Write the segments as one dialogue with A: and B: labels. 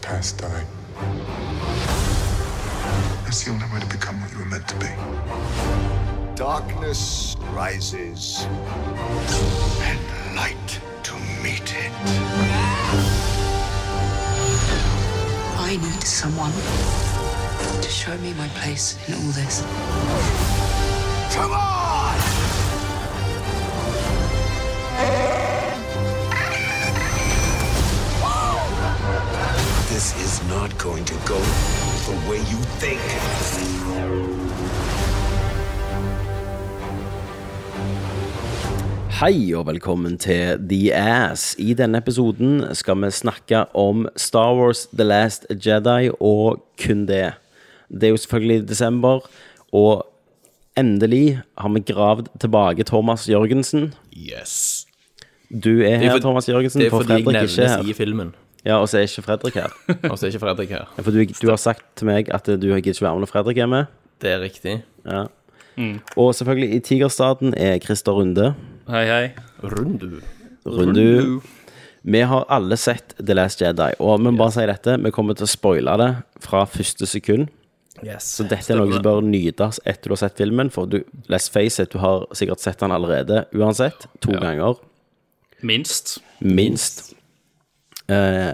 A: past dying. That's the only way to become what you were meant to be.
B: Darkness rises, and light to meet it.
C: I need someone to show me my place in all this.
B: Come on! This is not going to go the way you think.
D: Hei og velkommen til The Ass. I denne episoden skal vi snakke om Star Wars The Last Jedi og kun det. Det er jo selvfølgelig desember, og endelig har vi gravd tilbake Thomas Jørgensen.
E: Yes.
D: Du er her,
E: for-
D: Thomas Jørgensen,
E: Det er
D: for
E: fordi jeg
D: Fredrik
E: nevnes
D: ikke er her.
E: i filmen,
D: Ja, og så er ikke Fredrik her.
E: og så er ikke Fredrik her.
D: For du, du har sagt til meg at du gidder ikke være med når Fredrik er med.
E: Det er riktig.
D: Ja. Og selvfølgelig, i Tigerstaden er Christer Runde.
F: Hei, hei.
E: Rundu.
D: Rundu. Vi har alle sett The Last Jedi, og vi må bare si dette, vi kommer til å spoile det fra første sekund.
E: Yes.
D: Så dette er noe som bør nytes etter du har sett filmen, for du, let's face it, du har sikkert sett den allerede, uansett, to ganger,
F: Minst.
D: minst. Eh,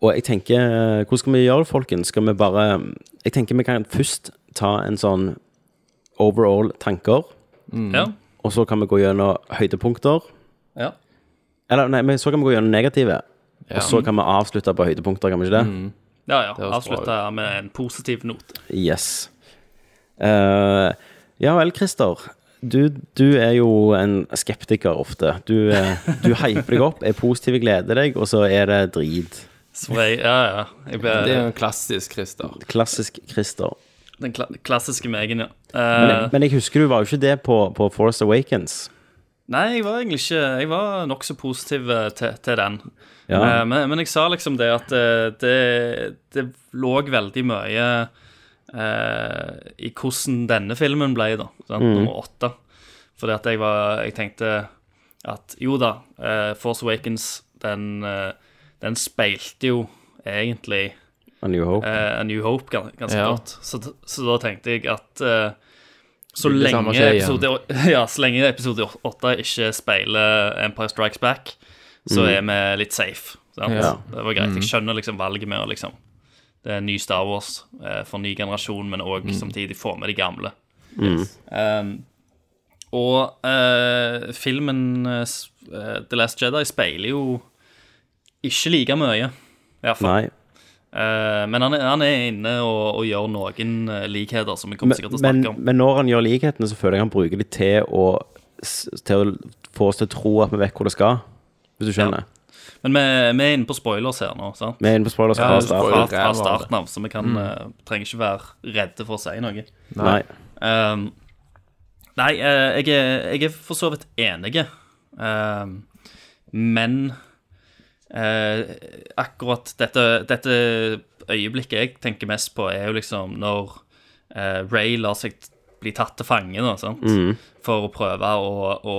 D: og jeg tenker, eh, hvordan skal vi gjøre det, folkens? Skal vi bare, jeg tenker vi kan først ta en sånn overall tanker,
F: Ja.
D: og så kan vi gå gjennom høydepunkter,
F: ja.
D: eller nei, men så kan vi gå gjennom negative,
E: Ja.
D: Og så kan vi avslutte på høydepunkter, kan vi ikke det?
F: Mm. Ja, ja.
E: høres bra
F: Avslutta med en positiv note.
D: Yes. Eh, ja vel, Christer. Du, du er jo en skeptiker ofte. Du, eh, du hyper deg opp, er positiv, gleder deg, og så er det drit.
F: Så jeg, ja, ja. Jeg ble,
E: Det er jo en klassisk Christer.
D: Klassisk Christer.
F: den kla klassiske megen, ja.
D: Men,
F: Eh,
D: men jeg husker du var jo ikke det på, på Forest Awakens.
F: nei, jeg var egentlig ikke Jeg var nokså positiv eh, til, til den.
D: Ja.
F: Eh, men, men jeg sa liksom det at eh, det, det lå veldig mye eh, i hvordan denne filmen ble, da. Sant? Nummer åtte. Fordi at jeg var Jeg tenkte at jo da, eh, Force Awakens, den, eh, den speilte jo egentlig
D: A New Hope.
F: eh, A New Hope gans- ganske
E: Ja.
F: godt. Så, d- så da tenkte jeg at eh, så,
E: Vil det
F: lenge
E: samme skje igjen?
F: episode, å- ja, så lenge episode 8 ikke speiler Empire Strikes Back, så er vi litt safe. Sant?
E: Mm. Ja. Mm.
F: Det var greit. Jeg skjønner liksom valget med å liksom Det er en ny Star Wars eh, for ny generasjon, men òg
E: Mm.
F: samtidig få med de gamle. Um, og eh, filmen eh, s- eh, The Last Jedi speiler jo ikke like mye, i hvert fall.
D: Nei.
F: Eh, men han er, han er inne og, og gjør noen eh, likheter, som vi kommer sikkert til å
D: Men,
F: snakke om.
D: men når han gjør likhetene, så føler jeg han bruker de til å, s- til å få oss til å tro at vi vet hvor det skal. Hvis du skjønner.
F: Men vi, vi er inne på spoilers her nå, sant? Eh,
D: Vi er inne på spoilers.
E: Ja,
D: fra
E: spoiler.
D: start.
E: Spoiler
F: Fra, fra
E: er bare det.
F: starten av, så vi
D: Mm.
F: kan, eh, trenger ikke være redde for å si noe.
D: Nei.
F: Ehm, nei, eh, jeg, er, jeg er for så vidt enig, Ehm, men eh, akkurat dette, dette øyeblikket jeg tenker mest på, er jo liksom når eh, Ray lar seg bli tatt til fange, da, sant? for å prøve å, å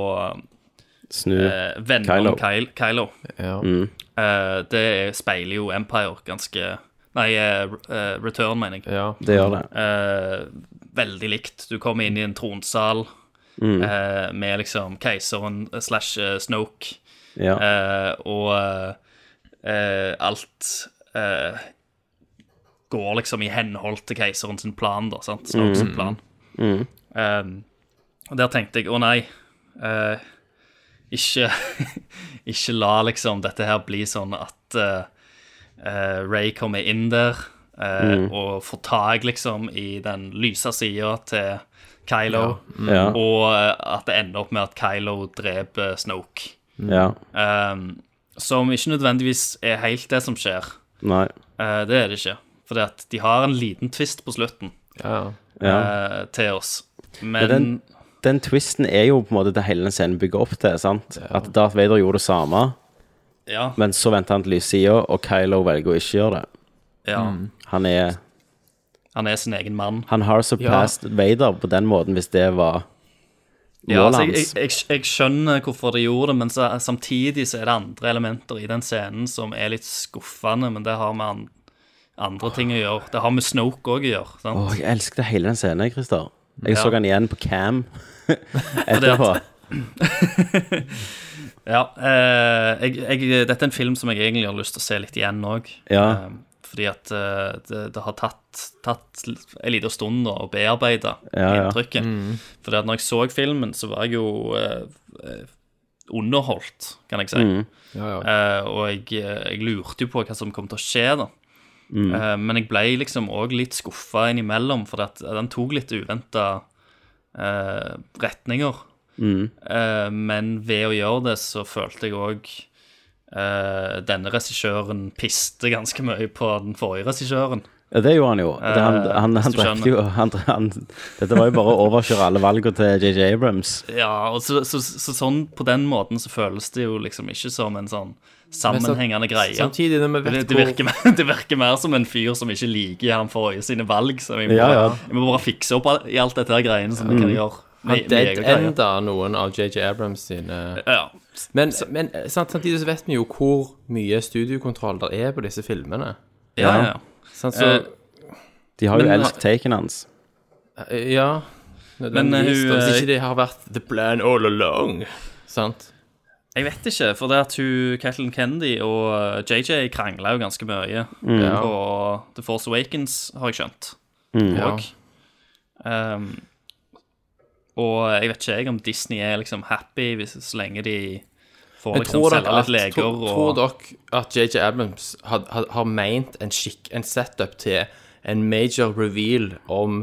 D: Snu.
F: eh, vende
D: Kylo.
F: om Kylo. Kylo.
E: Ja.
F: Eh, det speiler jo Empire ganske Nei, eh, eh, Return, mener jeg
E: ja.
D: Det gjør det.
F: eh, veldig likt. Du kommer inn i en tronsal eh, med liksom keiseren slash eh, Snoke,
D: Ja.
F: eh, og eh, alt eh, går liksom i henhold til keiseren sin plan, da, sant? Snoke sin plan. Eh, og der tenkte jeg, å nei, eh, ikke, ikke la liksom dette her bli sånn at eh, eh, Ray kommer inn der eh, og får tak liksom i den lyse sida til Kylo,
D: Ja.
F: og eh, at det ender opp med at Kylo dreper Snoke.
D: Ja.
F: Um, som ikke nødvendigvis er helt det som skjer.
D: Nei.
F: Eh, det er det ikke. Fordi at de har en liten twist på slutten
E: ja.
D: Ja.
F: eh, til oss. Men
D: Men den, den twisten er jo på en måte det hele den scenen bygger opp til. sant? At Darth Vader gjorde det samme,
F: ja,
D: men så venter han til lyssida, og Kylo velger å ikke gjøre det.
F: ja
D: Han, er,
F: han er sin egen mann.
D: han har surpassed Vader på den måten, hvis det var
F: Ja,
D: målet
F: altså, jeg,
D: hans.
F: jeg, jeg, jeg skjønner hvorfor de gjorde det, men så, samtidig så er det andre elementer i den scenen som er litt skuffende, men det har vi an, andre ting å gjøre. Det har med Snoke òg å gjøre. sant?
D: Åh, jeg elsket hele den scenen, Christer. Jeg så
F: Ja.
D: den igjen på cam etterpå.
F: Ja, eh, jeg, jeg, dette er en film som jeg egentlig har lyst til å se litt igjen òg.
D: Ja.
F: fordi at eh, det, det har tatt, tatt en liten stund da, å bearbeide
D: Ja, ja.
F: inntrykket.
E: Mm.
F: Fordi at når jeg så filmen, så var jeg jo eh, eh, underholdt, kan jeg si.
D: Mm.
E: Ja, ja.
F: Eh, og jeg, jeg lurte jo på hva som kom til å skje, da.
D: Mm.
F: Eh, men jeg ble liksom òg litt skuffa innimellom, for at den tok litt uventa eh, retninger.
D: Mm.
F: Eh, men ved å gjøre det, så følte jeg òg eh, Denne regissøren piste ganske mye på den forrige regissøren.
D: Ja, det gjorde han jo. Det, han, han, han
F: Eh, hvis du
D: drepte jo han, han, Dette var jo bare å overkjøre alle valgene til JJ Abrams.
F: Ja, og så, så, så sånn på den måten så føles det jo liksom ikke som en sånn sammenhengende greie.
E: Samtidig når vi
F: Det,
E: vet
F: det, virker, mer- det virker mer som en fyr som ikke liker han forrige sine valg. Så jeg må,
D: Ja, ja.
F: Jeg må bare fikse opp al- i alt dette her greiene som vi kan gjøre.
E: hvor Mm. han
F: med- med egen greie.
E: dead-enda noen av JJ Abrams sine
F: Ja.
E: Men, men sant, samtidig så vet vi jo hvor mye studiokontroll det er på disse filmene.
F: Ja, ja, Eh, ja.
E: Sant, Sånn, så,
D: De har jo
F: Men-
E: eh,
D: elsket taken hans.
E: ja Men
F: eh,
E: hvis
F: hun, eh,
E: ikke det har vært the plan all along, sant?
F: Jeg vet ikke, for det at hun, Kathleen Kennedy og eh, JJ krangla jo ganske mye
E: Ja.
F: på The Force Awakens, har jeg skjønt.
D: Mm.
E: Ja.
F: Og, ehm, og jeg vet ikke jeg om Disney er liksom happy hvis, så lenge de får
E: Men
F: liksom
E: tror dere
F: selge
E: at,
F: litt leger
E: tror, tror
F: og
E: dere at JJ Abrams har, har, har meint en, skikk, en setup til en major reveal om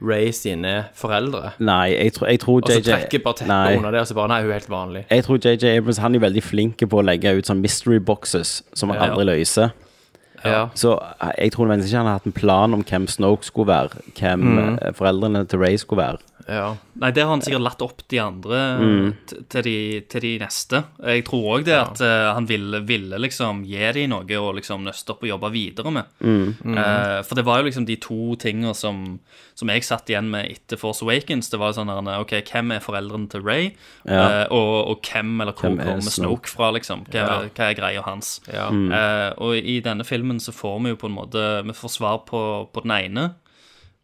E: Ray sine foreldre?
D: Nei, jeg, tror- jeg tror
E: Og så
D: JJ
E: trekker bare teppet
D: Nei.
E: under det, og så bare Nei, hun er helt vanlig.
D: Jeg tror JJ Abrams han er jo veldig flink på å legge ut sånn mystery boxes som han
F: Ja.
D: aldri løser.
E: Ja.
D: Så eh, jeg tror nødvendigvis ikke han har hatt en plan om hvem Snoke skulle være, hvem
E: Mm.
D: eh, foreldrene til Ray skulle være.
E: ja.
F: Nei, det har han sikkert latt opp de andre
D: Mm.
F: t- til, de, til de neste. Jeg tror òg det at eh, han ville, ville liksom gi de noe og liksom nøste opp og jobbe videre med.
D: Mm.
E: Mm.
F: Eh, for det var jo liksom de to tinga som, som jeg satt igjen med etter Force Awakens. Det var jo sånn der, OK, hvem er foreldrene til Ray,
D: Ja.
F: Eh, og, og hvem eller hvor
D: Hvem er
F: kommer
D: Snoke? Mm.
F: Snoke fra, liksom? Hva,
E: Ja.
F: hva er greia hans?
E: Ja.
F: Eh, og i denne filmen så får vi jo på en måte Vi får svar på, på den ene.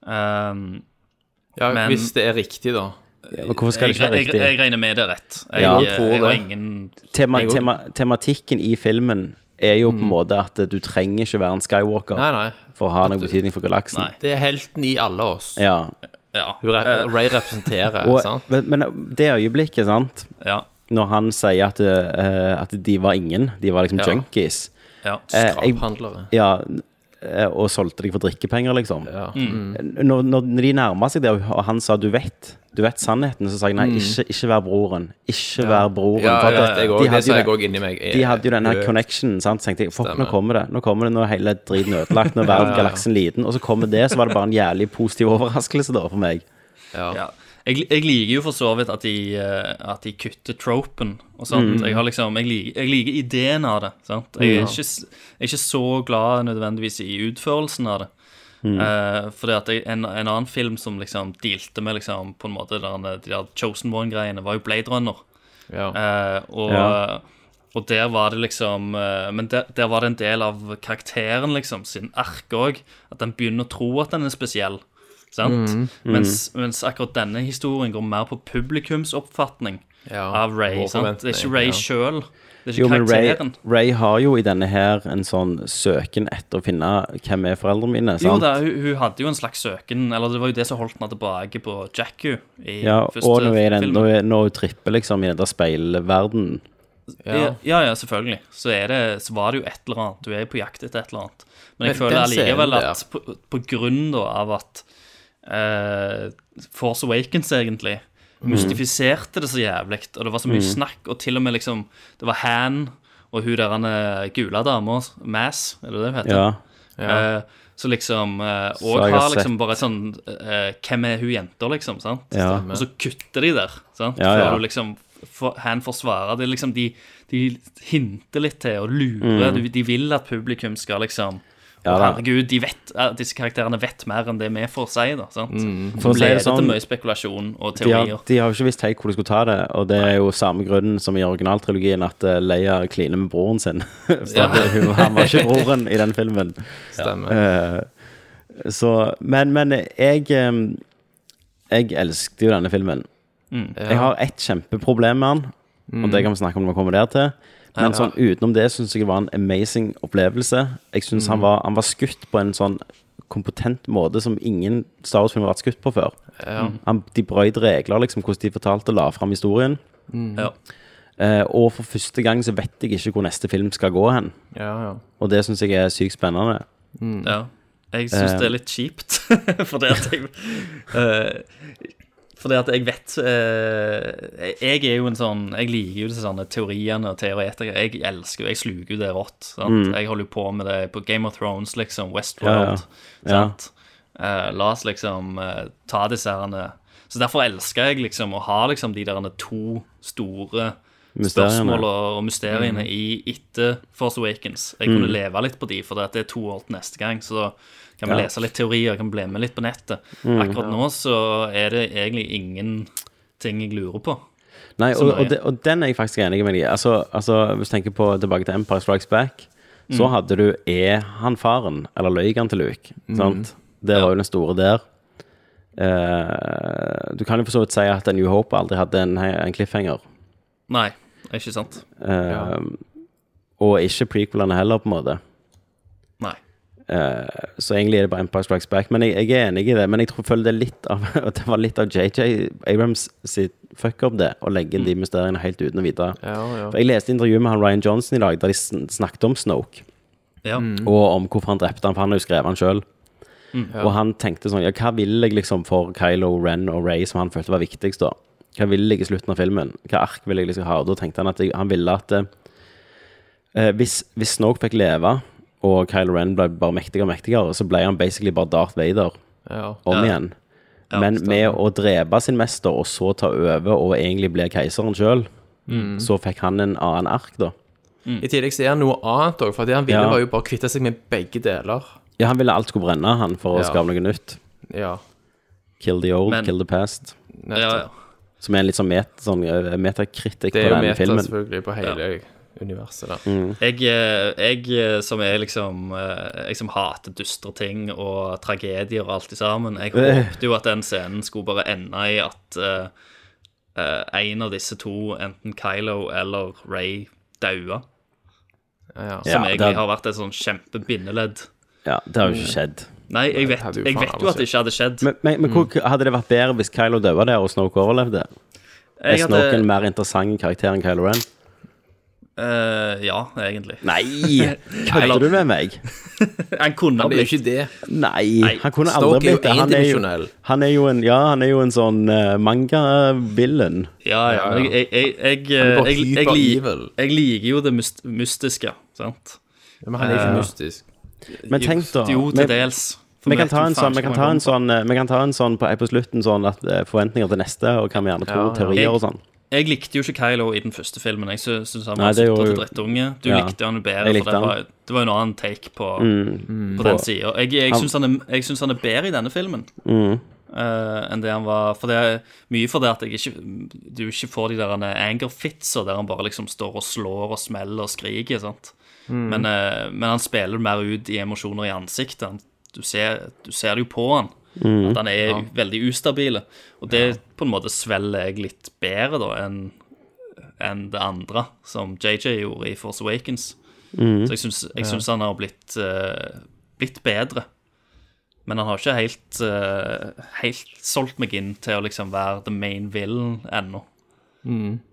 F: Um,
E: ja
F: Men-
E: hvis det er riktig, da.
D: Og Hvorfor skal det ikke være
F: jeg, jeg,
D: riktig?
F: jeg regner med det er rett. Jeg,
D: Ja.
F: jeg, eh,
E: Jeg tror
F: jeg har
E: det.
F: ingen
D: Tema,
E: jeg- Mm.
D: tema, tematikken i filmen er jo på en måte at eh, du trenger ikke være en Skywalker
E: Nei, nei.
D: for å ha noen betydning for galaksen.
F: Nei.
E: Det er helten i alle oss.
D: Ja.
F: Ja.
E: Hun re
F: eh,
E: Ray representerer,
D: Og,
E: sant?
D: men, men det øyeblikket, sant,
F: ja,
D: når han sier at, eh, at de var ingen, de var liksom
E: Ja.
D: junkies
F: ja.
D: eh, jeg-
E: Draphandlere.
D: Ja, eh, og solgte deg for drikkepenger, liksom.
E: Ja.
F: Mm.
D: Når, når når de nærma seg det, og han sa 'du vet', du vet sannheten, så sa jeg nei,
F: Mm.
D: ikke, ikke vær broren. Ikke vær broren.
E: Ja,
D: For
E: ja,
D: at
E: jeg
D: de
E: òg. Det
D: hadde
E: sa
D: jo
E: jeg
D: den-
E: òg inni meg.
D: De hadde jo den her
E: Øh,
D: connectionen, sant? så tenkte jeg fuck, nå
E: Stemmer.
D: kommer det. Nå kommer det, nå er hele driten ødelagt, nå er verden,
E: ja, ja.
D: galaksen liten. Og så kommer det, så var det bare en jævlig positiv overraskelse da for meg.
E: Ja.
F: ja. Jeg, jeg liker jo for så vidt at de, eh, at de kutter tropen og sånt.
D: Mm.
F: Jeg, har liksom, jeg, liker, jeg liker ideen av det. Sant? Jeg, er ikke, s- jeg er ikke så glad nødvendigvis i utførelsen av det.
D: Mm.
F: Eh, fordi at jeg, en, en annen film som liksom dealte med liksom, på en måte der, de der Chosen One-greiene, var jo Blade Runner.
E: Ja.
F: Eh, og,
D: Ja.
F: og der var det liksom eh, Men der, der var det en del av karakteren, liksom, sin ark òg. At den begynner å tro at den er spesiell. Sant?
D: Mm,
F: Mens, mens akkurat denne historien går mer på publikums oppfatning
E: Ja,
F: av Ray.
E: vår
F: Sant? Det er ikke
E: forventning,
F: Ray
E: ja.
F: selv Det er ikke
D: Jo, men Ray,
F: karakteren.
D: Ray har jo i denne her en sånn søken etter å finne hvem er foreldrene mine.
F: Jo
D: sant?
F: da, hun, hun hadde jo en slags søken Eller det var jo det som holdt henne tilbake på Jacku i
D: ja,
F: første
D: og nå er den,
F: filmen.
D: nå er, nå tripper liksom i den der speilverdenen.
F: Ja. ja, ja, selvfølgelig. Så, er det, så var det jo et eller annet. Du er på jakt etter et eller annet. Men
E: Men
F: jeg føler
E: den scenen
F: allikevel
E: der-
F: at på, på grunn da av at eh, Force Awakens egentlig mystifiserte det så jævlig, og det var så mye snakk, og til og med liksom Det var Han og hun der han eh, gule dama, Mass, er det det hun heter?
D: Ja.
F: Eh, så liksom eh, Og
D: Så jeg har
F: har liksom
D: sett-
F: bare sånn eh, Hvem er hun jenta, liksom? sant?
D: Ja.
F: Og så kutter de der, sant?
D: Ja, ja.
F: Før du liksom for, Han forsvarer det. er Liksom de, de hinter litt til og lurer. Du- De vil at publikum skal liksom
D: Mm. Ja, da.
F: Herregud, de vet, eh, disse karakterene vet mer enn det vi får si. da, sant?
E: Mm.
D: For å si
F: Leder
D: det sånn,
F: til mye spekulasjon og
D: de har,
F: teorier.
D: de har jo ikke visst helt hvor de skulle ta det, og det er jo samme grunnen som i originaltrilogien, at eh, Leia kliner med broren sin. For
F: Ja.
D: at hun, han var ikke broren i den filmen.
E: Stemmer.
D: Eh, så Men, men jeg eh, Jeg elsket jo denne filmen. Jeg har ett kjempeproblem med den, og det kan vi snakke om når vi kommer der til. Men sånn, utenom det syns jeg det var en amazing opplevelse. Jeg synes han, var, han var skutt på en sånn kompetent måte som ingen Star Wars-film har vært skutt på før. Han, de brøyt regler, liksom, hvordan de fortalte og la fram historien.
F: Ja.
D: Eh, og for første gang så vet jeg ikke hvor neste film skal gå hen.
E: Ja, ja.
D: Og det syns jeg er sykt spennende. Mm.
F: Ja. Jeg
D: Eh.
F: syns det er litt kjipt, fordi at jeg eh, Fordi at jeg vet eh, Jeg jeg er jo en sånn Jeg liker jo disse sånne teoriene og teoretikere. Jeg elsker jo Jeg sluker jo det rått.
D: Mm.
F: Sant? Jeg holder jo på med det på Game of Thrones, liksom. Westworld.
D: Ja, ja.
F: Sant? Eh, la oss liksom eh, ta disse herrene Så derfor elsker jeg liksom å ha liksom de derene to store
D: Mysteriene.
F: spørsmål og og mysteriene i etter Force Awakens. Jeg kunne leve litt på de, for det at det er to år til neste gang. Så da kan vi
D: Ja.
F: lese litt teorier, kan bli med litt på nettet. Akkurat nå så er det egentlig ingenting jeg lurer på.
D: Nei,
F: Som
D: og,
F: er-
D: og, de, og den er jeg faktisk enig med deg i. Altså, altså, hvis du tenker på tilbake til Empire Strikes Back,
E: Mm.
D: så hadde du Er han faren, eller løy han til Luke?
E: Mm.
D: Sant? Det var jo den store der. Eh, du kan jo for så vidt si at New Hope aldri hadde en, en cliffhanger.
F: Nei, ikke sant?
D: Eh, Og ikke prequelene heller, på en måte.
F: Nei.
D: Så egentlig er det bare Empire Strikes Back. Men jeg, jeg er enig i det. Men jeg tror føler det er litt av at det var litt av JJ Abrams sitt fuck up, det. Å legge inn de mysteriene helt uten å vite.
E: Mm. Ja, ja.
D: For jeg leste intervjuet med han Ryan Johnson i dag, der de sn- snakket om Snoke.
F: Ja.
D: Og om hvorfor han drepte han, for han har jo skrevet han sjøl. Og han tenkte sånn Ja, hva vil jeg liksom for Kylo Ren og Ray, som han følte var viktigst, da? Hva vil jeg i slutten av filmen? Hva ark vil jeg liksom ha? Og da tenkte han at jeg, han ville at eh, hvis, hvis Snoke fikk leve, og Kylo Ren ble bare mektigere og mektigere, så ble han basically bare Darth Vader
E: ja.
D: om
F: Ja.
D: igjen. Men med å drepe sin mester, og så ta over og egentlig bli keiseren sjøl, så fikk han en annen ark, da.
E: I tillegg så er han noe annet òg, for det han ville,
D: Ja.
E: var jo bare kvitte seg med begge deler.
D: Ja, han ville alt skulle brenne, han, for å
E: Ja.
D: skape noe nytt.
E: Ja,
D: Kill the old,
F: Men-
D: kill the past.
E: nettopp.
F: Ja, ja.
D: Som er en litt sånn, met, sånn eh, metakritikk
E: Det
D: på
E: er jo
D: den
E: meta,
D: filmen. Mm.
E: selvfølgelig, på hele universet der.
F: Jeg, eh, jeg eh, som er liksom eh, Jeg som hater dystre ting og tragedier og alt i sammen, jeg håpte jo at den scenen skulle bare ende i at eh, eh, en av disse to, enten Kylo eller Ray, daua.
E: Ja.
D: Ja,
F: Som egentlig
D: det-
F: har vært et sånn kjempebindeledd.
D: Ja, det har jo
E: Mm.
D: ikke skjedd.
F: Nei, jeg vet,
E: hadde jo
F: jeg
E: faen
F: vet jo at det ikke hadde skjedd.
D: Men, men, men hvor,
E: Mm.
D: hadde det vært bedre hvis Kylo døde der, og Snoke overlevde? Er
F: Jeg
D: Snoke en
F: hadde,
D: mer interessant karakter enn Kylo Ren?
F: eh, ja, egentlig.
D: Nei! Kødder du med meg?
F: Han kunne ha
E: Han er jo
F: blitt
E: ikke det.
D: Nei, han kunne
E: Snoke
D: aldri
E: er jo
D: blitt det. Han er jo,
E: endimensjonell.
D: han er jo en Ja, han er jo en sånn eh, manga-villain.
F: Ja, ja. men Jeg, jeg, jeg, jeg,
E: er bare
F: jeg, jeg, jeg,
E: hyper-evil.
F: lik- jeg liker jo det myst- mystiske, sant?
E: Ja, Men han er ikke mystisk.
D: Men tenk, da.
F: Jo, til
D: men-
F: dels. For
D: Vi kan
F: vet
D: ta
F: jo
D: en
F: faen
D: sånn, vi
F: ikke
D: kan
F: hva
D: ta en
F: man
D: sånn, eh, vi kan ta en sånn på, på slutten sånn at eh, forventninger til neste, og hva vi gjerne tror,
E: Ja, ja.
D: teorier og sånn.
F: kommer på. Jeg likte jo ikke Kylo i den første filmen. Jeg sy- syns han
D: Nei,
F: var
D: det gjorde jo-
F: sutrete drittunge. Du
D: Ja.
F: likte han jo bedre,
D: Jeg likte
F: for det
D: han. Mm.
F: var, det var en annen take på, på den sida. Jeg, jeg, syns han er- jeg syns han er bedre i denne filmen
D: Mm.
F: eh, enn det han var For det er mye for det at jeg ikke, du ikke får de der anger fitser der han bare liksom står og slår og smeller og skriker. sant? Men, eh, men han spiller mer ut i emosjoner i ansiktet. Han, du, ser, du ser det jo på han.
D: Mm.
F: At han er veldig ustabil. Og det på en måte svelger jeg litt bedre da enn enn det andre, som JJ gjorde i Force Awakens.
D: Mm.
F: Så jeg syns, jeg syns han har blitt, eh, blitt bedre. Men han har ikke helt, eh, helt solgt meg inn til å liksom være the main villain ennå.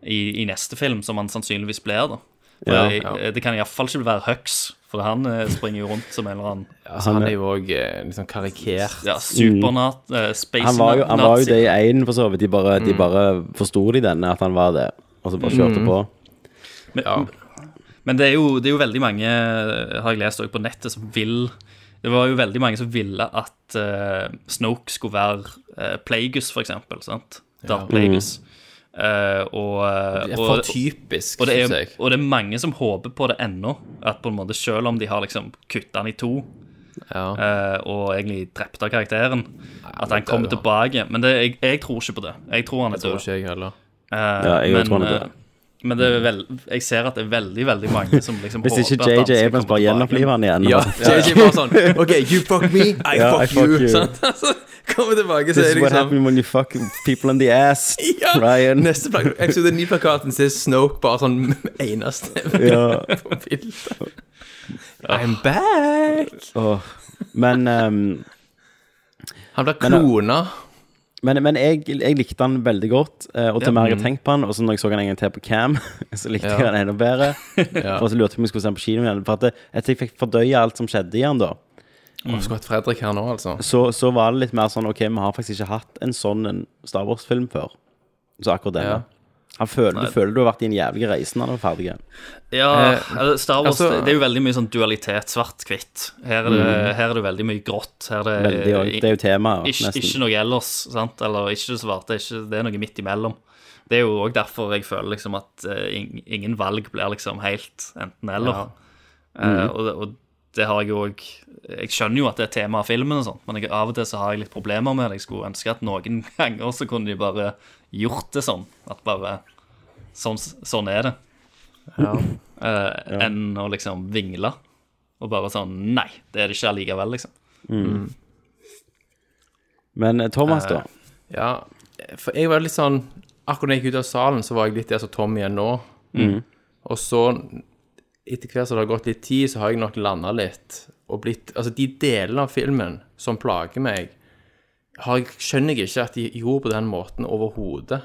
F: I, I neste film, som han sannsynligvis blir, da. For
D: Ja,
F: jeg, eh, Det kan iallfall ikke være Hux, for han eh, springer jo rundt som en eller annen
E: Altså, han er jo òg litt sånn karikert.
F: ja, supernat, eh, space
D: Mm. Han var jo, han var jo
F: nazi.
D: det i én, for så vidt. De bare,
E: Mm.
D: de bare forsto de denne, at han var det, og så bare kjørte på.
F: Men,
E: Ja.
F: men det, er jo, det er jo veldig mange, har jeg lest også på nettet, som vil Det var jo veldig mange som ville at eh, Snoke skulle være eh, Plagueis, for eksempel. Sant? Darth Plagueis. Eh, og,
E: Det
F: eh,
E: er
F: og,
E: For typisk,
F: og, det er,
E: syns jeg.
F: og det er mange som håper på det ennå. At på en måte selv om de har liksom kutta den i to,
E: Ja.
F: eh, og egentlig drept av karakteren. At
E: men
F: han kommer
E: død,
F: tilbake. Men det, jeg, jeg tror ikke på det. Jeg tror han er
E: Tror
F: død.
E: ikke jeg heller.
F: Eh,
D: Ja, jeg
F: men,
D: tror han er
F: eh,
D: død.
F: Men det er vel, jeg ser at det er veldig veldig mange som liksom
D: Hvis
F: håper
D: ikke
F: at
D: JJ
F: han skal
D: Abrams
F: komme
D: bare
F: tilbake.
D: gjenoppliver han igjen.
E: Ja,
D: og
E: det er ikke bare sånn OK, you fuck me, I
D: Ja,
E: fuck,
D: I fuck
E: you.
D: you.
E: Sant? Altså, kommer tilbake, så
D: This
E: er
D: is
E: det
D: what
E: liksom
D: happened when you fuck people in the ass,
E: ja,
D: Ryan.
E: Neste plak episode 9-plakaten ser Snoke bare sånn eneste
D: Ja.
E: på bildet. I'm back!
D: Åh. Men, ehm,
E: Han blir klona.
D: men, men jeg, jeg likte han veldig godt, eh, og til mer jeg har tenkt på han, og så når jeg så han en gang til på Cam, så likte jeg
E: Mm. Ja.
D: han enda bedre. Og så lurte jeg på om jeg skulle se han på kino igjen, for at jeg, jeg fikk fordøye alt som skjedde i han da.
E: Vi skulle hatt Fredrik her nå, altså.
D: så, så var det litt mer sånn Ok, vi har faktisk ikke hatt en sånn en Star Wars-film før. Så akkurat denne.
E: Ja.
D: Han føler, du føler du har vært i en jævlig reise når du er ferdig.
F: Ja,
E: Eh,
F: eller Star Wars
E: altså-
F: det er jo veldig mye sånn dualitet, svart-hvitt. Her, er det- her er det veldig mye grått. Her
E: Eh,
F: er det,
D: Mhm. Veldig, og det er jo temaet.
F: ikke,
D: nesten.
F: ikke noe ellers, sant? Eller ikke det svarte. Ikke, det er noe midt imellom. Det er jo òg derfor jeg føler liksom at eh, ing- ingen valg blir liksom helt enten-eller. og, det- og det har jeg jo òg Jeg skjønner jo at det er tema av filmen, og sånt, men jeg, av og til så har jeg litt problemer med det. Jeg skulle ønske at noen ganger så kunne de bare gjort det sånn. At bare Sånn, sånn er det. Eh, Enn å liksom vingle og bare sånn Nei, det er det ikke allikevel, liksom.
D: Men eh, Thomas, da?
E: Ja, for jeg var litt sånn Akkurat da jeg gikk ut av salen, så var jeg litt der som Tom igjen nå. Og så, etter hvert som det har gått litt tid, så har jeg nok landa litt. Og blitt Altså, de delene av filmen som plager meg, har, jeg- skjønner jeg ikke at de gjorde på den måten overhodet.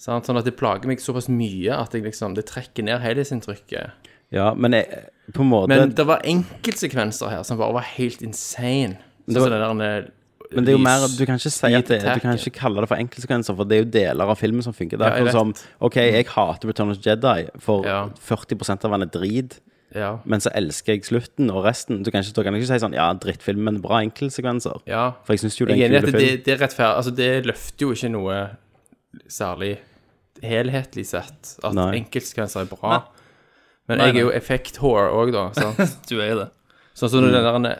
E: Sant? Sånn at det plager meg såpass mye at jeg liksom, det trekker ned helhetsinntrykket.
D: Ja, men jeg, på en måte
E: Men
D: men,
E: det, var enkeltsekvenser her som bare var helt insane. Sånn
D: var-
E: som den der
D: det er jo mer Du kan ikke si at det, du kan
E: lys-
D: ikke kalle det for enkeltsekvenser, for det er jo deler av filmen som funker. Det er
E: Ja, jeg
D: akkurat som OK, jeg hater Return of the Jedi, for
E: Ja.
D: 40 av han er drit.
E: Ja.
D: Men så elsker jeg slutten og resten. Du kan ikke, du kan ikke si sånn Ja, drittfilm, men bra enkeltsekvenser.
E: Ja.
D: For jeg syns jo det
E: Jeg
D: er
E: er enig
D: en
E: i at
D: kul
E: det,
D: film.
E: det er rettferdig Altså, det løfter jo ikke noe særlig helhetlig sett. At
D: Nei.
E: enkeltsekvenser er bra. Men
F: Nei,
E: jeg
F: nei.
E: er jo effekt-whore òg, da. Sant?
F: Du er jo det.
E: Sånn som den der eh,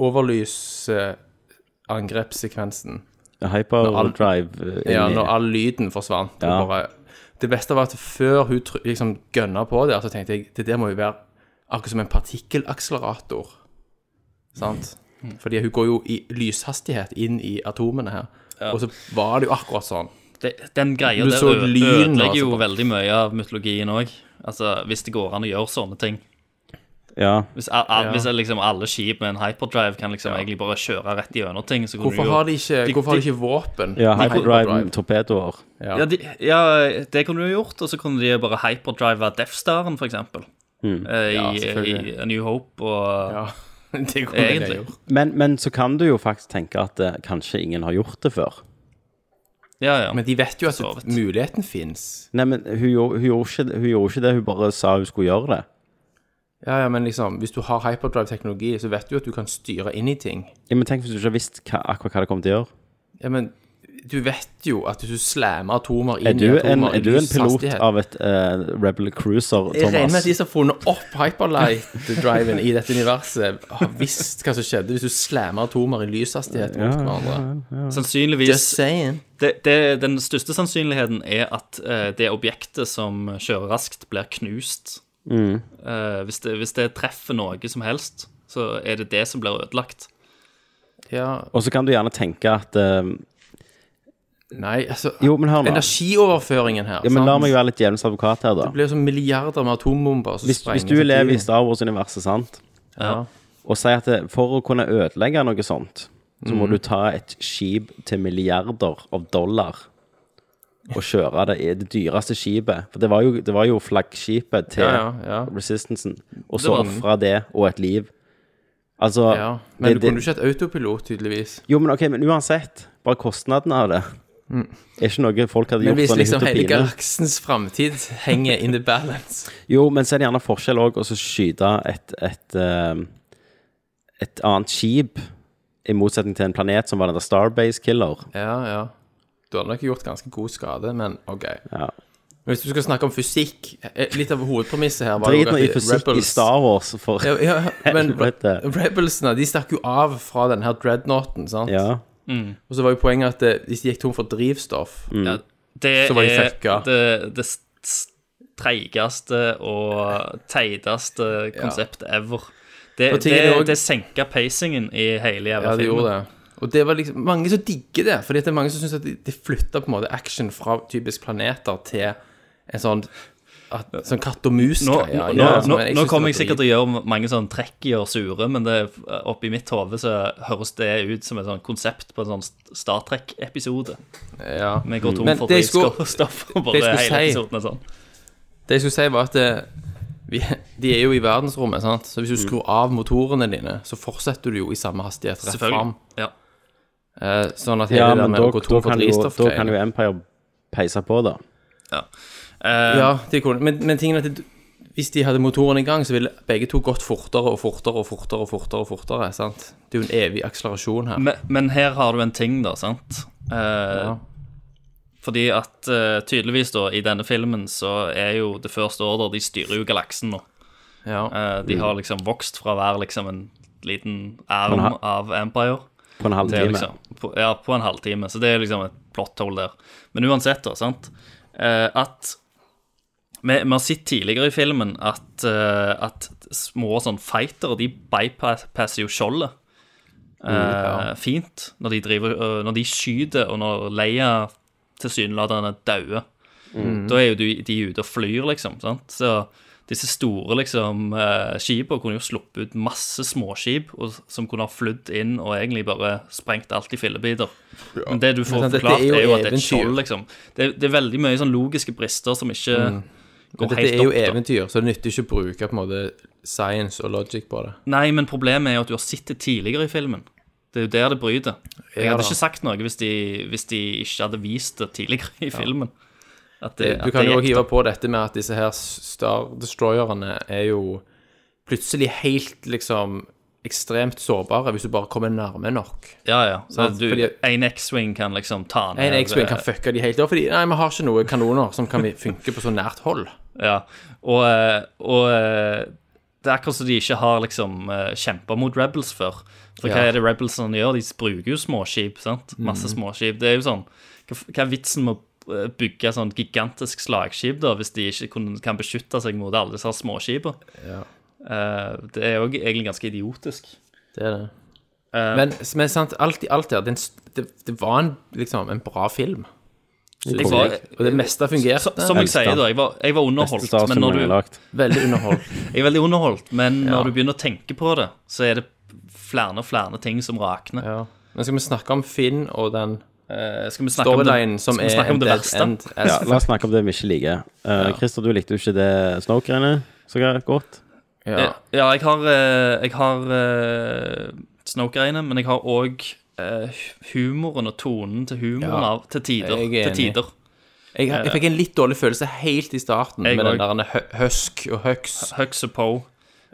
E: overlysangrepssekvensen.
D: Hyperdrive. eh,
E: Ja,
D: inni.
E: når all lyden forsvant. og
D: Ja.
E: Bare, det beste var at før hun tr- liksom gønna på der, så tenkte jeg det der må jo være akkurat som en partikkelakselerator. Sant?
F: Mm.
E: Fordi hun går jo i lyshastighet inn i atomene her. Og så var det jo akkurat sånn.
F: det, den greia
E: Du
F: der
E: så
F: ø-
E: lyn,
F: ødelegger jo
E: altså, bare.
F: veldig mye av mytologien òg. Altså, hvis det går an å gjøre sånne ting.
D: Ja.
F: Hvis, a, a,
E: Ja.
F: hvis liksom alle skip med en hyperdrive kan liksom egentlig bare kjøre rett gjennom ting, så kunne
E: Hvorfor
F: du jo
E: har de ikke,
F: de-
E: hvorfor har de
F: de-
E: ikke våpen?
D: Ja,
E: i
D: hyperdrive, torpedoer.
E: Ja.
F: ja, de, ja, det kunne du jo gjort, og så kunne de bare hyperdrive Death Staren, for eksempel. Eh,
E: Ja,
F: I,
E: selvfølgelig.
F: I A New Hope og
E: Ja. Det kunne
F: Egentlig.
E: jeg gjort.
D: Men, men så kan du jo faktisk tenke at eh, kanskje ingen har gjort det før.
F: Ja, ja.
E: Men de vet jo at
F: Så vidt.
E: muligheten fins.
D: Nei, men hun, gjorde- hun, gjorde ikke, det- hun gjorde ikke det, hun bare sa hun skulle gjøre det.
E: Ja, ja, men liksom, hvis du har hyperdrive-teknologi, så vet du at du kan styre inn i ting.
D: Ja, men tenk hvis du ikke har visst hva, akkurat hva det kom til å gjøre.
E: Ja, men du vet jo at hvis du slammer atomer
D: Er
E: inn
D: du
E: i
D: en,
E: atomer
D: er du en pilot
E: lyshastighet-
D: av et eh, Rebel Cruiser,
E: Jeg regner med at
D: Thomas?
E: de som har funnet opp hyperlight-driven i dette universet, har visst hva som skjedde hvis du slammer atomer i lyshastighet mot hverandre. Just
F: Sannsynligvis
E: saying.
F: det, det, Den største sannsynligheten er at eh, det objektet som kjører raskt, blir knust. Eh, hvis, det, hvis det treffer noe som helst, så er det det som blir ødelagt.
E: Ja,
D: Og så kan du gjerne tenke at eh,
E: nei, altså
D: Jo, men hør nå.
E: Energioverføringen her.
D: Ja, men la
E: sant?
D: meg være litt djevelens advokat her, da.
E: Det blir jo som milliarder med atombomber som
D: Hvis, hvis du lever i Star Wars-universet, sant,
E: Ja.
D: og sier at det, for å kunne ødelegge noe sånt, så
E: Mm.
D: må du ta et skip til milliarder av dollar og kjøre det i det dyreste skipet. For det var jo, det var jo flaggskipet til
E: Ja, ja, ja.
D: Resistansen. Og så
F: var-
D: ofre det og et liv. Altså
E: ja. Men
D: det,
E: du kunne
D: det,
E: ikke hatt autopilot, tydeligvis.
D: Jo, men ok, men uansett. Bare kostnaden av det. Er ikke noe folk hadde
E: Mm. Men
D: gjort
E: hvis
D: sånn i
E: liksom
D: hytt og
E: hele
D: pine.
E: galaksens framtid henger in the balance
D: Jo, men så er det gjerne forskjell òg å skyte et, et, eh, et annet skip, i motsetning til en planet som var den der Starbase Killer.
E: Ja, ja. Du hadde nok gjort ganske god skade, men OK.
D: Ja.
E: Men Hvis du skal snakke om fysikk eh, Litt av hovedpremisset her var jo
D: Drit nå i
E: at
D: fysikk i
E: Rebels-
D: Star Wars, for
E: ja, ja, Men
D: Helvete.
E: Re- Rebelsene de stakk jo av fra den her dreadnoughten, sant?
D: Ja.
E: Og så var jo poenget at eh, hvis de gikk tom for drivstoff
D: Mm.
F: Ja, det
E: Så var de
F: er
E: fucka.
F: det, det s- s- treigeste og teiteste konseptet ever. Det,
E: Og ting er
F: det,
E: det også-
F: det senka pacingen i hele jævla
E: Ja, det
F: filmen.
E: gjorde det. Og det var liksom Mange som digger det. Fordi at det er mange som syns at de, de flytter på en måte action fra typisk planeter til en sånn at, Sånn katt og
F: Nå,
E: mus-greie.
F: nå,
E: Ja,
F: nå,
E: men
F: nå
E: synes
F: kommer jeg
E: det var
F: sikkert til å gjøre mange sånn trekk i og sure, men det, oppi mitt hode så høres det ut som et sånn konsept på en sånn Star Trek-episode.
E: drit. ja.
F: Vi går tom
E: Men
F: for
E: det jeg skulle-
F: drivstoff
E: det
F: og bare
E: jeg skulle
F: hele
E: si-
F: episoden er sånn.
E: Det jeg skulle si, var at eh, vi, de er jo i verdensrommet, sant? så
F: Mm.
E: hvis du skrur av motorene dine, så fortsetter du jo i samme hastighet rett fram.
F: Selvfølgelig. Ja.
E: Eh, sånn at hele
D: ja,
E: det der
D: men
E: med
D: da,
E: å gå
D: da,
E: tom for
D: kan jo,
E: drivstoff
D: da kan jo Empire peise på, da.
F: ja. Eh,
E: Ja, det kunne Men, men tingen er at det, hvis de hadde motoren i gang, så ville begge to gått fortere og fortere og fortere og fortere. og fortere, sant? Det er jo en evig akselerasjon her.
F: Men, men her har du en ting, da, sant? Eh, Fordi at eh, tydeligvis, da, i denne filmen så er jo The First Order De styrer jo galaksen nå.
E: Ja.
F: Eh, de
E: Mm.
F: har liksom vokst fra å være liksom en
D: Men
F: liten arm
D: ha-
F: av Empire.
D: På en halv
F: Det er
D: time.
F: liksom, på, ja, på en halvtime. Så det er liksom et plotthold der. Men uansett, da, sant eh, At vi, vi har sett tidligere i filmen at, eh, at små sånn fightere, de bypasser jo skjoldet. Eh, Fint. Når de, driver, eh, når de skyter, og når Leia tilsynelatende dauer. Da er jo de, de ute og flyr, liksom. sant? Så disse store liksom, eh, skipene kunne jo sluppet ut masse småskip og, som kunne ha flydd inn og egentlig bare sprengt alt i fillebiter. Men det du får
E: Men sant, dette
F: forklart,
E: er jo
F: er jo at det er et
E: eventyr.
F: skjold, liksom. Det, det er veldig mye sånn logiske brister som ikke går
E: Mm. Dette
F: helt
E: er jo
F: opp. da.
E: eventyr, så det nytter ikke å bruke på en måte science og logic på det.
F: Nei, men problemet er jo at du har sett det tidligere i filmen. Det er jo der det bryter. Jeg
E: Ja da.
F: hadde ikke sagt noe hvis de, hvis de ikke hadde vist det tidligere i filmen. At det,
E: Du
F: at
E: kan
F: det
E: jo
F: gikk
E: også hive på dette med at disse her Star Destroyerne er jo plutselig helt liksom ekstremt sårbare hvis du bare kommer nærme nok.
F: Ja, ja. Så
E: Sant,
F: du,
E: Sånn, fordi-
F: en X-Wing kan liksom ta ned
E: En X-Wing kan
F: eh,
E: fucke de helt opp, fordi nei, vi har ikke noen kanoner som kan vi- funke på så nært hold.
F: Ja. Og, eh, og eh, det er akkurat som de ikke har liksom eh, kjempet mot Rebels før. For hva
E: Ja.
F: er det Rebelsene gjør? De bruker jo småskip. sant? Masse småskip. Det er jo sånn Hva f- hva er vitsen med å eh, bygge sånn gigantisk slagskip da, hvis de ikke kun, kan beskytte seg mot alle disse her småskipene? Eh, det er jo egentlig ganske idiotisk.
E: Det er det.
F: Eh.
E: men, men sant, alt i alt her, det, er en st- det, det var en, liksom, en bra film.
F: Jeg
E: Synes
F: var-
E: jeg. Og det meste fungerte.
F: Så, som jeg
D: Elsker
F: sier,
D: den.
F: da, jeg var, jeg var
D: Beste
F: underholdt.
D: Star
F: Men når
D: Wars-filmen
F: du,
D: jeg har lagd.
E: Veldig underholdt.
F: Jeg er veldig underholdt, men
E: Ja.
F: når du begynner å tenke på det, så er det flere og flere ting som rakner.
E: Ja. Men skal vi snakke om Finn og den
F: Eh, skal vi snakke om det,
E: storylinen som
F: skal vi
E: er
F: snakke om det
E: dead
F: verste?
E: end as
D: Ja, la oss snakke om det vi ikke liker. Eh, Christer, du likte jo ikke det Snoke-greiene så godt.
E: Ja.
F: Ja, ja jeg har, eh, jeg har eh, Snoke-greiene, men jeg har òg humoren og tonen til humoren
E: Ja.
F: av til tider.
E: Jeg er
F: Til
E: enig.
F: tider.
E: Jeg, jeg fikk en litt dårlig følelse helt i starten
F: Jeg
E: med den
F: også.
E: der hø- høsk og høks.
F: Hux og Poe.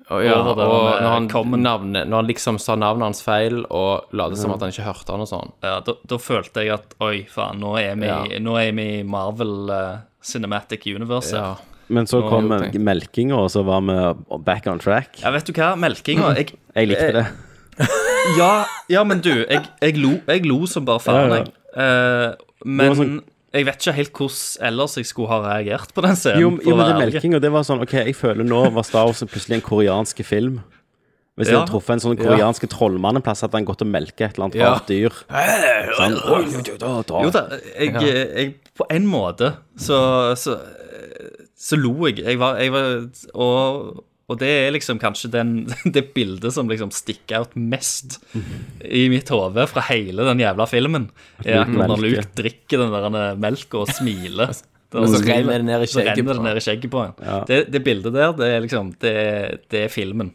E: Og, ja, og
F: over den, eh,
E: når, han,
F: common.
E: navnet, når han liksom sa navnet hans feil og la
F: Mm.
E: det som at han ikke hørte han og sånn.
F: Ja, da, da følte jeg at oi, faen, nå er vi,
E: Ja.
F: nå er vi i Marvel eh, Cinematic Universe.
E: Ja.
F: her.
D: Men så kom
E: jo, tenk.
D: melkinga, og så var vi back on track.
F: Ja, vet du hva? Melkinga jeg,
D: Jeg likte det.
F: ja, ja, men du, jeg, jeg, lo, jeg lo som bare faen,
D: Ja, ja.
F: jeg. Eh, men
D: Det var sånn-
F: jeg vet ikke helt hvordan ellers jeg skulle ha reagert på den scenen.
D: Jo,
F: for
D: jo men
F: å
D: det
F: være ærlig.
D: melkinga, det var sånn OK, jeg føler nå var Star Wars plutselig en koreansk film. Hvis jeg
F: Ja.
D: hadde truffet en sånn koreansk trollmann en plass, hadde han gått og melket et eller annet
E: Ja.
D: rart dyr. Sånn, oi, da, da, da.
F: Jo da, jeg, jeg På en måte så, så, så lo jeg. Jeg var, jeg var og, og det er liksom kanskje den, det bildet som liksom stikker ut mest i mitt hode fra hele den jævla filmen. Er akkurat når Luke drikker den der eh, melka og smiler.
E: Men så renner det ned i
F: Så
E: skjegget
F: renner
E: på
F: det
E: han.
F: ned i skjegget på han. Det, det bildet der, det er liksom Det, er- det er filmen.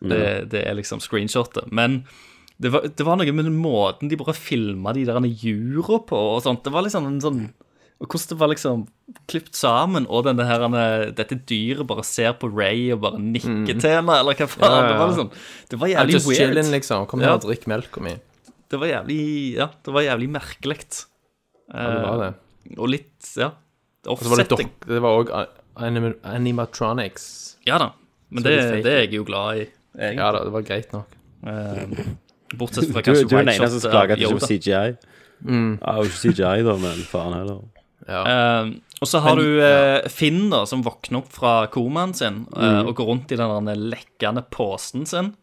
F: Det, det er liksom screenshotet. Men det var, det var noe med den måten de bare filma de der jura på og sånt. Det var liksom en sånn Og hvordan det var liksom klippet sammen, og denne her, denne- eh, dette dyret bare ser på Ray og bare nikker til henne, eller hva faen.
E: Ja, ja,
F: Det var
E: ja.
F: liksom Det var
E: I'm
F: jævlig
E: just
F: weird.
E: chillin', liksom. Kom her
F: Ja.
E: og drikk melka mi.
F: Det var jævlig Ja, det var jævlig merkelig.
E: Ja, det var det.
F: Og litt Ja. Det er
E: Og så var det
F: offsetting.
E: dok- Det var òg anim animatronics.
F: Ja da. Men
E: Så
F: det,
E: det er fake.
F: det er jeg jo glad i. egentlig.
E: Ja da, det var greit nok.
F: Bortsett fra
D: Du,
F: kanskje
D: du er den
F: White
D: eneste
F: Shot,
D: som klager
F: eh,
D: at det ikke
F: Yoda.
D: var CGI. Ja, det var ikke CGI, da, men faen heller.
F: Eh, og så har du eh, Finn, da, som våkner opp fra komaen sin eh, og går rundt i den der lekkende posen sin.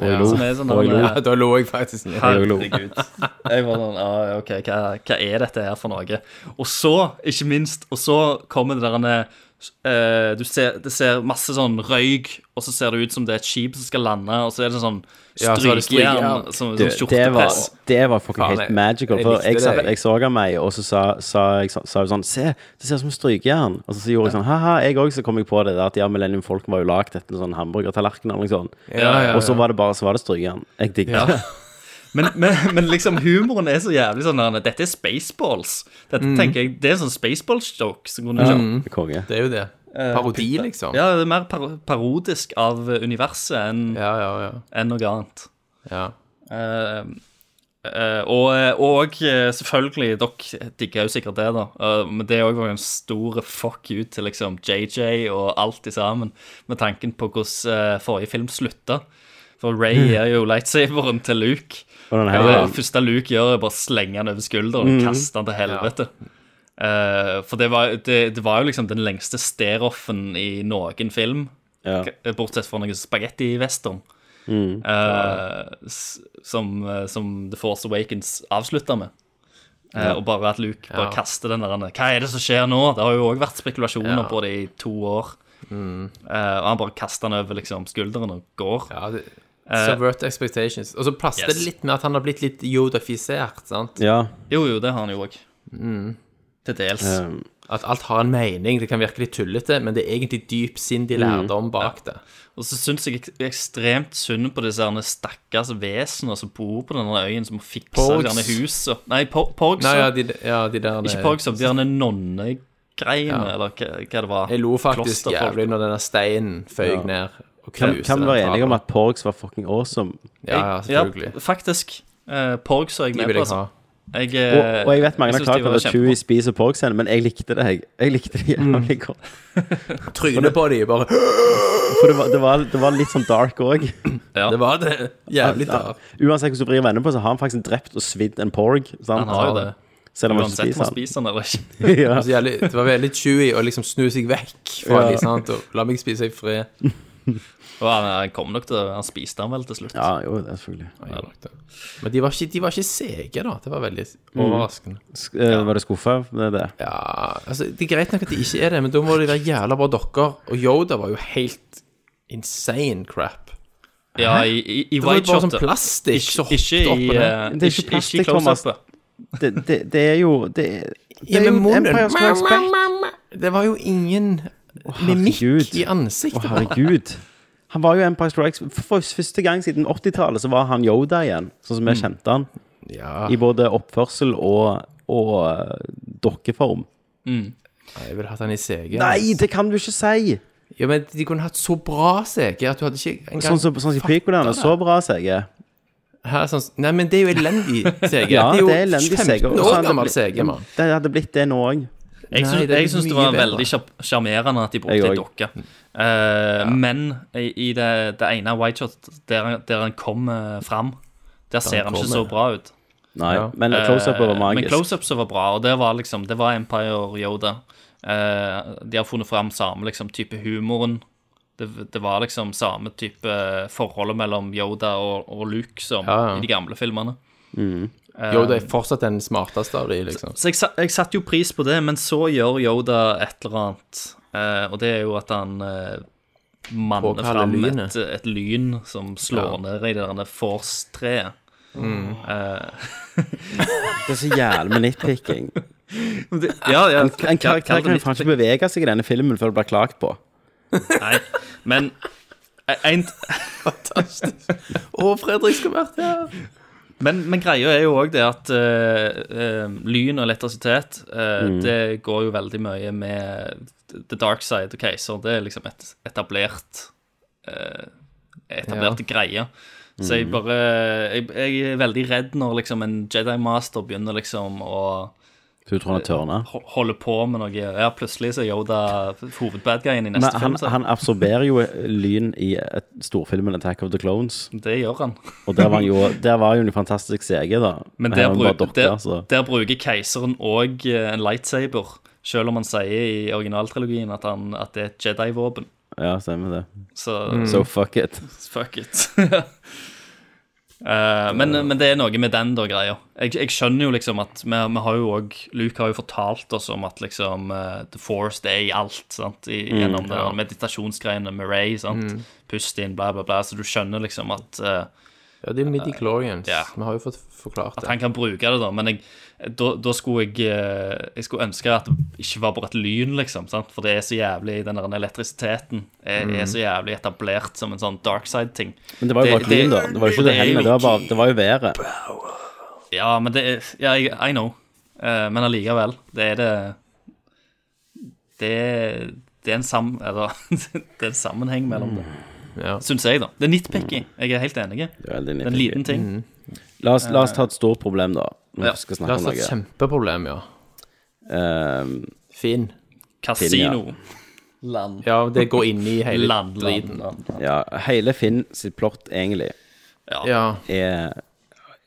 D: Og jeg lo.
F: Som er sånn
D: Og jeg
F: der-
D: lo.
E: Ja, da lo jeg faktisk ned.
D: Jeg lo.
F: Herregud. Jeg var sånn, ah, ok, hva, hva er dette her for noe? Og så, ikke minst, og så kommer det der en eh, du ser, det ser masse sånn røyk, og så ser det ut som det er et skip som skal lande, og så er det sånn
E: Ja, så er det
F: strykejern,
E: strykejern.
F: som,
D: Du,
F: som
D: det var,
F: skjortepress.
D: det var fucking
E: Faen,
D: helt
E: jeg-
D: magical.
E: jeg
D: For
E: likte
D: jeg,
E: det.
D: satt- jeg så av meg, og så sa, sa jeg sa, sa jo sånn Se, det ser ut som en strykejern. Og så, så gjorde jeg sånn ha-ha, jeg òg. Så kom jeg på det der at ja, Millennium Folken var jo lagd etter en sånn hamburgertallerken eller noe sånt.
E: Ja, ja,
D: Og så
E: ja.
D: var det bare så var det strykejern. Jeg digger det.
F: Men, men, men liksom humoren er så jævlig sånn der, Dette er Spaceballs. Dette tenker jeg, Det er en sånn Spaceballs-joke. som kunne kjørt.
D: Det er Konge.
E: Det er jo det. Parodi, liksom.
F: Eh, Ja, det er mer par parodisk av eh, universet enn
E: Ja, ja, ja.
F: enn noe annet.
E: ja.
F: Eh, eh, og og eh, selvfølgelig, dere digger jo sikkert det, da. Eh, men det òg var jo en stor fuck you til liksom JJ og alt i sammen, med tanken på hvordan eh, forrige film slutta. For Ray gir jo lightsaberen til Luke.
D: Og den
F: Og det
D: her,
F: første Luke gjør, er bare å slenge han over skulderen og kaste han til helvete. Eh, for det var, det, det var jo liksom den lengste stare-offen i noen film.
D: ja.
F: Eh, Bortsett fra noe spagetti-western. eh, s- som, eh, som The Force Awakens avslutter med. Eh, Og bare at Luke bare
E: Ja.
F: kaster den der Hva er det som skjer nå? Det har jo òg vært spekulasjoner
E: Ja. Mhm.
F: på det i to år. Eh, og han bare kaster den over liksom, skulderen og går.
E: ja det, Subvert expectations. Og så passer
F: Eh. yes.
E: det litt med at han har blitt litt jodafisert, sant?
D: ja.
F: Jo, jo, det har han jo òg.
E: Mhm.
F: Til dels.
D: Um,
E: At alt har en mening. Det kan virke litt tullete, men det er egentlig
D: Mm.
E: dypsindig lærdom bak det.
F: Og så syns jeg ek- ekstremt synd på disse herne stakkars vesener som bor på denne øyen, som må fikse
E: Porgs.
F: denne huset. Nei, po Porgs.
E: Nei, ja, de, ja, de der eh,
F: Ikke Porgs, de herne nonnegreiene, eller hva, hva det var.
E: Jeg lo faktisk
F: Klosterfolk.
E: jævlig når denne steinen føyk ned og
D: kan,
E: knuste
D: kan vi være
E: den
D: enige om
E: tavla.
D: at Porgs var fucking awesome?
E: Ja, ja, selvfølgelig.
F: Ja, faktisk. Eh, Porgs er jeg
E: De
F: med
E: vil jeg
F: på.
E: ha.
F: altså. Jeg,
D: Og,
F: eh,
D: og jeg vet mange har
F: synes de
D: klart
F: var Mm.
D: at
F: kjempebra.
D: Chewie spiser Porgs igjen, men jeg likte det, jeg. Jeg likte det jævlig godt.
E: Trynet på de bare
D: For det var, det var, det var litt sånn dark òg.
E: Det var det. Jævlig dark.
D: Uansett hvordan du vrir vennene på, så har han faktisk drept og svidd en porg. Sant?
F: Han har jo det.
D: Selv om han ikke
F: Uansett om
D: spiser
F: man
D: han.
F: spiser den eller ikke.
D: ja.
E: Så jævlig, det var veldig chewy å liksom snu seg vekk fra
D: Ja. Mm.
E: de, sant, og la meg spise i fred.
F: Og han, han kom nok til Han spiste den vel til slutt.
D: ja, jo, det er selvfølgelig.
E: Men de var ikke, de var ikke sege, da. Det var veldig
D: Mm.
E: overraskende.
D: Sk eh, Var du skuffa med det?
E: Ja, altså, Det er greit nok at de ikke er det, men da må de være jævla bra dokker. Og Yoda var jo helt insane crap.
F: Ja, i, i, i
E: Det var jo
F: White
E: bare sånn
F: Shot.
E: plastikk som hoppet
F: Ikke
E: opp
F: i
E: og ned.
F: eh,
D: Det er ikke
F: ikke-
D: plastikk,
F: ikke i close-upet.
D: Thomas. Det, det, det er jo Det, det
E: Ja,
D: er
E: men
D: jo
E: munnen
D: Empire Strikes Back.
E: Det var jo ingen mimikk
D: herregud.
E: i ansiktet.
D: Å, herregud. Han var jo Empire Strikes For første gang siden 80-tallet så var han Yoda igjen, sånn som vi kjente han.
E: Ja,
D: I både oppførsel og, og eh, dokkeform.
E: jeg ville hatt han i CG.
D: Nei, det kan du ikke si!
E: Ja, men De kunne hatt så bra CG at du hadde ikke engang
D: Sånn som sånn som i
E: fattet
D: prequelene.
E: det.
D: Så bra, sier jeg.
E: Hæ, sånn, nei, men det er jo elendig CG.
D: Ja,
E: jo
D: det er elendig CG.
E: 15
D: Og så
E: år
D: hadde
E: gammel
D: det blitt-
E: CG, mann.
D: Det hadde blitt det nå òg.
F: Jeg
E: Nei,
F: syns,
E: det er
F: jeg syns det
E: mye
F: var
E: bedre.
F: veldig sjar- sjarmerende at de
D: Jeg
F: brukte ei
D: òg.
F: dokke. Eh, Men i, i det, det ene white shot der, han- der han kom eh, fram, der ser han ikke så
E: kommer.
F: bra ut.
D: Nei,
E: Ja.
D: men close-upet var
F: Eh,
D: magisk.
F: Men close-upset var bra, og det var liksom Det var Empire Yoda. Eh, de har funnet fram samme liksom, type humoren. Det, det var liksom samme type eh, forholdet mellom Yoda og, og Luke som
E: Ja, ja.
F: i de gamle filmene.
E: Yoda er fortsatt den smarteste av de, liksom.
F: Så jeg, sa- jeg satte jo pris på det, men så gjør Yoda et eller annet. eh, og det er jo at han eh, manner
E: Påkaller
F: fram
E: lynet.
F: et, et lyn som slår ned i det der force-treet. Eh,
D: Det er så jævlig med nitpicking.
F: Ja, ja,
D: En, en karakter
F: kall
D: kan jo
F: det
D: faen ikke bevege seg i denne filmen før det blir klagt på.
F: litt- Nei, men e- en,
E: Å, Fredrik skal vært her!
F: Men, men greia er jo òg det at eh, eh, lyn og elektrisitet eh,
E: Mm.
F: Det går jo veldig mye med the dark side og keiser. Det er liksom et etablert eh, Etablerte greier.
E: Mm.
F: Så jeg bare jeg, jeg er veldig redd når liksom en Jedi Master begynner liksom å
D: Så du tror han er tørna?
F: ho- holder på med noe Ja, plutselig så er Yoda hovedbadguyen i
D: Nei,
F: neste
D: han,
F: film. Så.
D: han absorberer jo lyn i et, storfilmen 'Attack of the Clones'.
F: Det gjør han.
D: Og der var, han jo, der var jo en fantastisk CG, da.
F: Men
D: Her
F: der,
D: var han
F: bruk,
D: bare dokker, altså.
F: der,
D: så-
F: der bruker keiseren òg en lightsaber, selv om han sier i originaltrilogien at, han, at det er et Jedi-våpen.
D: Ja, stemmer det.
F: Så
D: So fuck it.
F: fuck it. Eh, men, men det er noe med den da greia. Jeg, jeg skjønner jo liksom at vi, vi har jo òg Luke har jo fortalt oss om at liksom eh, The Force det er i alt. sant? I,
D: Mm,
F: gjennom det der meditasjonsgreiene med Ray. sant? Pust inn, bla, bla, bla. Så du skjønner liksom at eh,
E: Ja, det er midi-chlorians.
F: Ja.
E: Vi har jo fått forklart
F: at
E: det.
F: han kan bruke det, da. Men jeg, da, da skulle jeg eh, Jeg skulle ønske at det ikke var bare et lyn, liksom. Sant? For det er så jævlig Den der elektrisiteten er, er så jævlig etablert som en sånn dark side-ting.
D: Men det var jo bare
F: det-
D: lyn, da. Det var jo ikke
F: det
D: det
F: er jo
D: hendene, det var, bare, det var jo været.
F: Ja, men det er Ja, jeg, I know. Eh, men allikevel. Det er det Det, er- det er en sam... Eller det er en sammenheng mellom det.
E: Mm, Ja.
F: Syns jeg, da. Det er nitpicky. Jeg er helt enig. Det
D: Det er veldig
F: er en
D: nydelig.
F: liten ting.
E: Mm.
D: La oss, la oss ta et stort problem, da. Når
F: Ja,
D: vi skal
E: La
D: snakke
E: oss
D: om
E: ta altså et
D: noe.
E: kjempeproblem, ja.
D: Ehm,
E: Finn.
F: Kasino. Land.
E: Ja, det går inn i hele
F: Land, land,
E: driten.
F: land.
D: ja, hele Finn sitt plott, egentlig,
E: Ja.
D: er,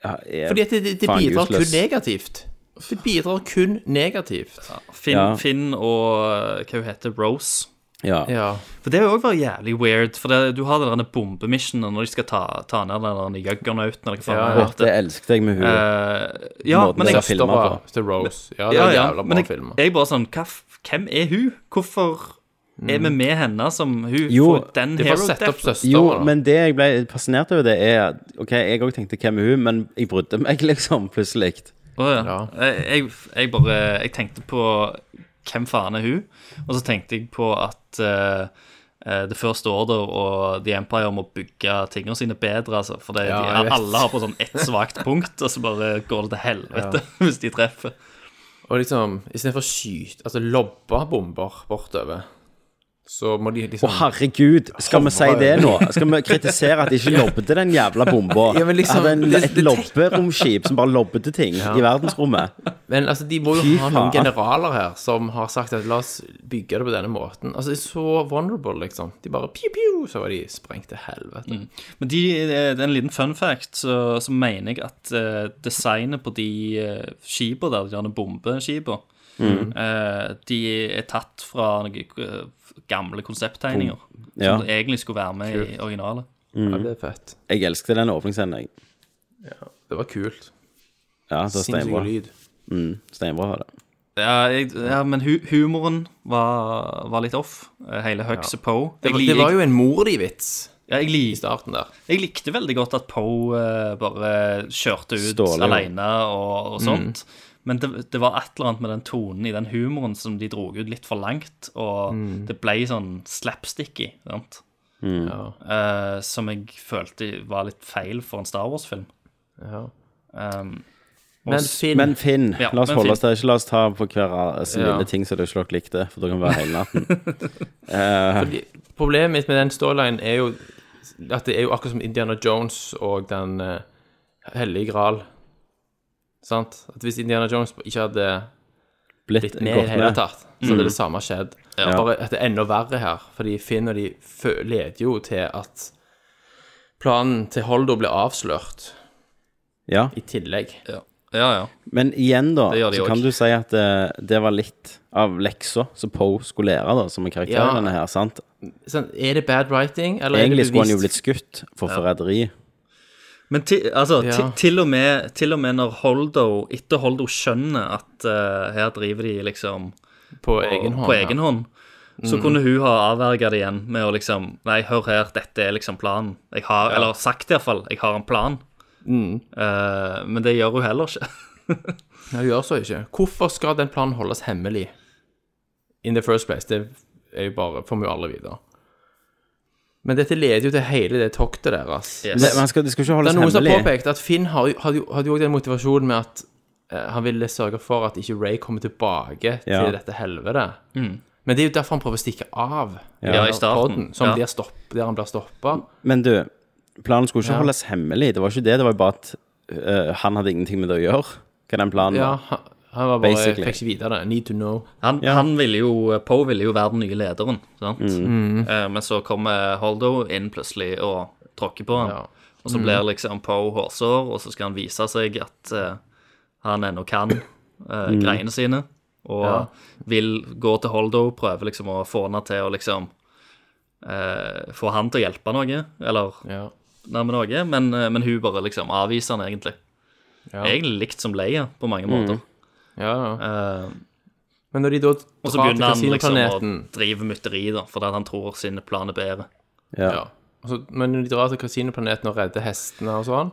D: er
E: Fordi at det, det, det
D: faen
E: bidrar kun
D: useless.
E: negativt. Det bidrar kun negativt.
F: Finn,
D: Ja.
F: Finn og eh, hva hun heter Rose.
D: Ja.
E: Ja.
F: For det òg var jævlig weird. For det, du har den derne bombemissionen når de skal ta, ta ned den der juggernauten eller hva faen
E: Ja,
F: det
E: ja.
D: Det
F: heter.
D: elsket jeg med henne.
F: Eh, ja,
D: Måten
F: men
D: det
F: jeg,
D: er filmet
E: Søstera til Rose. Ja, det
F: ja,
E: er
F: ja,
E: jævla
F: men
E: bra
F: jeg,
E: film.
F: jeg er bare sånn hva, f- Hvem er hun? Hvorfor er vi med henne som hun
D: Jo,
F: får den
E: De får
F: hero
E: sette opp
F: death?
E: søstera.
D: Jo,
E: da.
D: men det jeg ble fascinert over, det er at, OK, jeg òg tenkte 'hvem er hun?', men jeg brydde meg liksom plutselig.
F: Å, ja.
E: Ja.
F: Jeg, jeg, jeg bare Jeg tenkte på hvem faen er hun? Og så tenkte jeg på at eh, eh, The First Order og The Empire må bygge tingene sine bedre, altså. For det,
E: Ja, jeg
F: de,
E: vet.
F: alle har på sånn ett svakt punkt, og så bare går det til helvete hvis de treffer.
E: Og liksom, istedenfor å skyte, altså lobbe bomber bortover, så må de liksom
D: Å, herregud, skal vi si det nå? Skal vi kritisere at de ikke lobbet den jævla bomba?
E: Ja, men liksom,
D: At en,
E: det-
D: et
E: det-
D: lobberomskip som bare lobbet ting i verdensrommet?
E: Men altså, de må jo
D: Fy
E: ha
D: faen.
E: noen generaler her som har sagt at la oss bygge det på denne måten. Altså, det er så vulnerable, liksom. De bare piu, piu, så var de sprengt til helvete.
D: Mm.
F: Men de, eh, det er en liten fun fact, så, så mener jeg at eh, designet på de uh, skipene der, de gjerne bombeskipa, eh, de er tatt fra noen eh, gamle konsepttegninger.
D: Ja.
F: Som det egentlig skulle være med i originalet.
D: Mm.
E: Ja, det er fett.
D: Jeg elsket den åpningsscenen, jeg.
E: Det var kult.
D: Ja, så
E: Sinnssyk
D: steinbra.
E: lyd.
D: Mm, steinbra var det.
F: Ja, jeg, ja men hu humoren var, var litt off. eh, Hele Huxer Poe.
E: Det,
F: Jeg,
E: var-
F: li-
E: det var
F: jeg,
E: jo en mordivits
F: ja, jeg,
E: i
F: lik-
E: starten der.
F: jeg likte veldig godt at Poe eh, bare kjørte ut
D: Ståle, jo.
F: alene og, og sånt. Men det, det var et eller annet med den tonen i den humoren som de dro ut litt for langt. Og det ble sånn slapsticky, sant?
D: Mm.
E: Ja.
F: Eh, som jeg følte var litt feil for en Star Wars-film.
E: Ja.
F: Um,
E: Men Finn
D: Men Finn,
F: Ja,
D: la oss
F: men
D: holde
F: Finn.
D: oss der. Ikke la oss ta på hver sin
E: Ja.
D: lille ting som dere ikke dere likte, for dere kan være hele natten.
E: Fordi Problemet mitt med den storylinen er jo at det er jo akkurat som Indiana Jones og den eh, hellige gral. Sant? At hvis Indiana Jones ikke hadde
D: Blitt
E: blitt med i det
D: godt
E: hele
D: med.
E: tatt, så
F: Mm.
E: hadde det samme skjedd. Bare at det er enda verre her, fordi Finn og de fø- leder jo til at planen til Holdo blir avslørt
D: Ja.
E: i tillegg.
F: ja. ja, ja.
D: Men igjen, da,
F: Det gjør de
D: så
F: også.
D: kan du si at eh, det var litt av leksa som Poe skulle lære, da, som er
E: Ja.
D: karakteren her, sant?
E: Sånn, er det bad writing, eller
D: Egentlig
E: er det
D: skulle han jo
E: bevisst?
D: blitt skutt for forræderi.
F: Men ti, altså,
E: Ja.
F: ti, til, og med, til og med når Holdo, etter Holdo skjønner at eh, her driver de liksom
E: på
F: på
E: egen hånd?
F: på
E: ja. Mm.
F: egen hånd så kunne hun ha avverga det igjen med å liksom Nei, hør her, dette er liksom planen. Jeg har, Eller sagt iallfall, jeg har en plan.
E: Mm.
F: Eh, men det gjør hun heller ikke.
E: Nei, hun gjør så ikke. Hvorfor skal den planen holdes hemmelig? In the first place. Det er jo bare, får vi jo aldri vite. Men dette leder jo til hele det toktet deres.
F: Yes.
D: Det, man skal, det skal ikke
E: Det
D: holdes
E: er noen som har
D: hemmelig.
E: påpekt at Finn har, jo- hadde jo- hadde jo også den motivasjonen med at eh, han ville sørge for at ikke Ray kommer tilbake
D: Ja.
E: til dette helvete. Men det er jo derfor han prøver å stikke av.
F: Ja, i Mm. starten.
E: som
F: Ja.
E: blir stopp, der han blir stoppa.
D: Men du, planen skulle ikke
E: Ja.
D: eh, holdes hemmelig. Det var ikke det. Det var jo bare at øh, han hadde ingenting med det å gjøre. Hva den planen
E: Ja,
D: var.
E: han, Han var bare,
D: Basically.
E: fikk ikke vite det. Need to know.
F: Han, han ville jo, Poe ville jo være den nye lederen, sant?
E: Mm.
F: Eh, men så kommer Holdo inn plutselig og tråkker på ham.
E: Ja. Mm.
F: Og så blir liksom Poe hårsår, og så skal han vise seg at eh, han ennå kan eh, greiene sine. Og vil gå til Holdo, prøve liksom å få henne til å liksom eh, Få han til å hjelpe noe, eller
E: Ja.
F: nærme noe, men, eh, men hun bare liksom avviser han egentlig.
E: Ja.
F: Egentlig likt som Leia på mange måter.
E: Ja, ja.
F: Eh,
E: Men når de da
F: og så begynner han liksom å
E: kasinoplaneten
F: drive mytteri, da, fordi at han tror sin plan er bedre.
D: Ja.
E: ja. Og så- Men når de drar til kasinoplaneten og redder hestene og sånn,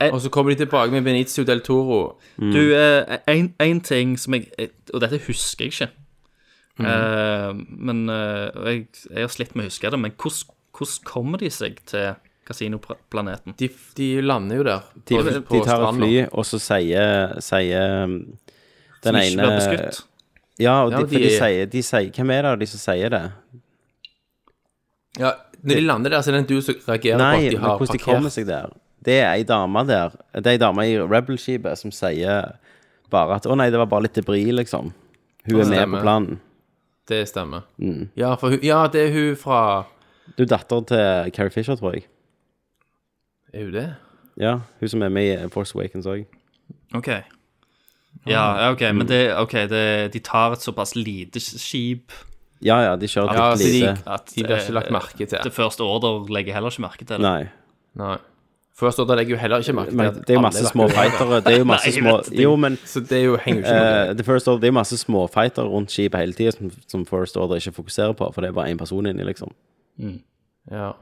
F: Eh.
E: og så kommer de tilbake med Benicio del Toro
D: Mm.
F: Du, eh, en, en ting som jeg eh, Og dette husker jeg ikke.
D: Mm.
F: Eh, men eh, og jeg, jeg har slitt med å huske det, men hvordan, hvordan kommer de seg til kasinoplaneten?
E: de, de lander jo der.
D: De,
E: på- på
D: de tar et
E: stranda.
D: fly, og så sier, sier um, den
F: Som ikke
D: ene
F: blir beskutt?
D: Ja, og de,
E: Ja,
D: for de,
E: de-
D: sier, de sier Hvem er det av de som sier det?
E: Ja, når de lander der, så er det en du som reagerer på
D: Nei,
E: at de
D: men
E: har
D: hvordan de kommer
E: parkert.
D: seg der. Det er ei dame der. Det er ei dame i Rebel-skipet som sier bare at 'Å nei, det var bare litt debris', liksom. Hun er med
E: stemmer.
D: på planen.
E: Det stemmer.
D: Mm.
E: Ja, for hun, ja, det er hun fra
D: Du er datteren til Carrie Fisher, tror jeg.
E: Er hun det?
D: Ja, hun som er med i Force Awakens òg.
F: OK. Ja, ja, OK,
D: Mm.
F: men det, ok, det, de tar et såpass lite skip
D: Ja ja, de kjører
E: Ja,
D: ja,
E: så
D: litt
E: de,
D: lite.
F: at
E: de blir ikke
F: eh,
E: lagt merke til.
F: The First Order legger heller ikke merke til det.
D: Nei.
E: Nei. Først og da legger jo heller ikke merke til
D: Men
E: at
D: det er jo
E: alle
D: masse
E: lagt
D: små
E: merke til det.
D: fightere. Det er jo masse
F: Nei, jeg
D: små
F: vet det.
D: Jo, men
E: Så det er jo henger jo ikke noe.
D: eh, The First Order, det er jo masse småfighter rundt skipet hele tida som, som First Order ikke fokuserer på, for det er bare én person inni, liksom.
E: Ja.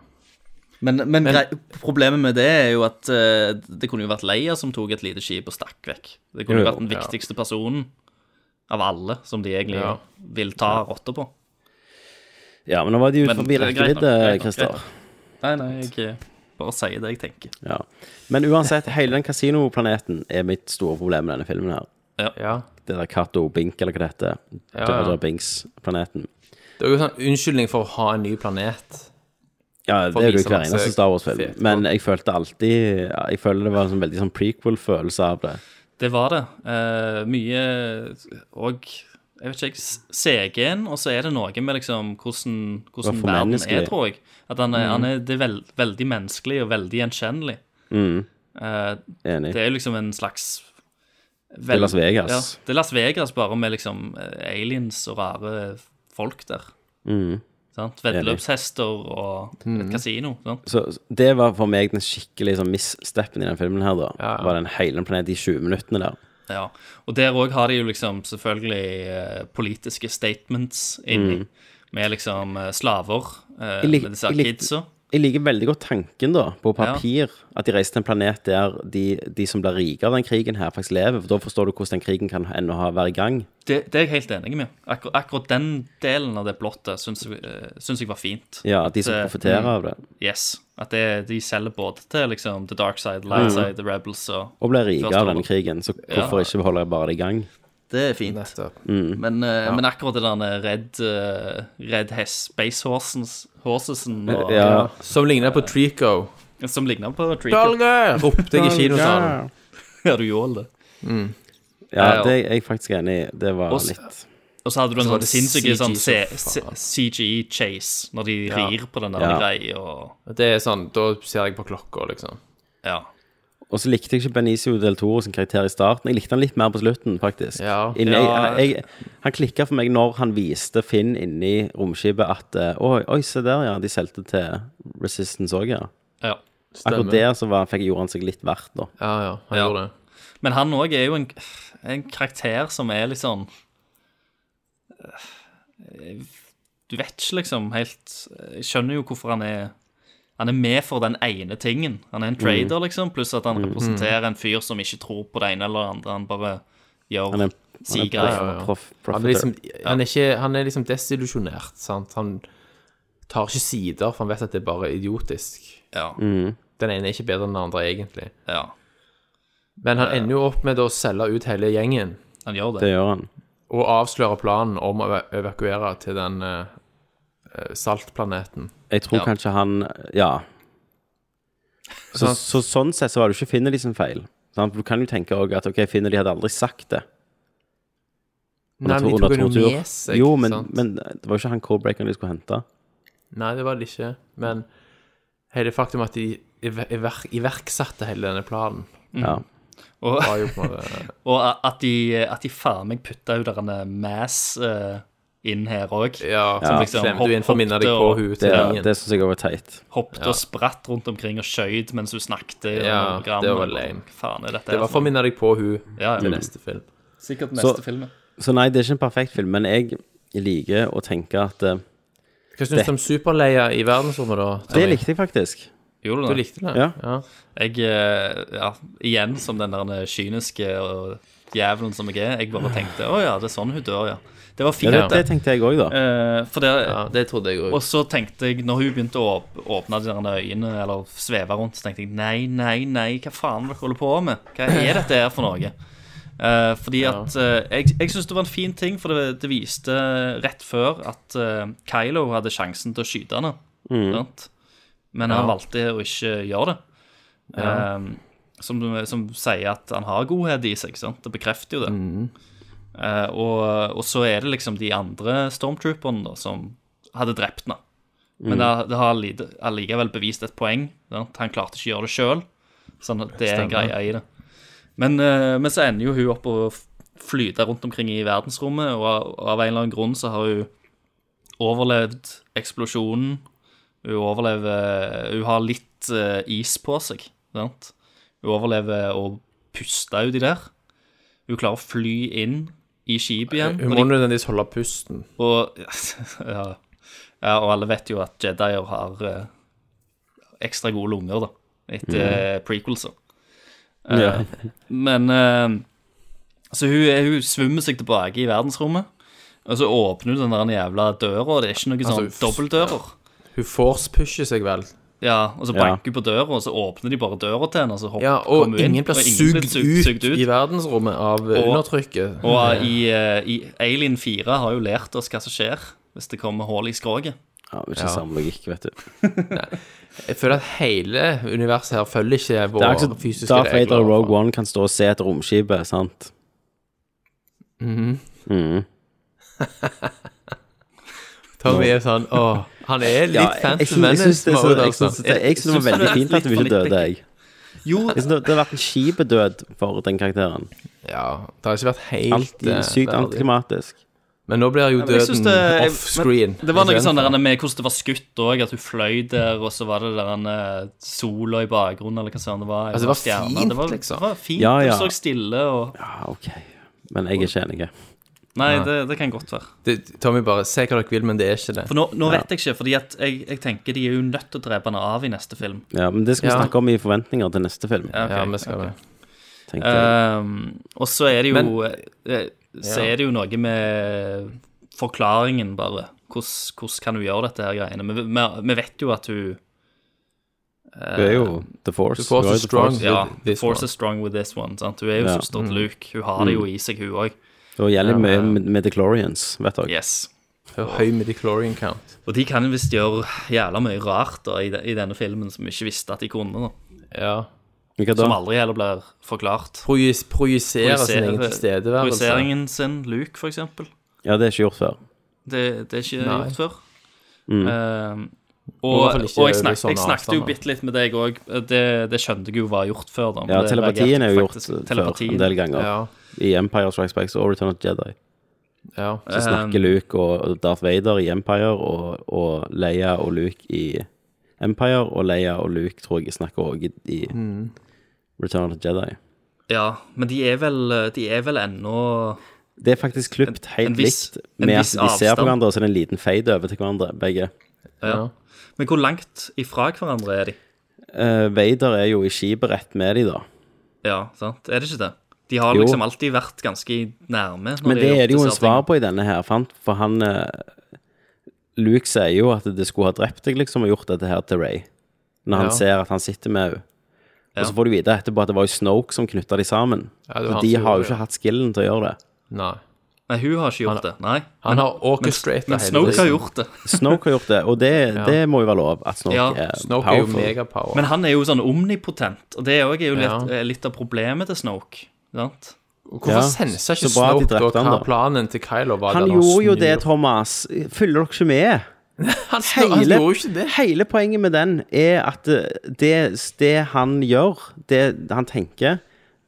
F: Men, men, grei- problemet med det er jo at eh, det kunne jo vært Leia som tok et lite skip og stakk vekk. Det kunne jo
D: Jo,
F: vært den
E: ja.
F: viktigste personen av alle som de egentlig
E: Ja.
F: vil ta rotta på.
D: Ja, men nå var de ute
F: Men
D: forbi
F: det er greit nok, greit
D: rekkevidde,
F: nok, greit
D: Christer.
F: nok. Nei, nei, jeg eh, bare sier det jeg tenker.
D: Ja. Men uansett, hele den kasinoplaneten er mitt store problem med denne filmen her.
E: ja.
D: Det der Cato Bink, eller hva det heter.
E: Ja,
D: Jar
E: ja.
D: Jar Binks-planeten.
E: Det er jo sånn unnskyldning for å ha en ny planet.
D: Ja, det
E: For å
D: er jo
E: vise
D: hver
E: masse
D: eneste Star Wars-film.
E: fet
D: Men jeg følte alltid ja, Jeg føler det var en sånn veldig sånn prequel-følelse av det.
F: Det var det. Eh, mye og jeg vet ikke, s- CG-en, og så er det noe med liksom hvordan, hvordan
D: Hvorfor
F: verden
D: menneskelig? Mm.
F: er, tror jeg. At han er, han er det er vel, veldig menneskelig og veldig gjenkjennelig. Eh,
D: Mm. Enig.
F: Det er jo liksom en slags
D: er Las Vegas.
F: Ja, det er Las Vegas, bare med liksom eh, aliens og rare folk der.
D: Mm.
F: Sant? Veddeløpshester og et kasino. Sant?
D: Så så det var for meg den skikkelig sånn missteppen i den filmen her, da.
E: ja.
D: Var den hele planeten i 20 minuttene der.
F: Ja. Og der òg har de jo liksom selvfølgelig eh, politiske statements inni, med liksom eh, slaver, eh,
D: Mm. Jeg lik-
F: med disse
D: jeg likte-
F: kidsa.
D: Jeg liker veldig godt tanken, da, på papir, at de reiser til en planet der de, de som blir rike av den krigen her, faktisk lever. For da forstår du hvordan den krigen kan ennå ha- være i gang.
F: Det, det er jeg helt enig med. Akkur akkurat den delen av det blottet syns jeg, eh, syns jeg var fint.
D: Ja, at de som
F: Det-
D: profitterer av det.
F: Yes. At det, de selger både til liksom The Dark Side, Light Side, The Rebels og
D: Mm. Og blir rike
F: First
D: av
F: Order.
D: denne krigen, så hvorfor ikke holde bare det i gang?
F: Det er fint.
E: Nettopp.
D: Mm.
F: Men, eh, men akkurat det der Red, eh, red Hess, Space Horsens, Horsesen og,
D: Ja.
E: Som ligner på Trico.
F: som ligner på Treacle.
E: Dolger! Ropte jeg i kinosalen.
F: Ja, du gjorde det.
D: Ja,
F: Ja, ja.
D: det er jeg faktisk enig i. Det var
F: Og s-
D: litt
F: Og så hadde du en
E: Så var
F: sånn
E: det
F: sinnssyk
E: CG
F: sånn
E: som
F: CGE-chase når de rir på den der
D: Ja.
F: greia og
E: Det er sånn, da ser jeg på klokka, liksom.
F: Ja.
D: Og så likte jeg ikke Benicio del Toro sin karakter i starten. Jeg likte han litt mer på slutten, faktisk.
E: Ja.
D: Inni,
F: Ja.
D: Jeg, jeg, han klikka for meg når han viste Finn inni romskipet at eh, Oi, oi se der, ja. De solgte til Resistance òg, ja.
F: ja.
E: Stemmer.
D: Akkurat der så var, fikk gjorde han seg litt verdt, da.
E: Ja, ja, han
F: Ja.
E: gjorde det.
F: Men han òg er jo en, en karakter som er litt sånn eh, Du vet ikke liksom helt Jeg skjønner jo hvorfor han er Han er med for den ene tingen. Han
D: Mm.
F: er en trader, liksom, pluss at han representerer en fyr som ikke tror på det ene eller det andre. Han bare gjør
D: Han er, han
F: sier
D: er proff,
F: greier.
D: proff,
E: Han er
D: profiter.
E: liksom, han er ikke, han er liksom desillusjonert, sant. Han tar ikke sider, for han vet at det er bare idiotisk.
F: Ja,
D: Mm.
E: Den ene er ikke bedre enn den andre, egentlig.
F: ja,
E: Men han ender jo opp med å selge ut hele gjengen.
F: han gjør det.
D: Det gjør han.
E: Og avsløre planen om å eva- evakuere til den eh, eh, saltplaneten.
D: Jeg tror
F: Ja.
D: kanskje han Ja.
E: Altså,
D: Så, så sånn sett så var det jo ikke Finner de sin feil. Sant? For Du kan jo tenke også at ok, Finner de hadde aldri sagt det.
E: Nei, men de tok han jo
D: tortur.
E: med seg,
D: Jo, men,
E: sant?
D: men det var jo ikke han Cobreaker de skulle hente.
E: Nei, det var det ikke. Men hele faktum at de iver, iver, iverksatte hele denne planen,
D: Ja.
F: Og,
E: var jo på en måte
F: og at de, at de faen meg putta jo der en mass eh, inn her òg.
E: Ja,
F: Som
E: som
F: liksom
E: slemte du inn for å minne deg på
F: hoppte og-
E: hun
D: Det,
E: til ringen.
D: det syns jeg var teit.
F: Hoppet og spratt rundt omkring og skjøyd mens hun snakket. i
E: Ja,
F: hologrammet.
E: det var lame.
F: Hva Faen er dette
E: Det
F: her
E: var
F: for
E: for Mm. å
F: noe?
E: minne deg på hun
F: Ja,
E: til
F: ja.
E: neste film.
F: Sikkert
D: Så-
F: neste film.
D: Så nei, det er ikke en perfekt film, men jeg liker å tenke at eh,
E: Hva syns du om Superleia i verdensrommet, da?
D: Det
E: Tommy?
D: likte jeg faktisk.
F: Gjorde
E: Du likte det?
D: Ja.
F: Jeg, eh, ja, igjen som den der kyniske og jævelen som jeg er, jeg bare tenkte å ja, det er sånn hun dør, ja. Det
D: Ja,
F: var fint,
D: det, det
F: det.
D: tenkte jeg òg, da.
F: Eh, for det,
E: Ja, det trodde jeg
F: Og
E: òg.
F: så tenkte jeg, når hun begynte å åp- åpne de der øyene eller sveve rundt, så tenkte jeg nei, nei, nei, hva faen dere holder på med? Hva er dette her for noe? Eh, fordi at eh, Jeg, jeg syns det var en fin ting, for det, det viste rett før at eh, Kylo hadde sjansen til å skyte henne.
E: Mm.
F: sant? Men han valgte å ikke gjøre det. Eh, som, som sier at han har godhet i seg. sant? Det bekrefter jo det.
E: Mm.
F: Eh, og, og så er det liksom de andre stormtrooperne da, som hadde drept henne.
E: Mm.
F: Men det, det har lite- allikevel bevist et poeng. Sant? Han klarte ikke å gjøre det sjøl. Sånn at det er en greie i det. Men, eh, men så ender jo hun opp og f- flyter rundt omkring i verdensrommet, og av- og av en eller annen grunn så har hun overlevd eksplosjonen. Hun overlever Hun har litt eh, is på seg. Sant? Hun overlever å puste uti der. Hun klarer å fly inn i skipet igjen.
E: Hun
F: og
E: må
F: de-
E: nødvendigvis holde pusten.
F: og, ja, ja, og alle vet jo at Jedier har eh, ekstra gode lunger, da, etter mm. prequelser. Eh,
D: Ja.
F: Men eh, Så hun, er- hun svømmer seg tilbake i verdensrommet, og så åpner hun den der jævla døra, og det er ikke noen
E: Altså,
F: sånn dobbeltdører.
E: Hun force-pusher seg vel.
F: Ja, og så
D: Ja.
F: banker hun på døra, og så åpner de bare døra til henne, og så hopper,
E: Ja, og
F: kommer hun inn,
E: ingen blir sugd
F: sug-
E: ut i verdensrommet av eh, undertrykket.
F: Og eh, i, eh, i Alien 4 har jo lært oss hva som skjer hvis det kommer hull i skroget.
D: Ja, det er ikke samme logikk, vet du.
E: Jeg føler at hele universet her følger ikke
D: Det
E: våre
D: er ikke så
E: fysiske
D: Darth
E: regler. altså.
D: Vader og Rogue One kan stå og se etter romskipet, sant?
E: Tommy er sånn Å, han er litt
D: Ja, jeg- jeg
E: fancy
D: synes- jeg synes det er så-
E: menace-mode,
D: jeg
E: altså.
D: synes det- jeg synes det var
F: Jeg synes
D: veldig
F: det er
D: fint at hun
F: litt
D: ikke
F: for
D: døde,
F: litt
D: jeg.
F: Jo,
D: Jeg synes det, det har vært en kjip død for den karakteren.
E: Ja, det har ikke vært helt
D: Alt
E: eh,
D: sykt
E: verdig.
D: antiklimatisk.
E: Men nå blir jo
F: men jeg synes
E: døden
F: det- jeg-
E: offscreen.
F: Det var noe
E: Ikke sant?
F: sånn der med hvordan det var skutt òg, at hun fløy der, og så var det der en eh, sola i bakgrunnen, eller hva søren det var.
E: Altså, det var
F: stjerner.
E: fint,
F: det var,
E: liksom.
F: Det var fint,
D: Ja,
F: ja,
D: ja.
F: Du så stille og
D: Ja, OK. Men jeg er ikke enig.
F: Nei, det, det kan godt være.
E: Det- Tommy bare Se hva dere vil, men det er ikke det.
F: sånn- For nå, nå vet jeg ikke, fordi at jeg, jeg tenker de er jo nødt til å drepe henne av i neste film.
D: Ja, men det skal vi
E: Ja.
D: snakke om i forventninger til neste film.
F: ok,
E: ja, vi skal
F: ok.
E: det.
D: tenkte jeg.
F: Ehm, og så er det jo eh, Så
E: Ja.
F: er det jo noe med forklaringen, bare. Hvordan hvordan kan hun gjøre dette her greiene? Vi, vi, vi vet jo at hun eh,
E: Eh,
D: Du er jo The Force.
E: The Force
D: Du er jo
E: is
D: The
E: strong.
D: Force.
F: Ja,
E: This
F: force
E: one.
F: is strong with this one. Sant? Hun er jo
D: Ja. Mm.
F: søster til Luke. Hun har det jo i seg, hun òg.
D: Og gjelder mye med med The Chlorians, vet dere.
F: Yes.
E: Høy midichlorian count.
F: Og de kan visst gjøre jævla mye rart da, i, de, i denne filmen som vi ikke visste at de kunne. Da.
E: Ja.
D: Hva
F: Som
D: da?
F: aldri heller blir forklart.
E: Projis- Projisere sin egen
F: Projisere-
E: tilstedeværelse.
F: Projiseringen sin, Luke, for eksempel.
D: Ja, det er ikke gjort før.
F: Det, det er ikke
E: Nei.
F: gjort før.
D: Mm.
F: Eh,
E: i
F: og,
E: hvert fall
F: og
E: ikke
F: jeg,
E: over
F: snak,
D: sånn
E: sånne
F: jeg snakket jo
E: avstander.
F: bitte litt med deg òg. Det, det skjønte jeg jo var gjort før. Da, men
D: Ja,
F: det
D: telepatien
F: reagerte
D: er jo gjort
F: faktisk-
D: før
F: telepatien.
D: en del ganger.
E: Ja.
D: I Empire Strikes Back og Return of the Jedi.
E: ja.
D: Så snakker
F: Um,
D: Luke og Darth Vader i Empire, og, og Leia og Luke i Empire, og Leia og Luke tror jeg snakker også i, i Return of the Jedi.
F: Ja, men de er vel, de er vel ennå
D: Det er faktisk klippet
F: En- en
D: helt
F: viss-
D: likt
F: en
D: med at de
F: viss
D: ser på
F: avstand.
D: hverandre, og så er det en liten fade over til hverandre, begge.
E: ja.
F: Men hvor langt ifra hverandre er de?
D: Eh, Vader er jo i skipet rett med de, da.
F: Ja, sant? Er det ikke det? De har
D: Jo.
F: liksom alltid vært ganske nærme. når
D: Men
F: de
D: det
F: har gjort
D: er det jo en
F: disse
D: svar
F: tingene.
D: på i denne her, sant? for han eh, Luke sier jo at det skulle ha drept deg, liksom, og gjort dette her til Ray. Når han
E: Ja.
D: ser at han sitter med henne.
F: Ja.
D: Og så får du vite etterpå at det var jo Snoke som knytta de sammen.
E: Ja, det var
D: For
E: han
D: de
E: som
D: har jo
E: gjorde det.
D: ikke hatt skillen til å gjøre det.
E: Nei.
F: Nei, hun har ikke gjort det. Nei.
E: Han har orchestratet
F: Men Snoke
E: liksom.
F: har gjort det.
D: Snoke har gjort det, og det, det må jo være lov at Snoke
F: Ja,
D: er
E: Snoke er jo
D: powerful.
E: megapower.
F: Men han er jo sånn omnipotent, og det er jo litt,
E: Ja.
F: eh, litt av problemet til Snoke. Sant?
E: Hvorfor
D: Ja,
E: sensa ikke
D: så bra at de
E: Snoke da
D: drepte han,
E: hva
D: da.
E: planen til Kylo var?
D: Han
E: der når
D: gjorde jo
E: snur-
D: det, Thomas. Følger dere ikke med?
E: Han, snu- han
D: Hele,
E: gjorde jo ikke det.
D: hele poenget med den er at eh, det, det han gjør, det han tenker,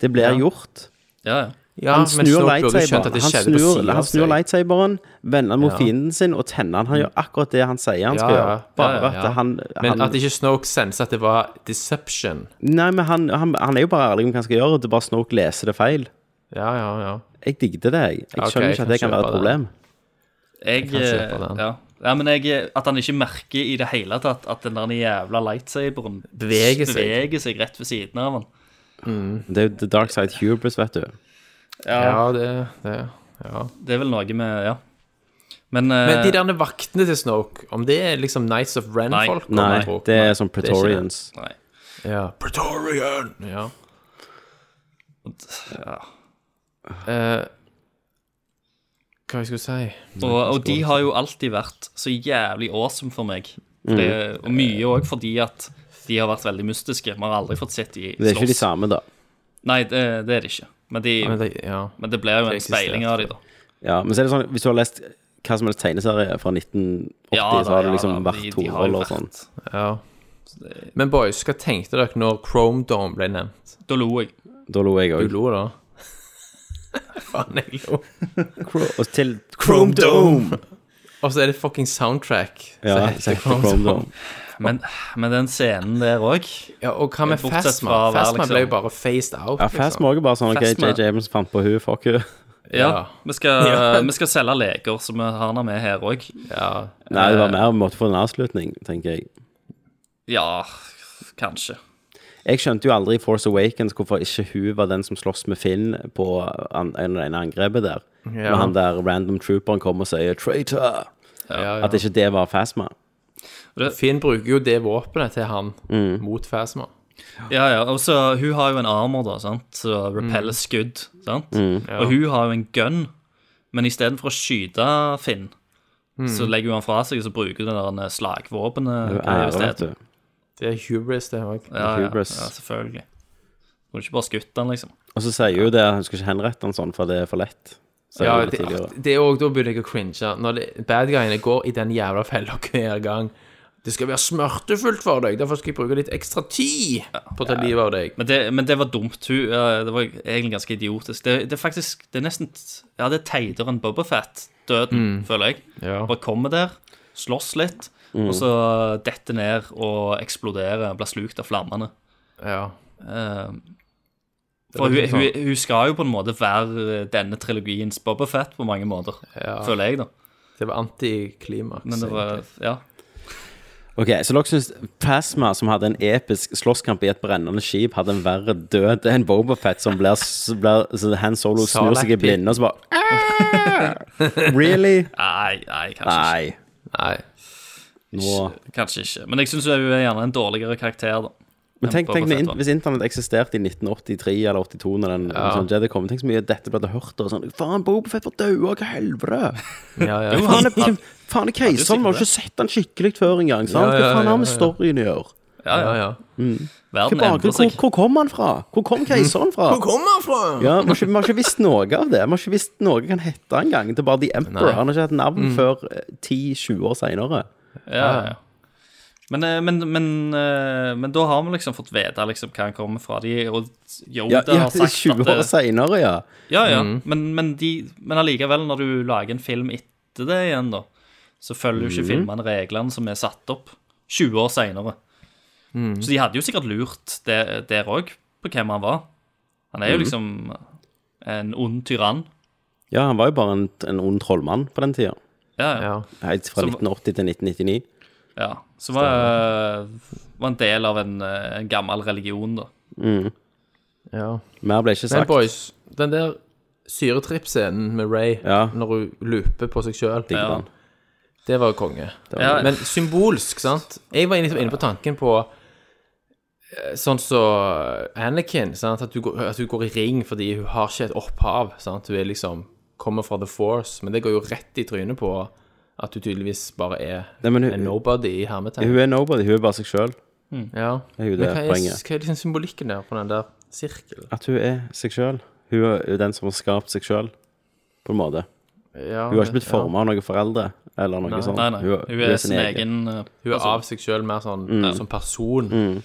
D: det blir
F: Ja.
D: gjort.
F: Ja, ja.
E: Ja,
D: Han
E: men
D: snur
E: Snoke burde skjønt
D: lightsaberen.
E: at det
D: Han
E: skjedde på
D: snur,
E: siden av
D: han snur
E: seg.
D: lightsaberen, vender den mot
E: Ja. Mm.
D: fienden sin og tenner den. Han gjør akkurat det han sier han
E: Ja,
D: skal
E: ja,
D: gjøre.
E: ja,
D: Bare
E: ja, ja.
D: at han,
E: Men
D: han
E: at ikke Snoke sensa at det var deception.
D: Nei, men han, han, han er jo bare ærlig om hva han skal gjøre, det er bare Snoke leser det feil.
E: Ja, ja, ja.
D: Jeg digger det, jeg. Jeg
E: Ok,
D: skjønner ikke
E: jeg kan
D: at det kan være
E: kjøpe
D: et problem.
F: Jeg,
E: kan se på
F: eh,
E: den.
F: Ja. ja, men jeg, at han ikke merker i det hele tatt at den der jævla lightsaberen
E: Beveger seg.
F: beveger seg rett ved siden av han.
D: Det er jo The Dark Side Hubris, vet du.
E: Ja, det, det ja.
F: Det er vel noe med Ja. Men,
E: Men
F: eh,
E: de der vaktene til Snoke, om det er liksom Nights of Ren-folk?
F: Nei.
D: Nei, det er som
E: er ikke det.
D: Pretorians.
F: nei.
E: Ja. Pretorian! Ja.
F: Ja.
E: Eh, hva jeg skulle si
F: Og, og de har jo alltid vært så jævlig awesome for meg.
D: Mm.
F: Det, og mye òg fordi at de har vært veldig mystiske. Vi har aldri fått sett de
D: Det er ikke de
F: slåss.
D: samme, da.
F: Nei, det, det er det ikke. Men, de,
E: Ja, men det- Ja.
F: men det ble jo
E: det
F: en
E: eksisterer.
F: speiling av de da.
D: Ja, men så er det sånn, hvis du har lest hva som helst tegneserie fra 1980,
F: Ja da,
D: så har det
F: ja
D: liksom
F: da,
D: vært
F: de- de har jo
D: Torvald og sånn.
F: vært-
E: ja. Men boys, hva tenkte dere når Chrome Dome ble nevnt?
F: Da lo jeg.
D: Da lo jeg
E: Du
D: òg.
E: lo da? Faen, jeg lo.
D: Og til Chrome Dome!
E: Og så er det fucking soundtrack. som
D: Ja,
E: heter
D: så heter Chrome Dome.
F: Men, men den scenen der òg
E: Ja, og hva med
F: Bortsett
E: Phasma?
F: fra å være,
E: Phasma ble jo
F: liksom-
E: bare phased out. liksom.
D: Ja, Fast Morgan bare sånn OK,
F: Fast med-
D: JJ Abrams fant på hun, fuck hun.
F: Ja,
E: Ja.
F: Vi, skal,
E: Ja.
F: vi skal selge leker, så vi har henne med her òg.
E: Ja.
D: Nei, det var mer vi måtte få en avslutning, tenker jeg.
F: Ja, kanskje.
D: Jeg skjønte jo aldri i Force Awakens hvorfor ikke hun var den som sloss med Finn på an- en en angrepet der. Når han der random trooperen kommer og sier 'traitor'.
E: ja, ja.
D: At ikke det var Phasma.
E: Finn bruker jo det våpenet til han
D: Mm.
E: mot Phasma.
F: Ja, ja, og så Hun har jo en armor, da, sant? så repeller skudd. sant?
D: Mm.
F: Og hun har jo en gun, men istedenfor å skyte Finn, så legger hun han fra seg og så bruker hun det der slagvåpenet.
D: Hun
F: på det
D: ære, vet
F: stedet.
D: du.
E: Det er hubris, det òg.
F: Ja, ja, ja,
D: Hubris.
F: selvfølgelig. Du har ikke bare skutt han, liksom.
D: Og så sier hun det, at hun skal ikke henrette han sånn, for det er for lett. Sier
E: Ja,
D: hun
E: det,
D: tidligere.
E: det er òg da begynner jeg å cringe. Når det, bad guyene går i den jævla fella hver gang. Det skal være smertefullt for deg, derfor skal jeg bruke litt ekstra tid på å ta livet av deg.
F: Men det, men det var dumt. Hun, eh, det var egentlig ganske idiotisk. Det, det er faktisk det er nesten Ja, det er teitere enn Bobafett-døden, føler jeg.
E: Ja.
F: Bare kommer der, slåss litt,
D: Mm.
F: og så detter ned og eksploderer, blir slukt av flammene.
E: Ja.
F: Eh, for hun,
E: Det er liksom
F: hun, hun skal jo på en måte være eh, denne trilogiens Bobafett på mange måter,
E: Ja.
F: føler jeg, da.
E: Det var antiklimaks.
F: Men det var Ja.
D: Ok, Så dere syns Phasma, som hadde en episk slåsskamp i et brennende skip, hadde en verre død enn Bobafett, som blir, s- blir så Han Solo snur seg i
E: Salak-pip.
D: blinde og så bare "Ah!" Really?
F: Nei, nei, kanskje
D: Nei.
F: ikke.
E: Nei.
D: Nå.
F: Kanskje ikke. Men jeg syns hun er gjerne en dårligere karakter, da.
D: Men
F: enn
D: tenk,
F: Boba
D: tenk når
F: Fett
D: in-
F: var.
D: hvis internett eksisterte i 1983 eller 82 når den ja. sånn Jedi kom, tenk så mye dette ble hørt og sånn Faen, Bobafett var død, hva helvete?
E: Ja, ja.
F: Jo,
D: Faen,
F: han-
D: er- hvem- faen, er keiseren? Vi har jo ikke sett han skikkelig før engang. sant?
E: Ja,
D: Hva
E: ja,
D: faen
E: ja,
D: har vi
E: ja.
D: storyen i år?
F: Ja,
E: ja,
F: ja.
E: ja.
D: Hvor,
F: Verden endrer seg.
D: hvor kom han fra? Hvor kom keiseren fra?
E: kommer han fra?
D: Ja, Vi har ikke, vi har ikke visst noe av det. Vi har ikke visst noe kan hete engang. Det er bare The Emperor.
E: Nei.
D: Han har ikke hatt navn
F: Mm.
D: før eh, 10-20 år seinere.
F: Ja, ja. Men, eh, men, men, eh, men da har vi liksom fått vite liksom, hva han kommer fra. De, og Yoda
D: Ja, ja,
F: har sagt
D: 20 år
F: at eh, det,
D: seinere, ja.
F: Ja, ja. Men, men, de, men allikevel, når du lager en film etter det igjen, da, så følger jo ikke filmene reglene som er satt opp 20 år seinere. Så de hadde jo sikkert lurt det, der òg, på hvem han var. Han er jo liksom en ond tyrann.
D: Ja, han var jo bare en, en ond trollmann på den tida.
F: Ja, ja.
E: Ja.
D: Helt fra
F: Som-
D: 1980 til 1999.
F: ja. Så var, var en del av en, eh, en gammel religion, da.
E: ja.
D: Mer ble ikke
E: Men
D: sagt.
E: boys, den der syretripp-scenen med Ray
D: Ja.
E: når hun looper på seg sjøl,
D: Digger den.
E: det var jo konge.
F: Ja,
E: Men symbolsk, sant? Jeg var liksom inne på tanken på eh, Sånn som Anakin, sant? At, hun går, at hun går i ring fordi hun har ikke et opphav. Sant? Hun er liksom kommer fra The Force, men det går jo rett i trynet på at hun tydeligvis bare er
D: Nei, men hun-
E: en nobody i hermetegn.
D: Hun er nobody. Hun er bare seg sjøl.
E: Ja.
D: er jo
E: Men
D: det
E: hva er,
D: poenget.
E: hva er liksom symbolikken der på den der sirkelen?
D: At hun er seg sjøl. Hun Hun er jo den som har skapt seg sjøl, på en måte.
E: Ja,
D: Hun har ikke blitt forma av noen foreldre eller noe sånt.
F: Nei, nei. Hun, er sin egen eh,
E: Hun er av seg sjøl mer sånn
D: Mm.
E: som person.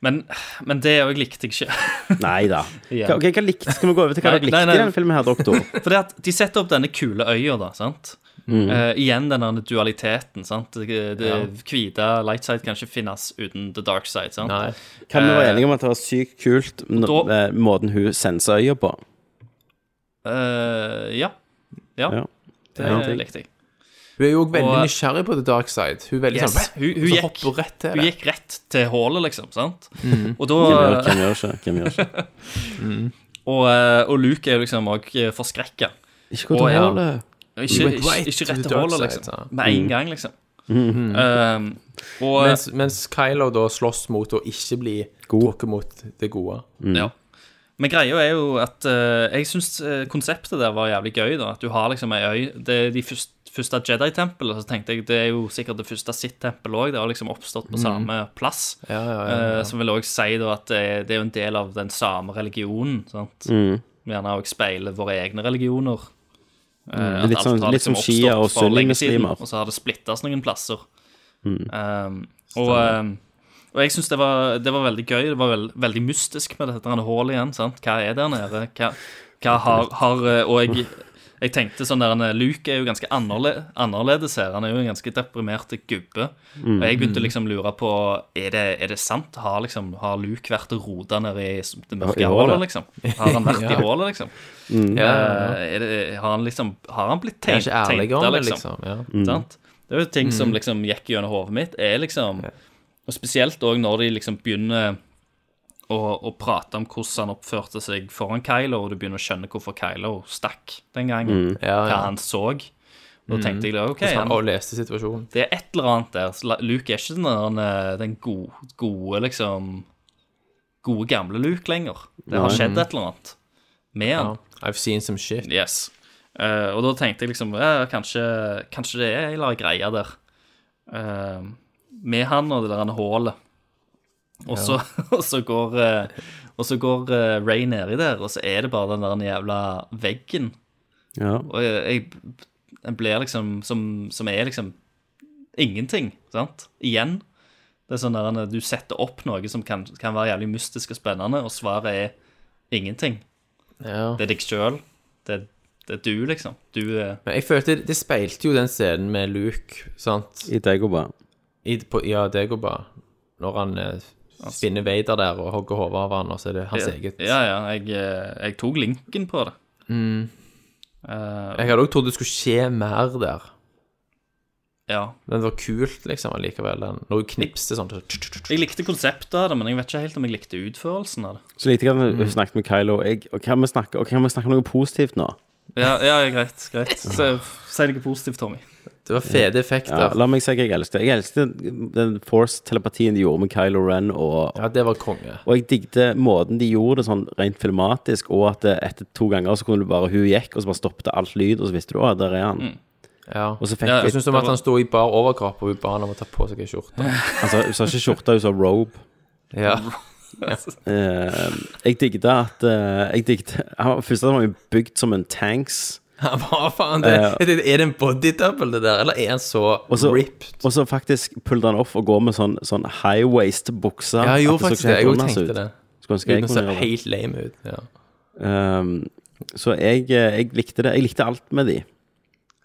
F: Men, men det òg likte jeg ikke.
D: Nei da. Hva, ok, hva likte, skal vi gå over til hva
F: Nei,
D: dere
F: nei,
D: likte
F: nei.
D: i denne filmen her, doktor?
F: For det at de setter opp denne kule øya, da, sant?
E: Mm.
F: Eh, igjen denne dualiteten, sant? Det, det hvite light side kan ikke finnes uten the dark side, sant?
E: Nei.
D: Kan vi være enige om at det var sykt kult når,
F: Eh, da-
D: eh, måten hun sensa øya på?
F: Eh, ja. ja.
D: Ja.
F: Det
D: Ja.
F: likte jeg.
E: Hun er jo også veldig
F: Og-
E: nysgjerrig på the dark side. Hun er veldig
F: Yes.
E: sånn
F: Hun, hun,
E: så
F: gikk,
E: hopper hun rett til
F: hun
E: det.
F: gikk rett til hullet, liksom, sant?
E: Mm.
F: Og
D: Hvem gjør,
F: da
D: hvem gjør ikke? Hvem gjør ikke?
F: Og, eh, og Luke er jo liksom òg forskrekka.
D: Ikke gå til
F: Å, ja.
D: hullet.
F: Ikke,
E: went
F: ikke,
E: right
F: ikke
E: to
F: rett
E: the
F: til
E: dark
F: hullet,
E: side, Mm.
F: liksom.
E: ja.
F: Med en gang, liksom.
E: Mm-hmm.
F: Eh, og
E: Mens, mens Kylo da slåss mot å ikke bli
D: God.
E: trukket mot det gode.
D: Mm.
F: Ja. Men greia er jo at eh, jeg syns eh, konseptet der var jævlig gøy. da, At du har liksom ei øy Det er de første, første Jedi-tempelet. Så tenkte jeg det er jo sikkert det første Sith-tempelet òg. Det har liksom oppstått
D: Mm.
F: på samme plass.
E: Ja, ja, ja, ja.
F: Eh, som vil òg si da at det, er- det er jo en del av den samme religionen. sant?
D: Mm.
F: Vi Gjerne òg speile våre egne religioner. Eh, at
D: litt
F: alt
D: sånn-
F: har liksom
D: litt som
F: oppstått
D: shia og
F: for lenge siden,
D: sunnimuslimer. Mm.
F: Og så har det splittes noen plasser. Um, og, um, og jeg syns det, var- det var veldig gøy. Det var vel- veldig mystisk med dette her hullet igjen. sant? Hva er der nede? Hva, hva har, har eh, Og jeg, jeg tenkte sånn der eh, Luke er jo ganske annerle- annerledes her. Han er jo en ganske deprimert gubbe.
E: Mm.
F: Og jeg begynte liksom å lure på Er det, er det sant. Har, liksom, har Luke vært og rota nede i s- det
D: I
F: mørke
D: hullet.
F: hullet, liksom? Har han vært
E: Ja.
F: i hullet, liksom?
D: Mm.
E: Ja, ja, ja.
F: Eh, Er det, har, han liksom, har han blitt
E: Jeg er
F: tegn-
E: ikke ærlig om
F: tenkta,
E: det,
F: liksom?
E: liksom. Ja.
F: Sant? Det er jo ting som liksom gikk gjennom hodet mitt, er liksom Og spesielt òg når de liksom begynner å, å prate om hvordan han oppførte seg foran Kylo, og du begynner å skjønne hvorfor Kylo stakk den gangen,
E: Ja,
F: hva
E: ja.
F: han så. Da tenkte jeg OK,
E: Så han-
F: han,
E: Og leste situasjonen.
F: det er et eller annet der. Så la- Luke er ikke den, der, eh, den gode, gode, liksom Gode, gamle Luke lenger. Det har skjedd et eller annet med han.
E: Ja. I've seen some shit.
F: Yes. Eh, og da tenkte jeg liksom eh, kanskje, kanskje det er en eller annen greie der. Eh, med han og det der han hålet. Og så, og så går, eh, og så går eh, Ray nedi der, og så er det bare den der jævla veggen.
D: Ja.
F: Og jeg, jeg, jeg blir liksom som, som er liksom ingenting, sant? Igjen. Det er sånn der han- du setter opp noe som kan, kan være jævlig mystisk og spennende, og svaret er ingenting.
E: Ja.
F: Det er deg sjøl. Det, det er du, liksom. Du er
E: Men jeg følte det, det speilte jo den scenen med Luke, sant?
D: I Dagoba.
E: I, på, ja, det går bra. Når han eh, spinner Vader der og hogger hodet av han, og så er det hans eget.
F: Ja, ja. Jeg, eh, jeg tok linken på det.
D: Mm.
F: Eh,
E: Jeg hadde også trodd det skulle skje mer der.
F: Ja.
E: Men det var kult, liksom, allikevel. den- Når hun knipste sånn så-
F: Jeg likte konseptet av det, men jeg vet ikke helt om jeg likte utførelsen av det.
D: Så likte jeg
F: Mm.
D: at vi snakket med Kylo og jeg. Og kan vi snakke, og kan vi snakke om noe positivt nå?
F: Ja, ja greit. greit. Så, si noe positivt, Tommy.
E: Det var fede effekter.
D: Ja,
E: Ja,
D: la meg si hva jeg elsket. Jeg elsket den Force-telepatien de gjorde med Kylo Ren, og,
E: det var konge.
D: og jeg digget måten de gjorde det sånn rent filmatisk, og at det etter to ganger så kunne du bare Hun gikk, og så bare stoppet alt lyd, og så visste du å, der er
F: Mm.
D: han.
E: Ja.
D: Og så fikk
F: Ja,
E: Jeg
D: jeg
E: syns om at han sto i bar overkropp, og hun ba han om å ta på seg en skjorte.
D: Altså, hun sa ikke skjorte, hun sa robe.
E: Ja.
D: Eh, jeg digget at eh, Jeg digget han- Først var han jo bygd som en tanks.
E: Hva faen? Det,
D: Ja.
E: er det en body double, det der? Eller er han så
D: Og så,
E: ripped?
D: og så faktisk pulte han off og går med sånn, sånn high-waist bukse.
E: Ja, jeg gjorde
D: At så ikke
E: faktisk
D: helt
E: det. Jeg også
D: unders
E: tenkte
D: ut.
E: det.
D: Skulle ønske jeg
E: Uten å
D: kunne
E: se
D: gjøre det.
E: helt lame ut. Ja.
D: Ehm, så jeg, eh, jeg likte det. Jeg likte alt med de.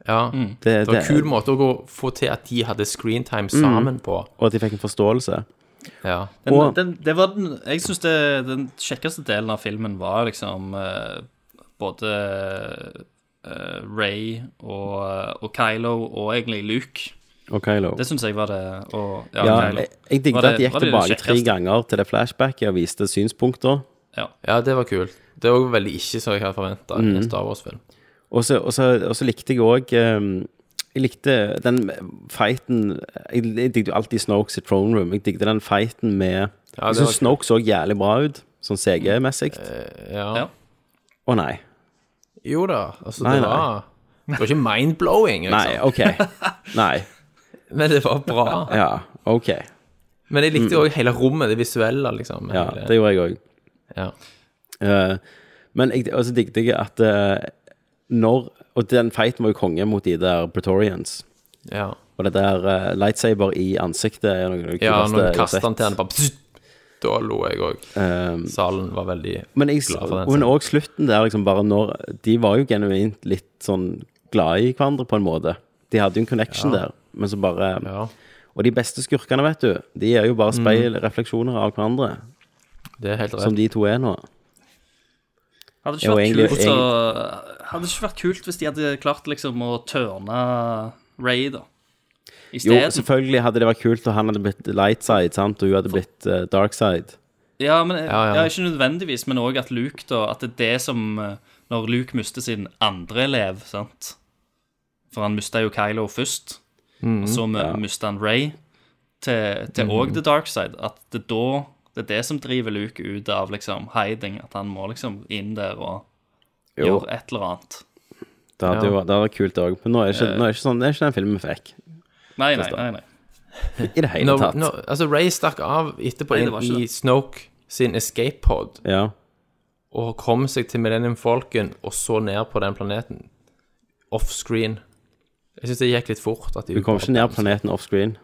E: Ja,
D: Det,
E: Det Mm. var en kul måte å gå, få til at de hadde screentime sammen på.
D: Og at de fikk en forståelse.
E: Ja.
F: Den,
D: Og-
F: den, det var den, jeg syns den kjekkeste delen av filmen var liksom eh, både eh, Ray og, og Kylo og egentlig Luke.
D: Og Kylo.
F: Det syns jeg var det. Og, ja,
D: ja,
F: Kylo.
D: jeg, jeg
F: Var
D: digget
F: det-
D: at de gikk
F: var det det
D: tilbake tre
F: kjekkeste?
D: ganger til det flashbacket og viste synspunkter.
F: Ja.
E: ja, det var kult. Det var veldig ikke som jeg hadde forventa i en Star Wars-film.
D: Og så- og så og så likte jeg òg Jeg likte den fighten Jeg, jeg digget jo alltid Snokes i Throne Room. Jeg digget den fighten med
E: var Eh,
D: Jeg syns
E: kult.
D: Snoke så jævlig bra ut, sånn CG-messig.
E: Ja.
F: Ja.
D: Å nei.
E: Jo da, altså
D: Nei,
E: det
D: nei.
E: var Det var ikke mind-blowing, liksom.
D: Nei, OK. Nei.
E: men det var bra.
D: Ja, OK.
E: Men jeg likte jo òg hele rommet, Mm. det visuelle, liksom.
D: Ja,
E: hele,
D: det gjorde jeg òg.
E: ja.
D: Eh, Men jeg og så digget jeg at eh, når Og den fighten var jo konge mot de der Pretorians.
E: Ja.
D: Og det der eh, lightsaber i ansiktet er noe av det
E: Ja,
D: kuleste
E: når
D: jeg
E: du
D: har
E: kastet
D: sett. Ehm,
E: den til henne, bare pssst, Da lo jeg òg. Salen var veldig
D: Men, jeg,
E: glad for den
D: men
E: scenen.
D: også slutten der, liksom bare når De var jo genuint litt sånn glade i hverandre, på en måte. De hadde jo en connection der, men så bare
E: Ja, Mm.
D: Og de beste skurkene, vet du, de er jo bare speil, refleksjoner av hverandre,
E: det er helt rett.
D: som de to er nå.
F: Hadde det
D: Jo,
F: ikke vært
D: egentlig-
F: kult, så, hadde det ikke vært kult hvis de hadde klart liksom å tørne Ray, da? I
D: Jo,
F: stedet.
D: selvfølgelig hadde det vært kult, og han hadde blitt light side, sant, og hun hadde blitt eh, dark side.
F: Ja, men
E: ja.
F: ja, ikke nødvendigvis, men òg at Luke, da At det er det som eh, Når Luke mister sin andre elev, sant For han mista jo Kylo først,
D: Mhm.
F: og så ja. mista han Ray til til òg The Dark Side. At det da Det er det som driver Luke ut av liksom hiding, at han må liksom inn der og
D: Jo.
F: gjøre et eller annet.
D: Det hadde
E: Ja. Eh.
D: jo det hadde vært kult òg, men nå er ikke, nå er ikke sånn, det er ikke den filmen vi fikk.
F: Nei, nei, nei. nei.
D: I det hele
E: Når,
D: tatt.
E: når, altså, Ray stakk av etterpå
F: Nei, det
E: inn
F: var ikke
E: i
F: det.
E: Snoke sin escape pod
D: Ja.
E: og kom seg til Millennium Falcon og så ned på den planeten. Offscreen. Jeg syns det gikk litt fort. At de
D: Hun kom ikke ned planeten offscreen.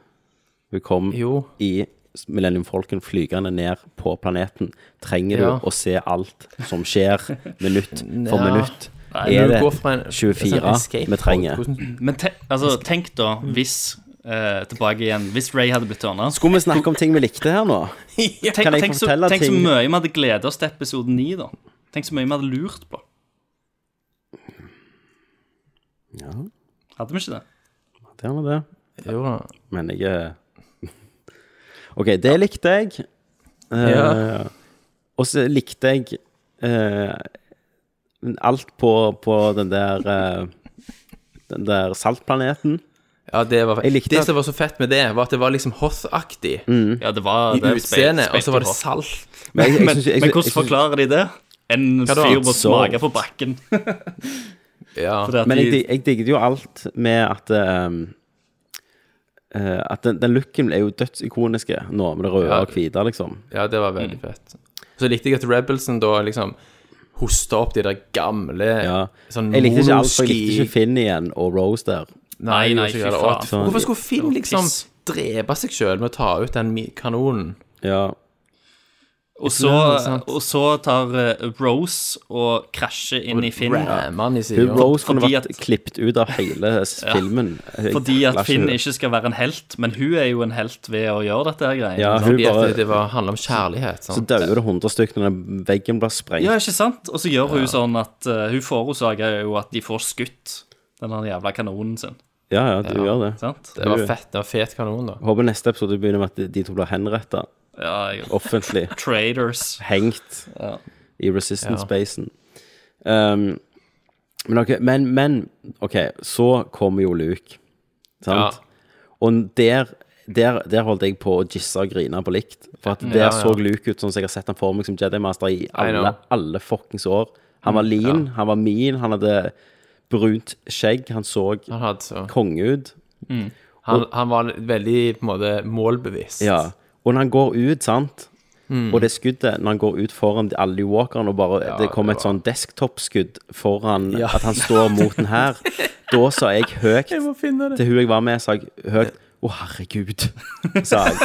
D: Hun kom
E: Jo.
D: i Millennium Falcon flygende ned på planeten. Trenger du
E: Ja.
D: å se alt som skjer, minutt for
E: Ja.
D: minutt?
E: Når
D: er
E: du
D: det
E: går fra en- altså, en
D: 24
E: escape
D: vi trenger?
E: pod, hvordan-
F: Men te, altså, tenk da,
E: Mm.
F: hvis eh, Tilbake igjen. Hvis Ray hadde blitt tørna
D: Skulle vi snakke om ting vi likte her nå?
F: Tenk,
D: Kan jeg
F: tenk, så,
D: fortelle
F: tenk så
D: ting?
F: mye vi hadde gleda oss til episode 9, da. Tenk så mye vi hadde lurt på.
D: Ja,
F: Hadde vi ikke det?
D: det er nå det.
E: Jo da.
D: Men jeg er- OK, det likte jeg. Eh,
E: Ja.
D: Og så likte jeg eh, alt på, på den der eh, Den der saltplaneten.
E: Ja, det var
D: Jeg likte
E: Det
D: at- Mm.
E: som var så fett med det, var at det var liksom Hoth-aktig
F: Ja, det var
E: i
F: det
E: utseendet,
F: speil-
E: og så var det
F: speilkort.
E: salt.
D: Men, jeg- jeg
F: Men,
D: synes- jeg-
F: men
D: jeg
F: hvordan
D: synes-
F: forklarer de det? En
E: da?
F: fyr må
D: Sov.
F: smake på bakken.
E: Ja.
F: Fordi at
D: Men jeg,
F: de,
D: dig- jeg digget jo alt med at ehm, eh, At den, den looken er jo dødsikoniske nå, med det røde
E: Ja.
D: og hvite, liksom.
E: Ja, det var veldig fett. Så likte jeg at Rebelsen da liksom hosta opp de der gamle
D: Ja.
E: sånn
D: Jeg likte ikke alt, for jeg
E: monoski-
D: likte ikke Finn igjen og Rose der. Sånn,
E: Nei,
F: Nei, nei,
E: fy
F: fy
E: faen.
F: faen.
E: Og at- Hvorfor skulle Finn
F: Det var
E: liksom
F: piss.
E: drepe seg sjøl med å ta ut den mi- kanonen?
D: Ja.
F: og, så,
E: Ja, sant.
F: og så tar eh, Rose og krasjer inn i Finn.
E: Ramme han i
D: Hun,
E: siden.
D: Rose kunne
F: Fordi
D: vært
F: at-
D: klippet ut av hele s- filmen. Jeg
F: Fordi at
D: takler
F: Finn
D: det.
F: ikke skal være en helt, men hun er jo en helt ved å gjøre dette her greia.
D: Ja, hun
E: Fordi at det-
D: bare
E: det var, handla om kjærlighet.
D: Så
E: Sant?
D: dauer det 100 stykker når den veggen blir sprengt.
F: Ja, ikke sant? Og så gjør hun sånn at eh, hun forårsaker jo at de får skutt den der jævla kanonen sin.
D: Ja, ja, du gjør det.
F: Sant?
E: Det var fett. Det var fet kanon, da.
D: Håper neste episode begynner med at de- de to blir henrettet
F: Ja, jeg,
D: offentlig.
F: traders.
D: hengt i
E: Ja.
D: resistance-basen. Um, men, ok, men, men OK, så kommer jo Luke,
E: Ja.
D: sant? Og der, der, der holdt jeg på å gisse og grine på likt. For at der
E: Mm. ja.
D: så Luke ut sånn som jeg har sett han for meg som Jedi Master i alle,
E: know. Mm.
D: alle fuckings år. Han var lean, han var mean, han hadde brunt skjegg, han så
E: Han, hadde, så.
D: konge ut.
E: han, han var veldig på en måte målbevisst.
D: Ja, og når han går ut, sant
E: Mm.
D: Og det skuddet, når han går ut foran de- alle de walkerne Og bare, det kommer
E: det
D: et sånn desktop-skudd Foran at han står mot den her Da sa jeg høyt
E: må finne det.
D: Til hun jeg var med, sa jeg høyt Å herregud, sa jeg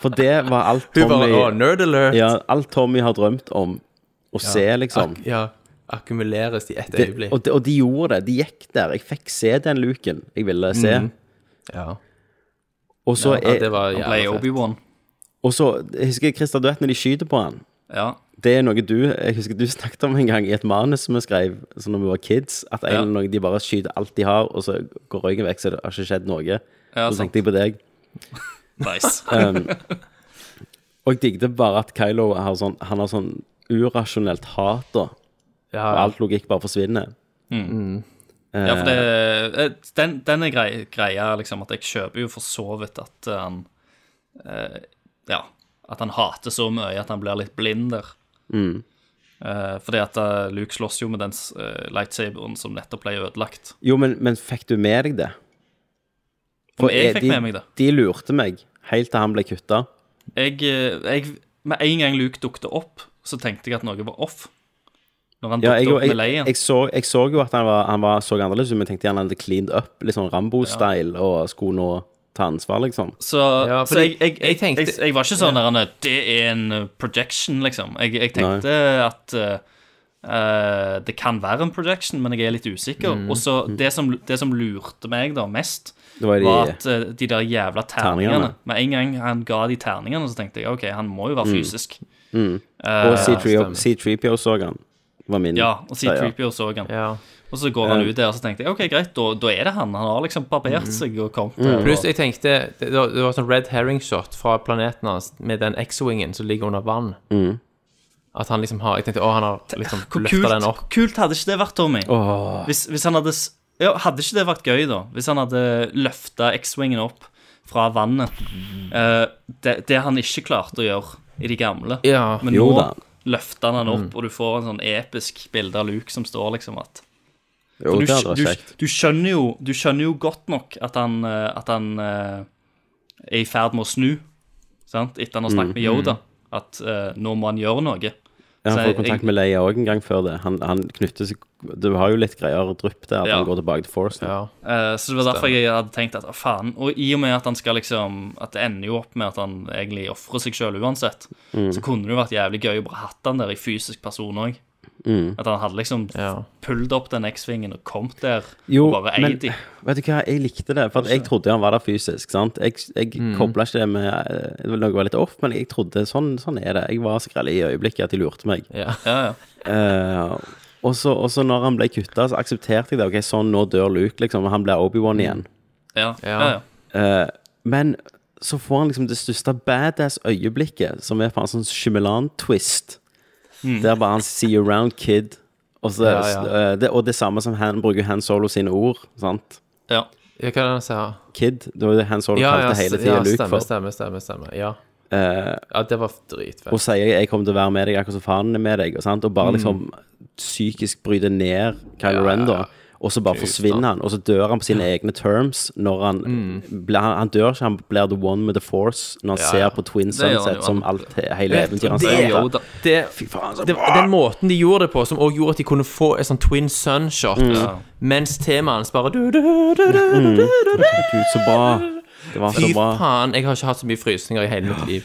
D: For det var alt
E: Hun bare
D: Tommy
E: Å, nerd alert!
D: ja, Alt Tommy har drømt om Å se liksom
E: Ak ja. Akkumuleres i ett
D: det,
E: øyeblikk.
D: og, de, og de gjorde det, de gikk der Jeg fikk se den luken jeg ville se
E: Ja.
D: Og så
E: Mm. ja, det
D: er-
E: var
F: Han ble
E: jævla fett.
F: Obi-Wan.
D: og så- jeg husker jeg Christa, du vet når de skyter på han
F: Ja.
D: Det er noe du jeg husker du snakket om en gang i et manus som vi skrev sånn når vi var kids. At en
F: Ja.
D: eller annen, de bare skyter alt de har, og så går røyken vekk, så det har ikke skjedd noe.
F: Ja,
D: så
F: sant.
D: tenkte jeg på deg.
F: Nice.
D: Og jeg digget bare at Kylo har sånn, han har sånn urasjonelt hat, da.
E: Ja,
D: Og alt logikk bare forsvinner.
F: Ja, for det, eh, den, den er grei, greia liksom at jeg kjøper jo for så vidt at eh, han eh, Ja, at han hater så mye at han blir litt blind der.
D: Mm.
F: Eh, fordi at eh, Luke slåss jo med den s- eh, lightsaberen som nettopp ble ødelagt.
D: Jo, men, men fikk du med deg det?
F: Om jeg
D: eh,
F: fikk
D: de,
F: med meg det.
D: De lurte meg helt til han ble kutta.
F: Jeg, eh, jeg, med en gang Luke dukket opp, så tenkte jeg at noe var off. Når han
D: Ja, jeg,
F: dukket opp
D: jeg,
F: med leien.
D: jeg, så, jeg så jo at han, var, han var, så annerledes ut, men jeg tenkte gjerne han hadde cleaned up, litt sånn Rambo-style, og skulle nå ta ansvar, liksom.
F: Så,
E: Ja,
F: så
E: fordi
F: jeg, jeg, jeg,
E: jeg tenkte-
F: jeg, jeg var ikke sånn der Det er en uh, projection, liksom. Jeg, jeg tenkte at eh, eh, det kan være en projection, men jeg er litt usikker. Og så det, som- det som lurte meg da mest,
D: Det var de-
F: at eh, de der jævla terningene
D: Terningene.
F: Med en gang han ga de terningene, så tenkte jeg OK, han må jo være fysisk. Uh,
D: Og C3PO C3PO så han, var min
F: Ja, og si
D: greie.
F: Creepy og så han.
E: Ja.
F: Og så går han ut der, og så tenkte jeg OK, greit, da, da er det han. Han har liksom barbert seg og kommet der. og-
E: Pluss jeg tenkte Det, det var- det var sånn red herring shot fra planeten hans med den X-wingen som ligger under vann.
D: Mm.
E: At han liksom har Jeg tenkte å, han har liksom
F: Hvor
E: løfta
F: kult,
E: den opp.
F: hvor kult hadde ikke det vært, Tommy? Hvis, hvis han hadde s- ja, Hadde ikke det vært gøy, da? Hvis han hadde løfta X-wingen opp fra vannet. Eh, det, det han ikke klarte å gjøre i de gamle.
E: Ja.
F: Men
D: Jo
F: nå
D: da. Mm.
F: løfter han han opp, og du får en sånn episk bilde av Luke som står liksom at
D: Jo,
F: du,
D: det hadde
F: du,
D: vært kjekt.
F: du, skjønner jo, du skjønner jo godt nok at han, eh, at han eh, er i ferd med å snu, sant? etter han har
D: Mm.
F: snakket med Yoda, at eh, nå må han gjøre noe.
D: Ja, han
F: Så
D: får
F: jeg-
D: kontakt med Leia òg en gang før det. Han, han knytter seg Du har jo litt greier og drypp der, at
F: Ja.
D: han går tilbake til Force. nå.
E: ja.
F: Eh, Så det var derfor jeg hadde tenkt at «Å, faen. Og i og med at han skal liksom At det ender jo opp med at han egentlig ofrer seg sjøl uansett, så kunne det jo vært jævlig gøy å bare hatt han der i fysisk person òg. At han hadde liksom
E: Ja.
F: pullet opp den X-vingen og kommet der
D: Jo,
F: og bare
D: men
F: eid de.
D: vet du hva, jeg likte det, for at jeg trodde han var der fysisk. sant? Jeg, jeg
F: Mm.
D: kobla ikke det med eh, det var Noe var litt off, men jeg trodde sånn, sånn er det. Jeg var så grell i øyeblikket at de lurte meg.
E: ja.
F: Ja, ja.
D: Eh, og så og så når han ble kutta, så aksepterte jeg det. Ok, sånn, nå dør Luke, liksom. Han blir
F: Mm.
D: Obi-Wan igjen.
F: ja, ja,
E: Ja.
F: ja.
D: Men så får han liksom det største badass øyeblikket, som er faen sånn Shymelan-twist. Der bare han see you around, kid. Og, så,
E: Mm. Ja, ja.
D: eh, Det, og det samme som han bruker Han Solo sine ord. sant?
F: ja.
E: ja, hva er det han sier?
D: Kid. Det var det Han Solo
E: Ja, ja,
D: kalte hele
E: s-
D: tida
E: ja
D: Luke
E: stemmer,
D: for.
E: stemmer, stemmer, stemmer. Ja. ja, det var dritfett.
D: Eh, Og sier 'jeg kommer til å være med deg akkurat som faren er med deg', og, sant? og bare liksom psykisk bryter ned Kylo
E: Mm. Ja,
D: Ren,
E: ja,
D: da. Og så bare forsvinner han, og så dør han på sine egne terms når han blir- han, han dør ikke, han blir the one with the force når han
E: Mm. Ja, ja.
D: ser på Twin
F: gjør han
D: Sunset
F: jo,
D: som
F: han-
D: alt, hele eventyret hans
E: det er
D: er.
E: Yoda. Det,
D: Fy faen, så
E: det,
D: bra!
E: den måten de gjorde det på, som også gjorde at de kunne få et sånn twin sun-shot,
D: Mm.
E: mens temaet hans bare du, du, du, du, du, du, du.
D: Gud, så bra. Det var Mm. så
E: Fy
D: bra.
E: faen, jeg har ikke hatt så mye frysninger i hele mitt liv.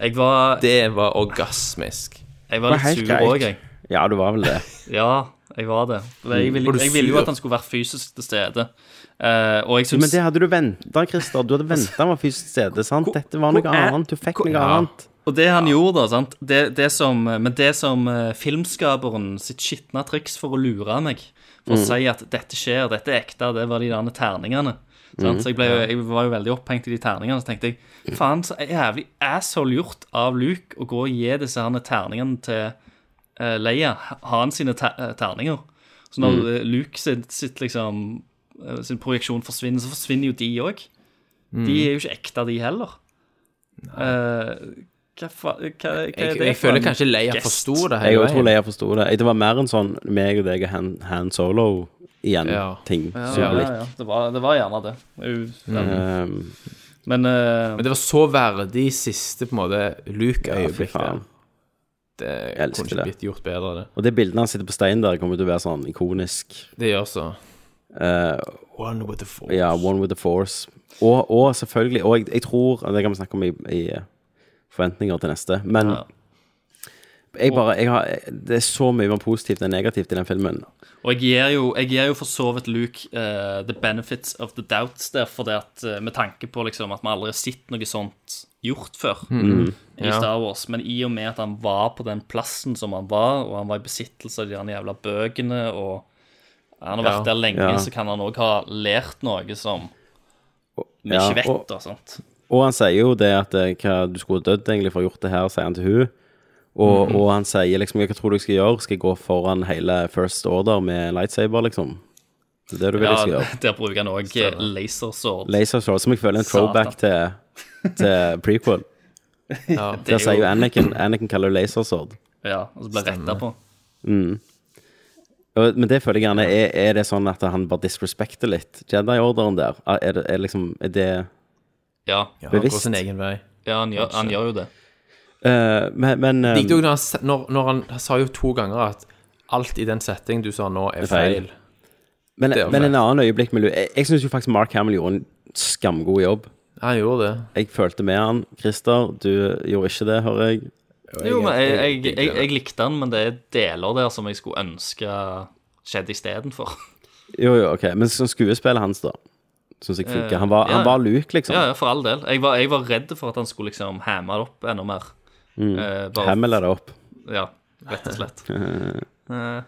F: Jeg var,
E: Det var orgasmisk.
D: Det
F: jeg var
D: var
F: litt
D: helt
F: sur
D: greit.
F: òg, jeg.
D: Ja, du var vel det.
F: Ja, jeg var det. Men Jeg ville,
E: Var du
F: jeg ville jo
E: sur?
F: at han skulle være fysisk til stede. Eh, og jeg syns
D: Men det hadde du venta, Christer. Du
E: Altså,
D: hadde venta han var fysisk stede, sant? Dette var noe
F: hvor er-
D: annet. Du fikk noe
E: ja.
D: annet.
F: Og det han gjorde, da, sant? Det, det som, men det som eh, filmskaperen sitt skitne triks for å lure meg, for å si at dette skjer, dette er ekte, det var de der terningene. Sant? Så jeg, ble, jo- jeg var jo veldig opphengt i de terningene, så tenkte jeg faen, så jævlig asshole gjort av Luke å gå og gi disse herne terningene til eh, Leia. Ha han sine ter eh, terninger. Så når
E: Mm.
F: eh, Luke sitt, sitt liksom eh, sin projeksjon forsvinner, så forsvinner jo de òg.
E: Mm.
F: De er jo ikke ekte, de heller. Eh, hva, fa hva, hva er det
E: Jeg, jeg
F: for
E: føler
F: en
E: kanskje Leia
F: gest?
E: forsto det
D: Jeg
E: hele
D: også tror Leia forsto det. Det var mer en sånn meg og deg og Han, han Solo
E: Ja.
D: igjen-ting.
F: Ja, ja, ja. Det, var, det var gjerne det.
E: Mm.
F: Jo, den-
D: ehm,
F: Men eh,
E: Men det var så verdig siste på en måte Luke-øyeblikk. der. det
D: elsker
E: kunne ikke
D: det.
E: blitt gjort bedre, det.
D: Og det bildet han sitter på steinen der, kommer til å være sånn ikonisk.
E: Det gjør så.
D: Eh,
E: One with the force.
D: ja, One with the Force. Og, og selvfølgelig Og jeg, jeg tror og Det kan vi snakke om i, i eh, forventninger til neste, men
F: Ja.
D: jeg bare, jeg har, Det er så mye mer positivt enn negativt i den filmen.
F: Og jeg gir, jo, jeg gir jo for så vidt Luke eh, the benefits of the doubts der, for det at, eh, med tanke på liksom, at vi aldri har sett noe sånt gjort før
D: Mm.
F: i
E: Ja.
F: Star Wars. Men i og med at han var på den plassen som han var, og han var i besittelse av de der jævla bøkene, og han har
E: Ja.
F: vært der lenge,
D: Ja.
F: så kan han òg ha lært noe som vi
D: Ja,
F: ikke vet.
D: og-
F: da, sant?
D: Og han sier jo det at eh, hva, du skulle dødd egentlig for å ha gjort det her, sier han til hun. Og, og han sier liksom Hva tror du jeg skal gjøre? Skal jeg gå foran hele First Order med lightsaber, liksom? Det er det du vil
F: Ja,
D: jeg skal gjøre.
F: der bruker han òg lasersword.
D: Laser Sword, som jeg føler er en throwback til, til prequel.
E: Ja.
D: Der sier jo Anakin Anakin kaller det Laser Sword.
F: Ja, og så ble retta på.
D: Og- Men det føler jeg gjerne er, er det sånn at han bare disrespekter litt Jedi-orderen der? Er- Er det er liksom Er det
F: Ja,
E: Ja, han går
D: bevisst?
E: sin egen vei.
F: ja han, gjør, han gjør jo det.
D: Eh, men men eh,
E: Likte òg når, han sa- når, når han sa jo to ganger at alt i den settingen du sa nå, er
D: er feil.
E: feil.
D: Men,
E: Det er jo
D: men
E: fair.
D: en annen øyeblikk med Louis Jeg, jeg syns jo faktisk Mark Hamill gjorde en skamgod jobb.
E: Han gjorde det.
D: Jeg følte med han. Christer, du gjorde ikke det, hører jeg.
E: jeg-
G: Jo, men jeg, jeg,
E: jeg-
G: jeg, jeg likte den, men det er deler der som jeg skulle ønske skjedde istedenfor.
D: Jo, jo, ok. Men sånn skuespillet hans, da, syns jeg funker. Han var,
G: Eh, ja,
D: han var Luke, liksom.
G: Ja, ja, for all del. Jeg var, jeg var redd for at han skulle liksom hamme det opp enda mer. Eh, bare,
D: Hamill er det opp.
G: Ja, rett og slett. Eh,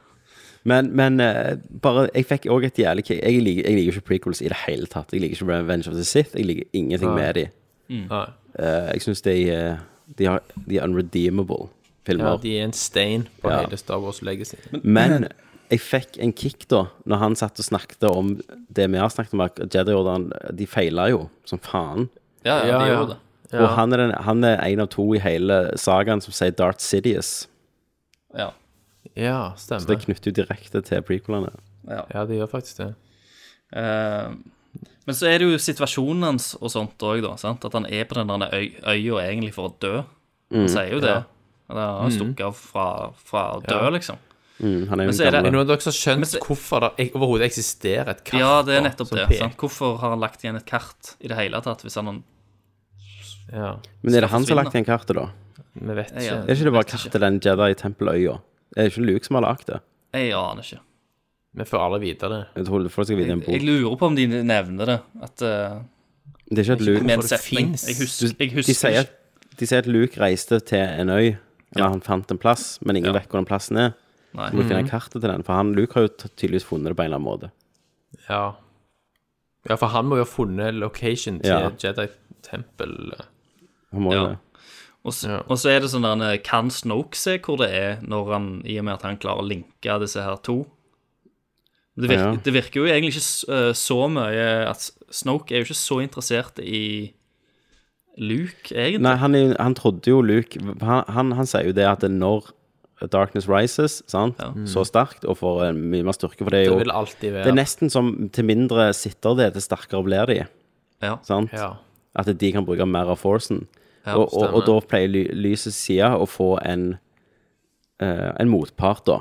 D: Men, men eh, bare Jeg fikk òg et jævlig kick. Jeg liker, jeg liker ikke prequels i det hele tatt. Jeg liker ikke Revenge of the Sith. Jeg liker ingenting med de.
E: Nei.
D: Eh, jeg syns de, eh, de, har- de er unredeemable
E: Ja,
D: filmer.
E: de er en stein på
D: Ja.
E: hele Star Wars legacy.
D: Men jeg fikk en kick da Når han satt og snakket om det vi har snakket om at Jedi Orderen, de feilet jo Som faen
G: ja, ja,
E: Ja,
G: de
E: ja.
G: gjorde det.
E: Ja.
D: Og han er, den, han er en av to i hele sagaen Som sier Darth Sidious
G: Ja.
E: Ja,
D: Så det
E: stemmer.
D: knytter jo direkte til prequelene
E: Ja, de gjør faktisk det.
G: Eh,
F: Men så er det jo situasjonen hans og sånt òg, da. sant? At han er på den der øy- øya egentlig for å dø. Han
G: Mm.
F: sier jo det. Han har stukket av fra, fra å dø, liksom.
D: mm, Han er jo
F: så
D: en
F: er det-
E: Er
D: gamle
E: det noen av dere som har skjønt
F: så-
E: hvorfor det ek- overhodet eksisterer et kart?
F: Ja, det er
E: da,
F: nettopp
E: som
F: det.
E: peker?
F: sant? Hvorfor har han lagt igjen et kart i det hele tatt, hvis han
E: Ja,
D: Men er det han som
F: forsvinne.
D: har lagt den kartet da?
E: vi vet ikke.
F: Ja.
D: Er ikke det bare kartet den Jedi Tempeløya? Er det ikke Luke som har lagt det?
F: Jeg aner ikke.
E: Vi får alle vite det.
D: Jeg tror det får seg vite i en
F: Jeg
D: bok
F: lurer på om de nevner det. At eh,
D: Det er ikke at Luke
F: Med en
E: det
F: setning.
E: finnes.
F: Jeg
D: du,
F: husker, jeg
D: de,
F: husker
D: sier,
F: ikke.
D: de sier at Luke reiste til en øy Eller han fant en plass Men ingen
F: Ja.
D: vet hvor den plassen er
F: Nei.
D: må finne kartet til den, for han, Luke har jo t- tydeligvis funnet det på en eller annen måte.
E: Ja. ja, for han må jo ha funnet location til
D: Ja.
E: Jedi-tempel.
D: Han må jo
F: Ja.
D: det.
F: Og så,
E: Ja.
F: og så er det sånn der Kan Snoke se hvor det er, når han, i og med at han klarer å linke disse her to? Det virker,
D: Ja.
F: det virker jo egentlig ikke s- eh, så mye at S- Snoke er jo ikke så interessert i Luke, egentlig.
D: Nei, han, er- han trodde jo Luke han, han, han sier jo det at når Darkness Rises, sant, så sterkt, og får en mye mer styrke, for det er
E: Det
D: jo
E: vil alltid
D: Det er
E: være
D: nesten som til mindre sitter det, til sterkere blir de.
F: Ja.
D: Sant?
E: Ja.
D: At de kan bruke mer av forcen. og, og, og da pleier ly, lysets side å få en eh, en motpart, da,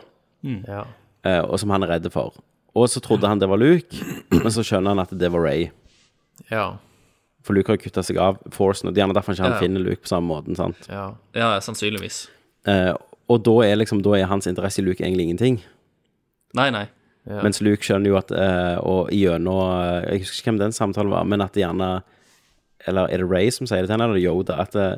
E: ja.
D: eh, og som han er redd for. Og så trodde han det var Luke, men så skjønner han at det var Ray.
E: Ja.
D: For Luke har kutta seg av Forcen, og det er gjerne derfor han ikke
F: Ja, ja.
D: han finner Luke på samme måten. sant?
E: ja.
F: ja, sannsynligvis.
D: Eh, og da er liksom, da er hans interesse i Luke egentlig ingenting.
F: Nei, nei.
E: Ja.
D: Mens Luke skjønner jo at eh, Og gjennom eh, Jeg husker ikke hvem den samtalen var, men at det gjerne Eller er det Ray som sier det til henne, eller Yoda? At eh,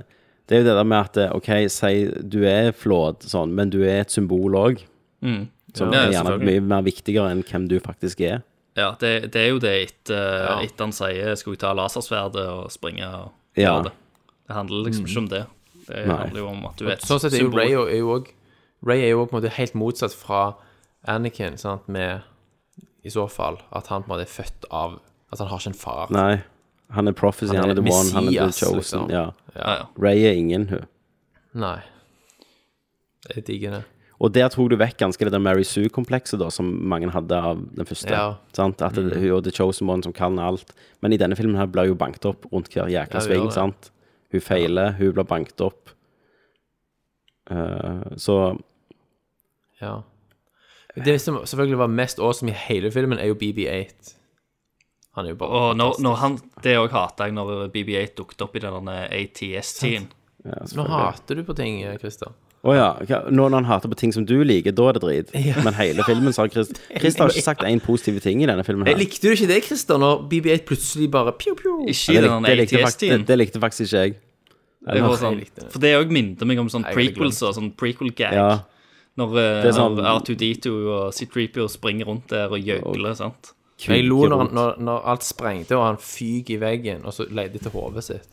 D: det er jo det der med at eh, OK, si du er flåd, sånn, men du er et symbol òg. Som er
F: Ja, ja,
D: gjerne mye
F: selvfølgelig.
D: mer viktigere enn hvem du faktisk er.
F: Ja, det, det er jo det etter etter han sier 'skal vi ta lasersverdet og springe'
D: Ja.
F: og
D: Mhm.
F: gjøre det. Det handler liksom ikke om det. Det
D: Nei.
F: handler jo om at du er et
E: Sånn sett er jo
F: symbol.
E: Ray er jo òg Ray er jo også på en måte helt motsatt fra Anakin, sant, med I så fall at han på en måte er født av At han har ikke en far.
D: Nei. Han er prophecy, han er, the one, han er the
E: Messias,
D: chosen.
E: liksom.
D: Ja.
F: Ja, ja.
D: Ray er ingen, hun.
E: Nei. Jeg digger det.
D: Og der tok du vekk ganske det der Mary Sue-komplekset da, som mange hadde av den første.
E: Ja. Mm.
D: Sant? At det, hun og The Chosen One som kan alt. Men i denne filmen her blir hun jo banket opp rundt hver jækla
E: Ja, hun gjør
D: sving.
E: det.
D: sant? Hun feiler, hun blir banket opp. Eh, så
E: Ja. Det som selvfølgelig var mest awesome i hele filmen, er jo BB8. Han er jo bare
F: Og når, når han, det òg hater jeg, når BB8 dukket opp i den der ATS-tiden.
D: ja,
E: Nå
D: selvfølgelig.
E: hater du på ting, Christer.
D: Å ja. hva- Nå når han hater på ting som du liker, da er det drit. Men hele filmen sa Chris Chris har ikke sagt én positiv ting i denne filmen. her.
E: Likte du ikke det, Christer, når BB8 plutselig bare pju, pju?
F: Ikke i
D: Ja, det,
F: den
D: likte, det, likte
F: der
D: faktisk, det,
F: ATS-tiden.
D: det likte faktisk ikke jeg.
F: Det var
E: jeg
F: sånn,
E: likte det.
F: for det òg minte meg om sånn
E: jeg hadde
F: prequels og sånn prequel-gag.
D: Ja,
F: Når, eh,
D: Det er sånn-
F: når R2D2 og C3PO springer rundt der og gjøgler, sant.
E: Jeg lo når, han-
D: rundt.
E: når, når alt sprengte, og han fyker i veggen, og så leide etter hodet sitt.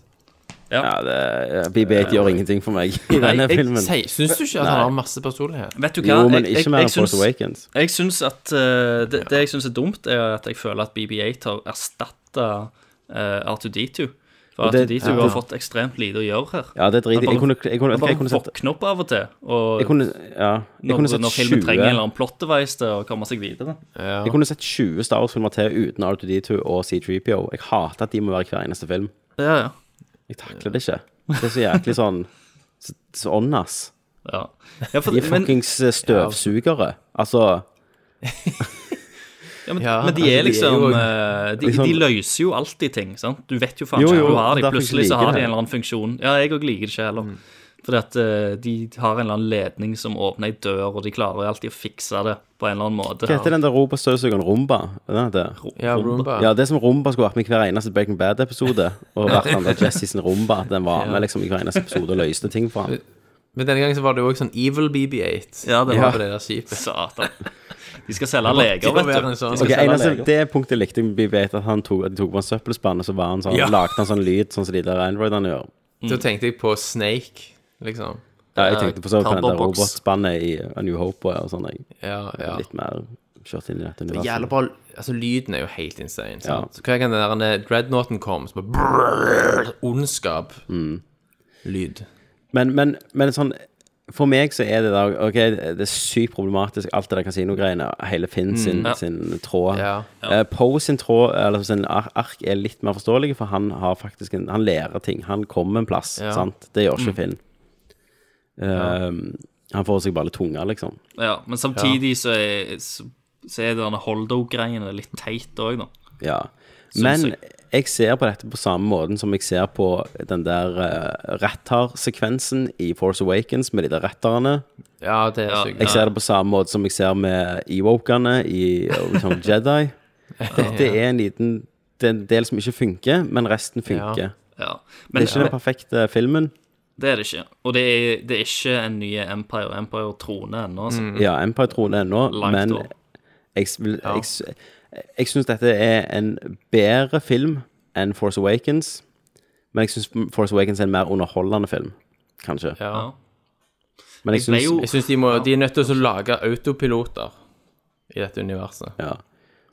D: Ja, det, ja, BB8 gjør ingenting for meg i denne filmen.
E: Eh, Sier- Syns du ikke at han har masse personlighet?
F: Vet du hva,
D: Jo, men
F: jeg,
D: ikke
F: jeg,
D: mer
F: jeg,
D: enn Force
F: syns,
D: Awakens.
F: jeg syns at eh, det, det jeg syns er dumt, er at jeg føler at BB8 har erstatta eh, R2D2. For
D: Og det-
F: R2D2
D: ja.
F: har fått ekstremt lite å gjøre her.
D: Ja, det driter jeg Jeg kunne, jeg kunne, jeg kunne,
F: Han bare
D: jeg kunne sett
F: våkner opp av og til. Og
D: jeg kunne, ja, jeg
F: når,
D: kunne sett
F: når filmen
D: 20
F: trenger en eller annen plotteveis til å komme seg videre.
D: Jeg kunne sett 20 Star Wars-filmer til uten R2D2 og C3PO. Jeg hater at de må være i hver eneste film.
F: Ja, ja.
D: Jeg takler det ikke. Det er så jæklig sånn så- Sånn, ass.
F: Ja. Ja, for,
D: De er
F: men,
D: fuckings eh, støvsugere. Altså
F: ja, men,
E: Ja,
F: men
E: altså,
F: de
E: de er
F: er liksom
E: jo-
F: eh, de,
D: liksom-
F: de løser jo alltid ting, sant? Du vet jo faen
D: Jo,
F: ikke
D: jo,
F: hvor du har de.
D: derfor
F: Plutselig så
D: liker
F: har
D: jeg det.
F: de
D: Mm.
F: en eller annen funksjon. Ja, jeg òg liker det ikke heller. Fordi at eh, de har en eller annen ledning som åpner ei dør, og de klarer alltid å fikse det på en eller annen måte.
D: Hva heter den der robotstøvsugeren? Rumba? Er det den heter?
E: Ja, Roomba.
D: Ja, det er som Rumba skulle vært med i hver eneste Breaking Bad-episode. Og vært han der Jesse sin Rumba. at Den var med liksom i hver eneste episode og løste ting for ham.
E: Men denne gangen så var det jo også sånn Evil BB8
F: Ja, det
E: på
F: var-
E: det der skipet.
F: Satan. De skal selge leger,
E: Det må
F: vet
E: være
F: du.
E: en sånn-
D: Ok,
E: skal selge
D: eneste,
E: leger.
D: det punktet likte jeg vi vet at han tok, at de tok på en søppelspann, og så var han sånn,
E: Ja.
D: lagde han sånn lyd, sånn som de der Androidene gjør.
E: Så tenkte jeg på Snake, liksom.
D: Ja, jeg tenkte på så på den der
F: Cardboardbox.
D: robotspannet i A New Hope og sånn. Jeg,
E: Ja, ja.
D: Litt mer kjørt inn i dette universet.
E: Jævla bra Altså, lyden er jo helt insane.
D: Ja.
E: Sant? Så hver gang den der denne dreadnoughten kom, så bare
D: Mm.
E: brrrr, Ondskap. Lyd.
D: Men, men, men sånn For meg så er det der Ok, det er sykt problematisk, alt det der kasinogreiene. Hele Finn sin, sin tråd.
E: Mm. Ja.
D: Eh, Poe sin tråd, eller sin ar- ark, er litt mer forståelig, for han har faktisk en, Han lærer ting. Han kommer en plass,
E: Ja. Mm.
D: sant? Det gjør ikke Finn. Ehm, Han får seg bare litt tunga, liksom.
F: Ja, men samtidig så er, så, så er denne Holdo-greiene litt teit òg, da.
D: Ja. Men
F: jeg.
D: jeg ser på dette på samme måten som jeg ser på den der uh, rattarsekvensen i Force Awakens med de der rattarene.
E: Ja, det er
F: Ja,
E: sykt.
D: Jeg ser det på samme måte som jeg ser med Ewokene i Return of Jedi. Dette er en liten det er en del som ikke funker, men resten funker.
F: Ja.
D: Det
F: Men
D: er ikke den perfekte filmen.
F: det er det ikke. Og det er, det er ikke en ny Empire. Empire troner ennå, altså.
D: Ja, Empire tror det ennå, Mm.
F: Langt
D: men
F: over.
D: jeg, vil- jeg, s- jeg syns dette er en bedre film enn Force Awakens. Men jeg syns Force Awakens er en mer underholdende film, kanskje.
E: Ja.
D: Men jeg
F: Jeg ble
D: syns
F: jo
E: Jeg syns de, må, de er nødt til å lage autopiloter i dette universet.
D: ja.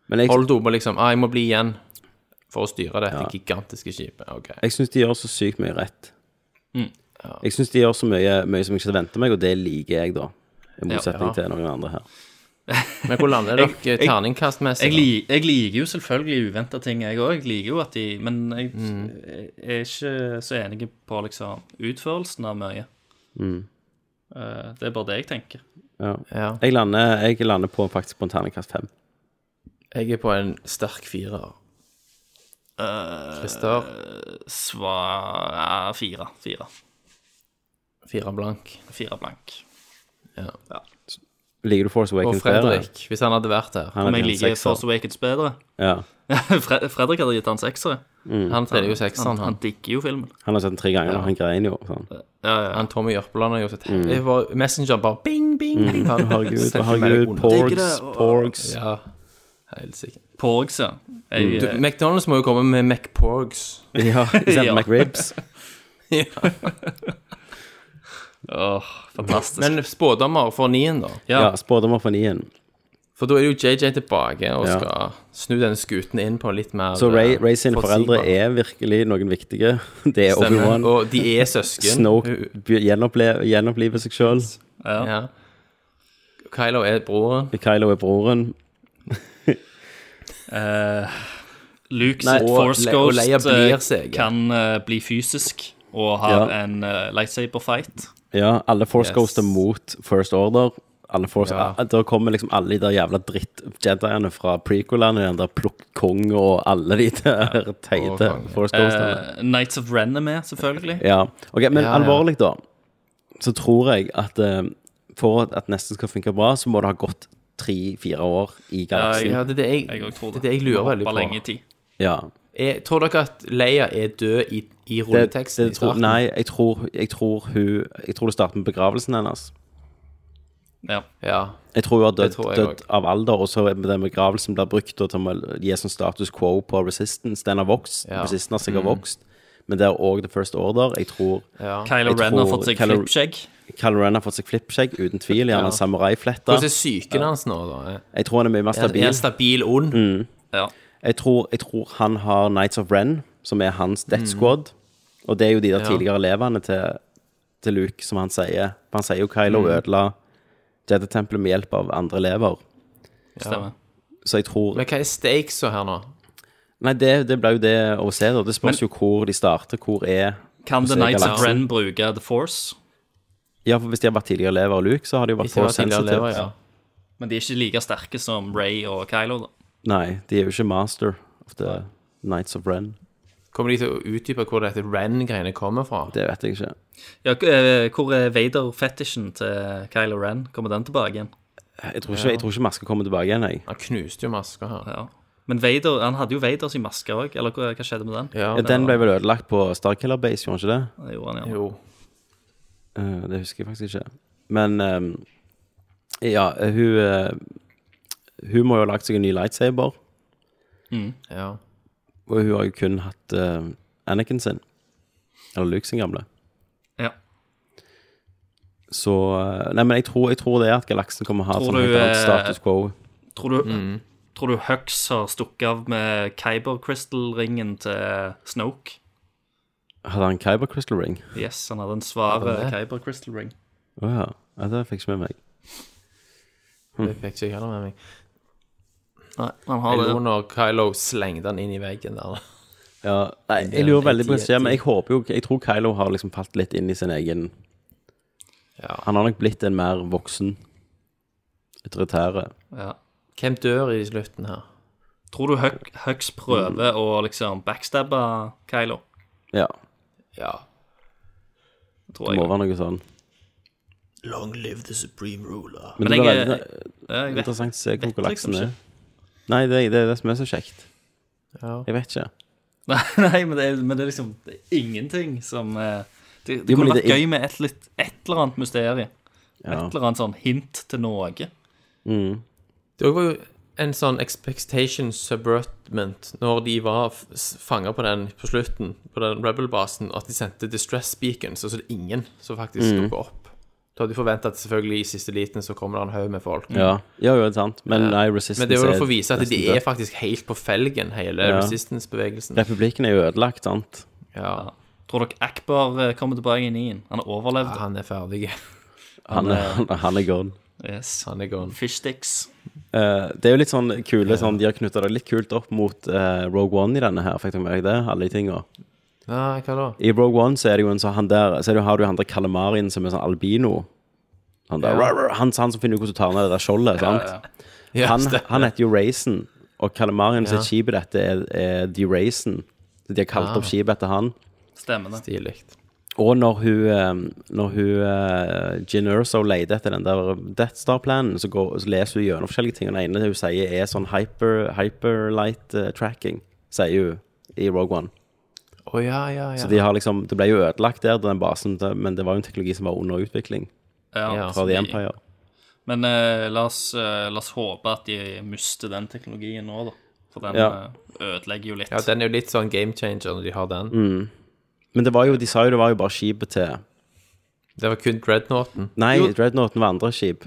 D: Men jeg,
E: Holdo må liksom ah, 'Jeg må bli igjen for å styre dette gigantiske skipet'. Ok.
D: jeg syns de gjør så sykt mye rett.
E: Mm.
D: Jeg syns de gjør så mye, mye som jeg ikke venter meg, og det liker jeg, da. I motsetning til noen andre her.
E: Men hvor lander
F: Jeg-
E: dere
F: jeg-
E: terningkastmessig?
F: jeg, li, jeg liker jo selvfølgelig uventa ting, jeg òg. Jeg liker jo at de Men jeg,
D: Mm.
F: jeg er ikke så enig på liksom utførelsen av mye.
D: Mm.
F: Eh, det er bare det jeg tenker.
D: Ja.
E: Ja.
D: Jeg lander, jeg lander på, faktisk på en terningkast fem.
E: Jeg er på en sterk firer.
F: Eh,
E: Christer,
F: Svar ja, fire. Fire.
E: fire blank.
F: Fire blank.
D: Liker du Force
E: Og
D: Awakens
E: Fredrik, hvis han hadde vært her.
D: Han
F: Om
D: er
F: jeg
D: en
F: liker
D: sekser.
F: Force Awakens bedre?
D: Ja.
F: Fred- Fredrik hadde gitt han seksere.
E: Han tredje jo sekseren,
F: Han,
E: han.
F: han digger jo filmen.
D: Han har sett den tre ganger, og han grein jo. Sånn.
F: Ja, ja.
E: Han Tommy Jørpeland har gjort et Det var Messenger bare bing, bing, bing. Han
D: Mm. Herregud,
E: sendte meg
D: herregud.
E: under.
D: Porgs, porgs.
E: Ja, helt sikkert.
F: Porgs, ja. Jeg,
E: Du, McDonald's må jo komme med McPorgs.
D: Ja, istedenfor
F: Ja.
D: McRibs.
F: åh, fantastisk.
E: Men spådommer for nien, da.
F: ja,
D: Mm. Ja, spådommer for nien.
E: For da er jo JJ tilbake og
D: Ja.
E: skal snu denne skuten inn på litt mer
D: Så Ray,
E: eh,
D: Ray sine foreldre
E: forutsigbar.
D: er virkelig noen viktige. Det er
E: Stemmer.
D: Obi-Wan.
E: Og de er søsken.
D: Snoke be- gjenopple- gjenoppliver seg sjøl.
E: Ja. Kylo er broren.
D: Kylo er broren.
F: Luke
D: Nei,
E: og
F: sitt Force
E: Le- og
F: Ghost
E: Leia blir
F: eh,
E: seg, ja.
F: kan eh, bli fysisk og har
D: Ja.
F: en eh, lightsaber fight.
D: Ja, alle Force
E: Yes.
D: Ghoster mot First Order. Alle Force,
E: Ja.
D: ah, Der kommer liksom alle de der jævla dritt-jediene fra prequelene. Den der Plukk Kong og alle de der teite
E: konge.
D: Force Ghostene.
F: Eh, Knights of Ren er med, selvfølgelig.
D: ja. Ok, Men
E: ja.
D: alvorlig, da, så tror jeg at eh, for at nesten skal funke bra, så må det ha gått tre-fire år i galaksen.
E: Ja, det er det jeg,
F: Jeg òg tror
E: det
F: det.
E: er det jeg lurer veldig
F: Hopper lenge i
E: på.
F: tid.
D: Ja.
E: Er, tror dere at Leia er død i, i
D: Det,
E: rulleteksten?
D: det
E: i
D: tror,
E: starten?
D: nei, jeg tror, jeg tror hun Jeg tror det starter med begravelsen hennes.
F: Ja.
E: Ja.
D: Jeg tror hun har dødd,
E: tror jeg
D: dødd av alder, og så er den begravelsen blir brukt da til å gi sånn status quo på Resistance. Den har vokst.
E: Ja. Mm.
D: Resistance har sikkert vokst. Men det er òg The First Order. Jeg tror
E: ja.
F: Kylo
D: Jeg
F: Ren har
D: tror
F: fått seg
D: Kylo-
F: flippskjegg.
D: Kylo Ren har fått seg flippskjegg, uten tvil. Gjerne en
E: Ja.
D: samuraiflette.
E: Hvordan er psyken hans nå, da? Er-
D: Jeg tror han er mye mer
E: Er
D: stabil.
E: han stabil Mm. ond?
F: Ja.
D: Jeg tror, jeg tror han har Knights of Ren, som er hans
E: Mm.
D: death squad. Og det er jo de der tidligere elevene til, til Luke, som han sier. For Han sier jo Kylo
E: Mm.
D: ødela Jedi-tempelet med hjelp av andre elever.
F: Stemmer.
D: Så jeg tror
E: Men hva er stakesa her nå?
D: Nei, det, det ble jo det å se, da. Det spørs jo hvor de starter. Hvor er
F: Kan
D: Så
F: The
D: er
F: Knights of
D: galaksen-
F: Ren bruke The Force?
D: Ja, for hvis de har vært tidligere elever av Luke, så har de jo vært
E: Hvis det
D: for
E: var tidligere elever,
D: sensitive.
E: ja.
F: Men de er ikke like sterke som Ray og Kylo, da.
D: Nei, de er jo ikke master of the Nights of Ren.
E: Kommer de til å utdype hvor dette Ren-greiene kommer fra?
D: Det vet jeg ikke.
F: Ja, k- eh, hvor er Vader-fetisjen til Kylo Ren? Kommer den tilbake igjen?
D: Jeg tror ikke, jeg tror ikke masker kommer tilbake igjen, jeg.
E: Han knuste jo maska her.
F: Ja. Men Vader, han hadde jo Vader sin maske òg, eller hva, hva skjedde med den?
E: Ja,
D: Den ble vel ødelagt på Starkiller Base, gjorde den ikke det?
F: Det gjorde han, ja.
E: Jo.
D: Eh, det husker jeg faktisk ikke. Men ehm, ja, hun eh, Hun må jo ha lagt seg en ny lightsaber,
E: Ja.
D: og hun har jo kun hatt eh, Anakin sin. Eller Luke sin gamle.
F: ja.
D: Så eh, Nei, men jeg tror, jeg tror det er at galaksen kommer å ha
F: Tror
D: sånn
F: du,
D: helt annet
F: eh,
D: status quo.
F: Tror, du,
D: Mm.
F: tror du Hux har stukket av med Kyber Crystal-ringen til Snoke?
D: Hadde han Kyber Crystal Ring?
F: Yes, han hadde en svar
E: Hadde han det?
F: Kyber Crystal Ring.
D: Å ja. ja. Det fikk ikke med meg.
E: Det fikk ikke jeg heller med meg.
F: Nei, han har
E: Jeg
F: det.
E: lo når Kylo slengte han inn i veggen der.
D: Ja, nei, jeg lurer veldig på hva som skjer, men jeg håper jo Jeg tror Kylo har liksom falt litt inn i sin egen
E: Ja.
D: Han har nok blitt en mer voksen autoritære.
F: Ja.
E: Hvem dør i slutten her?
F: Tror du Hux, Hux prøver
D: Mm.
F: å liksom backstabbe Kylo?
D: Ja.
E: Ja.
F: Tror
D: Det må
F: jeg.
D: være noe sånn.
E: Long live the supreme ruler.
D: Men,
F: Men
D: det
F: jeg-
D: blir veldig sånn
F: Ja, jeg vet.
D: interessant å se hvor
F: vet
D: galaksen
F: liksom
D: er. Nei, det, det er det som er så kjekt.
E: Ja.
D: Jeg vet ikke.
F: Nei, nei men, det er, men det er liksom det er ingenting som eh, Det, det
D: Jo, men
F: kunne
D: det
F: vært
D: er-
F: gøy med et, litt, et eller annet mysterium. Et
D: Ja.
F: eller annet sånn hint til noe.
E: Det var jo en sånn expectation subvertment når de var fanga på den på slutten, på den rebel-basen, at de sendte distress beacons, og så er det ingen som faktisk mm. dukker opp. Du hadde forventa at selvfølgelig i siste liten så kommer det en haug med folk.
D: Ja, ja jo, det er sant. Men nei, Resistance
E: Mm. Men det er jo for å vise at
D: nesten
E: de
D: død.
E: er faktisk helt på felgen, hele
D: Ja.
E: resistance-bevegelsen.
D: Republikken er jo ødelagt, sant?
E: Ja.
F: Tror dere Akbar eh, kommer tilbake inn i den? Han har overlevd.
E: Han er ferdig.
D: Han er, han, han er gone.
F: Yes.
E: Han er gone.
F: Fishsticks.
D: Eh, det er jo litt sånn kule sånn, De har knytta det litt kult opp mot eh, Rogue One i denne her, fikk du med deg det? Alle de tinga.
E: Nei, hva da?
D: I Rogue One så er det jo en sånn han der Så er det, jo- har du jo han der Kalamarien som er sånn albino. Han der rar, rar, han, han som finner ut hvordan du tar ned det der skjoldet, sant?
E: Ja,
D: Han,
E: stemmer.
D: han heter jo Raisin, og Kalamarien som
E: Ja.
D: er skipet dette, er, er The Raisin. Så De har kalt
E: Ah.
D: opp skipet etter han.
F: Stemmer det.
E: Stilig.
D: Og når hun eh, Når hun eh, Jyn Erso leter etter den der Death Star-planen, så, går- så leser hun gjennom forskjellige ting. Og den ene hun sier, er sånn hyper, hyperlight eh, tracking, sier hun i Rogue One.
E: Å ja, ja, ja.
D: Så de har liksom, det ble jo ødelagt der, den basen, det- men det var jo en teknologi som var under utvikling
F: Ja. altså,
E: Ja.
D: fra The Empire.
F: Men eh, la, oss, eh, la oss håpe at de mister den teknologien nå, da. For den
D: Ja.
F: eh, ødelegger jo litt.
E: ja, den er jo litt sånn game changer når de har den.
D: Mm. Men det var jo, de sa jo det var jo bare skipet til
E: Det var kun Dreadnoughten.
D: Nei,
F: Jo.
D: Dreadnoughten var andre skip.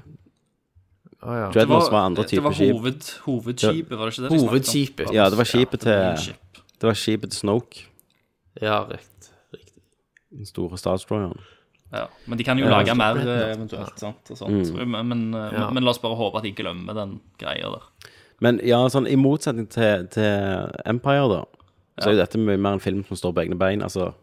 E: Å ja.
F: Det
D: Dreadnoughts var, andre
F: det
D: typer
F: var
D: skip.
F: hoved, hovedskipet, var det ikke det? de snakket om?
E: Hovedskipet.
D: Ja, det var skipet til
F: Hovedskip.
D: Det var skipet til Snoke,
E: Ja, riktig. riktig.
D: den store statsdraweren.
F: Ja, men de kan jo lage mer eh, eventuelt, sant? Og sånt.
D: Mm.
F: Men, men, eh,
E: Ja.
F: men la oss bare håpe at de glemmer den greia der.
D: Men ja, sånn i motsetning til, til Empire, da, så er jo dette mye mer en film som står på egne bein. Altså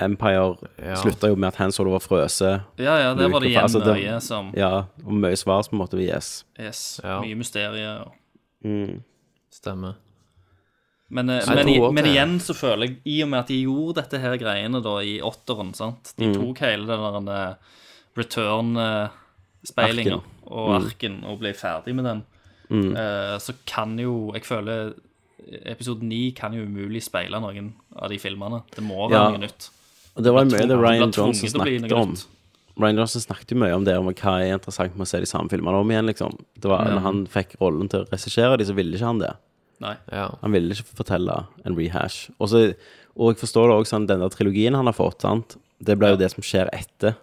D: Empire
E: Ja.
D: slutta jo med at Han Solo var frøse.
F: Ja, ja, der var
D: Luke,
F: det igjen
D: altså, det-
F: mye som
D: Ja, og mye svar som måtte gis.
F: yes,
E: Ja.
F: Mye mysterier. og-
E: Stemmer.
F: Men, eh,
E: jeg
F: men,
E: tror
F: i-
E: også
F: men
E: det-
F: igjen så føler jeg, i og med at de gjorde dette her greiene da i åtteren, sant De tok hele den der eh, return-speilinga
D: Arken.
F: og arken og ble ferdig med den, eh, så kan jo Jeg føler episode ni kan jo umulig speile noen av de filmene. Det må være
D: Ja.
F: noe nytt.
D: Og det var jo mye det
F: Tvunget-
D: Ryan
F: ble tvunget
D: Johnson
F: til å bli noe
D: snakket om.
F: nytt.
D: Ryan Johnson snakket jo mye om det, om hva er interessant med å se de samme filmene om igjen, liksom. Det var, Når han fikk rollen til å regissere de, så ville ikke han det.
F: Nei.
E: Ja.
D: Han ville ikke fortelle en rehash. Og, så, og jeg forstår det også sånn, den der trilogien han har fått, sant? det blir jo det som skjer etter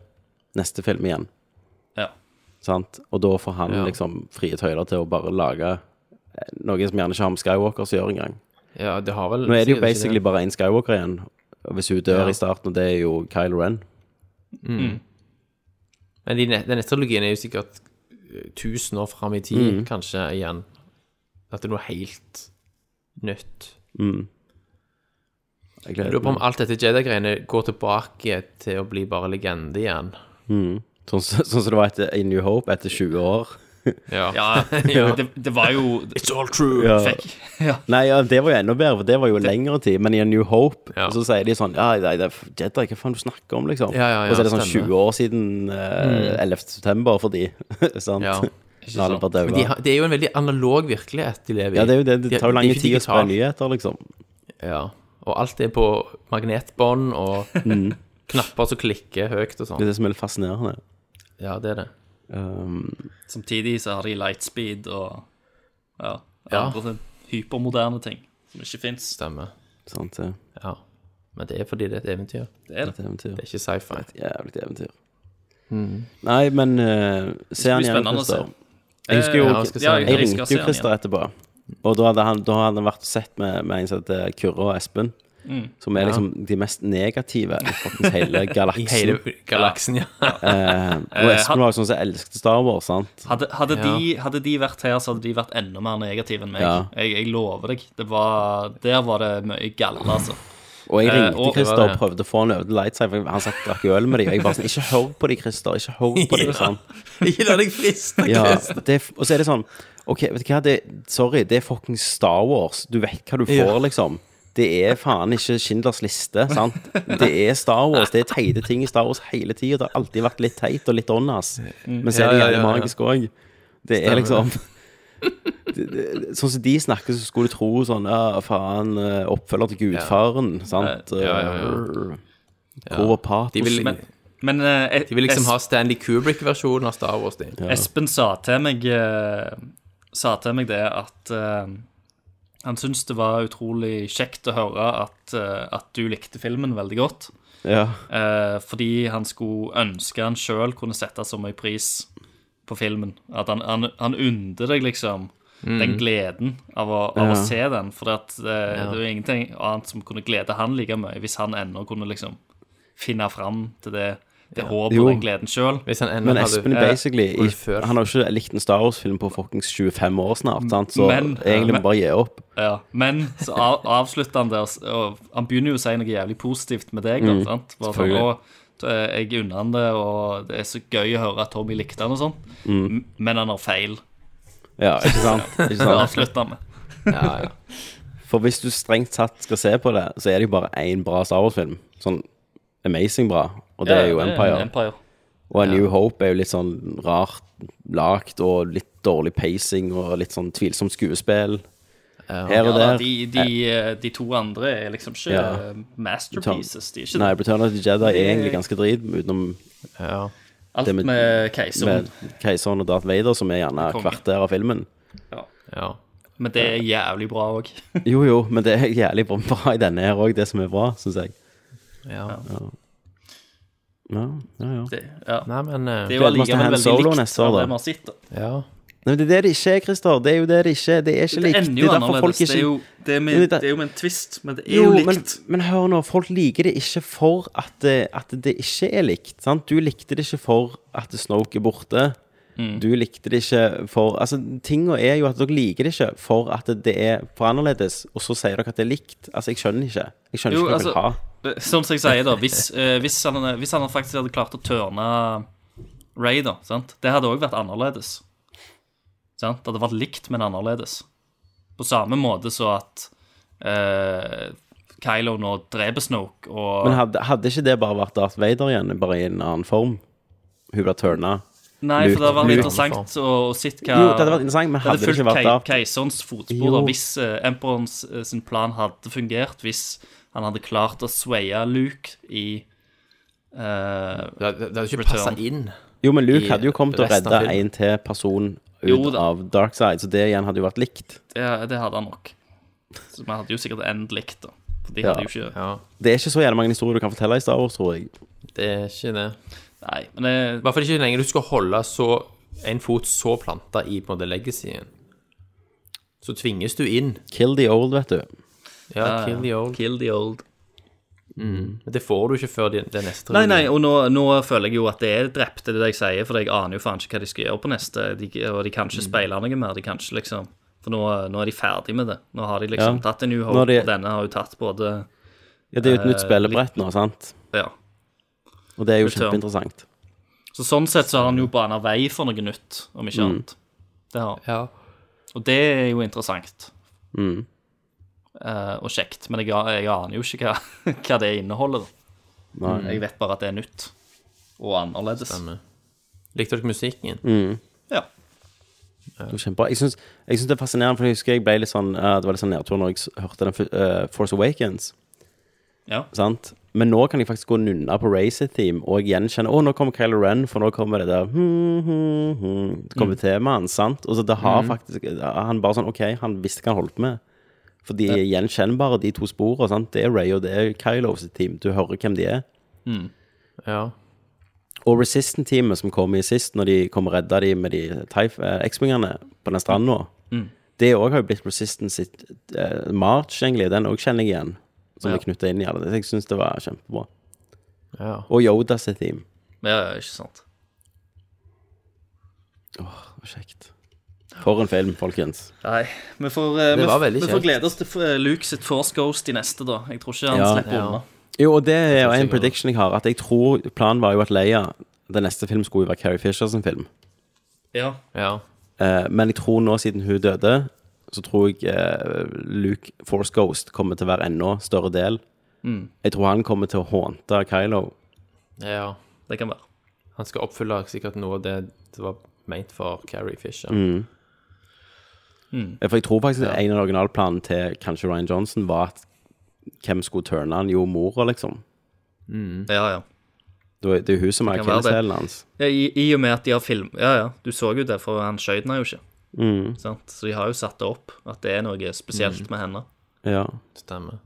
D: neste film igjen.
F: Ja.
D: Sant? Og da får han
E: Ja.
D: liksom frie tøyler til å bare lage eh, noe som gjerne ikke har med Skywalker å gjøre engang.
E: ja, det har
D: Nå
E: vel
D: er det
E: sier
D: jo
E: ikke
D: basically bare én Skywalker igjen, og hvis hun dør
E: Ja.
D: i starten, og det er jo Kylo Ren.
E: Men de, ne- den neste trilogien er jo sikkert eh, 1000 år fram i tid,
D: Mm.
E: kanskje, igjen.
D: Mm.
E: At det er noe helt nytt.
D: Jeg
E: Jeg
D: gleder
E: lurer på
D: meg.
E: om alt dette Jedi-greiene går tilbake til å bli bare legende igjen.
D: Sånn som sånn som det var etter A New Hope, etter 20 år.
E: Ja.
H: Ja, det, det var jo It's all true.
D: Ja.
H: Fikk. Ja.
D: Nei, ja, det var jo enda bedre, for det var jo lengre tid. Men i A New Hope
E: Ja.
D: så sier de sånn Ja, nei, det er Jedi, hva faen du snakker om, liksom?
E: Ja, ja, ja,
D: og så er det sånn
E: stemmer. Mm.
D: 20 år siden eh, 11. september for de, sant?
E: Ja.
D: Nå er det bare
E: Men de,
D: daua.
E: har- det er jo en veldig analog virkelighet de lever i.
D: Ja, det, er jo det, det
E: De-
D: tar jo
E: de er
D: lang
E: ikke
D: tid å spre
E: digitale.
D: nyheter, liksom.
E: Ja. Og alt er på magnetbånd og knapper som klikker høyt og
D: Mm. Det
E: sånn.
D: er det som er litt fascinerende.
E: Ja, det er det.
D: Um,
F: Samtidig så har de lightspeed og ja,
E: Ja.
F: andre ting. hypermoderne ting som ikke fins.
E: Stemmer.
D: sant, det
E: Ja. Men det er fordi det er et eventyr. Det
D: er et eventyr.
E: er ikke Mm. sci-fi.
D: Jævlig eventyr. Nei, men uh, se han
F: blir
D: igjen,
F: spennende å se.
D: Christer. Jeg husker jo
E: Ja, jeg skal se han
D: Jeg
E: igjen.
F: skal
D: ringte
F: se
D: jo
F: han
D: Christer
F: igjen.
D: etterpå. Og da hadde han, da hadde han vært og sett med, med en som heter Kyrre og Espen. Som er liksom de mest negative i fuckings hele
E: I
D: galaksen.
E: hele galaksen, ja.
D: Eh, og Espen var jo sånn som elsket Star Wars, sant?
F: Hadde, hadde,
E: Ja.
F: de, hadde de vært her, så hadde de vært enda mer negative enn meg.
D: Ja.
F: Jeg, jeg lover deg. Det var, der var det mye galle, altså.
D: Eh, Og jeg
F: og-
D: ringte
E: det var
D: Christer
E: det.
D: og prøvde å få han over til lightside, for han satt og drakk øl med dem. Og jeg bare sånn Ikke hør på dem, Christer. Ikke hør på dem. Sånn.
E: Ikke la deg friste,
D: Ja,
E: Chris.
D: det, er f- og så er det sånn Ok, vet du hva, det, sorry, det er fucking Star Wars. Du vet hva du får,
E: Ja.
D: liksom. Det er faen ikke Schindlers liste, sant? Det er Star Wars. Det er teite ting i Star Wars hele tida. Det har alltid vært litt teit og litt åndas. Men så er det
E: Mm. Ja, ja,
D: gjerne
E: ja, ja.
D: magisk òg. Det er liksom Det- det- Sånn som de snakker, så skulle du tro sånn Ja, faen, eh, oppfølger til Gudfaren, sant? Hvor var patos?
E: De vil,
F: Men, men eh,
E: de vil liksom
F: Es-
E: ha Stanley Kubrick-versjonen av Star Wars. De.
F: Espen sa til meg eh, Sa til meg det at eh, Han syntes det var utrolig kjekt å høre at, eh, at du likte filmen veldig godt.
D: Ja.
F: Eh, fordi han skulle ønske han sjøl kunne sette så mye pris på filmen. At han, han, han under deg liksom den gleden av å, av
D: Mm. Ja.
F: å se den. For at, eh, det er jo ingenting annet som kunne glede han like mye, hvis han ennå kunne liksom finne fram til det, det håpet
D: Jo.
F: og den gleden sjøl.
E: Hvis han ennå
D: Men
E: hadde-
D: Espen er
E: eh,
D: basically
E: var det
D: i,
E: før?
D: Han har jo ikke likt en Star Wars-film på fuckings 25 år snart, sant? så
F: Men-
D: egentlig må
F: men-
D: vi bare gi opp.
F: Ja, men så av, avslutter han det, og s- og han begynner jo å si noe jævlig positivt med deg. da, sant? Bare
D: Mm.
F: sånn,
D: selvfølgelig.
F: «Å, t- eh, jeg unner han det, og det er så gøy å høre at Tommy likte han og sånn.
D: Mm.
F: M- Men han har feil.
D: Ja, ikke sant? Ikke
F: Det
D: sant?
F: avslutter han med.
E: ja, ja.
D: For hvis du strengt tatt skal se på det, så er det jo bare én bra Star Wars-film. Sånn amazing bra, og det er jo Empire.
F: Empire.
D: Og A New Hope er jo litt sånn rart lagt, og litt dårlig pacing, og litt sånn tvilsomt skuespill. Her
F: Ja,
D: og
F: da,
D: der.
F: de, de, eh, de to andre er liksom ikke
D: Ja.
F: eh, masterpieces. De er ikke
D: Nei, Return of the Jedi er egentlig ganske drit, utenom
E: ja.
F: alt
D: det med-
F: med
D: med
F: keiseren.
D: Keiseren og Darth Vader, som er gjerne
F: Konge.
D: kvarter av filmen.
E: ja.
F: Men det er jævlig bra òg.
D: Jo, jo, men det er jævlig bra- bra i denne her òg, det som er bra, syns jeg.
E: ja.
D: Ja, ja, ja.
F: Ja.
E: Nei, men eh,
F: Det er jo
D: Gleder meg til
F: allikevel
D: Han
F: veldig
D: Solo
F: likt
D: neste år,
F: av
D: da.
F: det vi har sett. da.
E: ja.
D: Nei, men det er det det ikke er, Christer. Det er jo det det ikke er. Det er ikke
F: Det
D: likt.
F: ender jo
D: er derfor folk
F: annerledes. Det er jo- det er med-
D: Det er-
F: det er jo med en twist, men det er
D: Jo,
F: jo
D: men,
F: likt.
D: men hør nå. Folk liker det ikke for at det, at det ikke er likt. Sant? Du likte det ikke for at Snoke er borte.
F: Mm.
D: Du likte det ikke for Altså, tinga er jo at dere liker det ikke for at det er for annerledes, og så sier dere at det er likt. Altså, jeg skjønner ikke. Jeg skjønner
F: Jo,
D: ikke hva
F: altså-
D: dere vil ha.
F: Sånn som jeg sier, da. Hvis, eh, hvis, han, hvis han faktisk hadde klart å tørne Ray, da, sant? det hadde òg vært annerledes. Sant? Det hadde vært likt, men annerledes. På samme måte så at eh, Kylo nå dreper Snoke og
D: Men hadde, hadde ikke det bare vært Darth Vader igjen, bare i en annen form? Hun ble turna.
F: Nei, for det hadde vært
D: Luke-
F: interessant å, å se hva
D: Jo, det hadde vært interessant, men
F: Det hadde
D: hadde det ikke
F: fulgt
D: vært
F: kei,
D: Darth
F: keiserens fotspor da,
D: Jo.
F: hvis uh, emperorens eh, sin plan hadde fungert, hvis han hadde klart å sveie Luke i eh,
E: Det, det, det hadde ikke
F: Return.
E: passa inn.
D: Jo, men Luke
E: i
D: hadde jo kommet til å
E: resten
D: redde
E: av filmen.
D: en til person ut
F: Jo da.
D: av dark side, så det igjen hadde jo vært likt.
F: det, det hadde han nok. Så vi hadde jo sikkert endt likt, da. For de
D: Ja.
F: hadde jo ikke
E: Ja,
D: Det er ikke så gjerne mange historier du kan fortelle i Star Wars, tror jeg.
E: det er ikke det.
F: Nei, men det,
E: I hvert fall ikke lenger du skal holde så, en fot så planta i på en måte legacyen. Så tvinges du inn.
D: Kill the old, vet du.
E: Ja, kill the old.
F: Kill the old.
E: Men det får du ikke før de- det neste
F: Nei, nei, og nå, nå føler jeg jo at det er drept, det er det jeg sier, for jeg aner jo faen ikke hva de skal gjøre på neste, de, og de kan ikke
D: Mm.
F: speile noe mer, de kan ikke liksom For nå, nå er de ferdig med det. Nå har de liksom
D: Ja.
F: tatt en
D: Nå er
F: UH,
D: de-
F: og denne har jo tatt både
D: Ja, det er jo
E: Eh,
D: et nytt spillebrett nå, sant?
F: Ja.
D: Og det er jo
F: Return.
D: kjempeinteressant.
F: Så sånn sett så har han jo bana vei for noe nytt, om
D: Mm.
F: ikke annet. Det har han.
E: Ja.
F: Og det er jo interessant.
E: Mm.
F: Eh, og kjekt, men jeg, jeg aner jo ikke hva, hva det inneholder.
D: Nei.
F: Jeg vet bare at det er nytt og annerledes.
E: Stemmer. Likte dere musikken?
D: Mm.
F: Ja.
D: Det var kjempebra. Jeg syns, jeg syns det er fascinerende, for jeg husker jeg ble litt sånn, eh, det var litt sånn nedtur når jeg s- hørte den fyr- eh, Force Awakens.
F: Ja.
D: Sant? Men nå kan jeg faktisk gå og nunne på racer-theme og gjenkjenne Å, nå kommer Kylo Ren, for nå kommer det der hmm, hmm, hmm. Det kommer temaet hans, sant? Og så det har faktisk Han bare sånn OK, han visste hva han holdt på med. For de er gjenkjennbare, de to sporene. Sant? Det er Ray og det er Kylo sitt team. Du hører hvem de er.
E: Ja.
D: Og Resistant-teamet som kom i sist, når de kom og redda de med de Typh- eh, X-wingene på den stranda, det òg har jo blitt Resistant sitt eh, march, egentlig. Den òg kjenner jeg igjen, som er knytta inn i alle. Jeg syns det var kjempebra.
E: ja.
D: Og Yoda sitt team.
F: ja, ja, ikke sant.
D: Åh, kjekt. For en film, folkens.
F: Nei, vi får, eh, vi,
E: Det var
F: f-
E: veldig
F: vi får
E: kjekt.
F: glede oss til eh, Luke sitt Force Ghost i neste, da. Jeg tror ikke han
D: Ja.
F: slipper
E: Ja.
F: unna.
D: Jo, og det er jo
E: tror
D: en
E: sikkert-
D: prediction jeg har. At jeg tror planen var jo at Leia Den neste film skulle jo være Carrie Fisher sin film.
F: Ja.
E: ja.
D: Eh, men jeg tror nå, siden hun døde, så tror jeg eh, Luke Force Ghost kommer til å være enda større del. Jeg tror han kommer til å hånte Kylo.
E: ja.
F: Det kan være.
E: Han skal oppfylle sikkert noe av det det var meint for Carrie Fisher.
D: Mm. Eh, For jeg tror faktisk en av originalplanene til kanskje Ryan Johnson var at hvem skulle turne han? Jo, mora, liksom.
F: Ja, ja.
D: Det var- det er jo hun som er
F: kan være det.
D: akilleshælen hans.
F: Ja, I, I og med at de har film... Ja, ja, du så jo det, for han skjøt henne jo ikke.
E: Mm.
F: Sant? Så de har jo satt det opp, at det er noe spesielt med henne.
D: Ja.
E: Stemmer.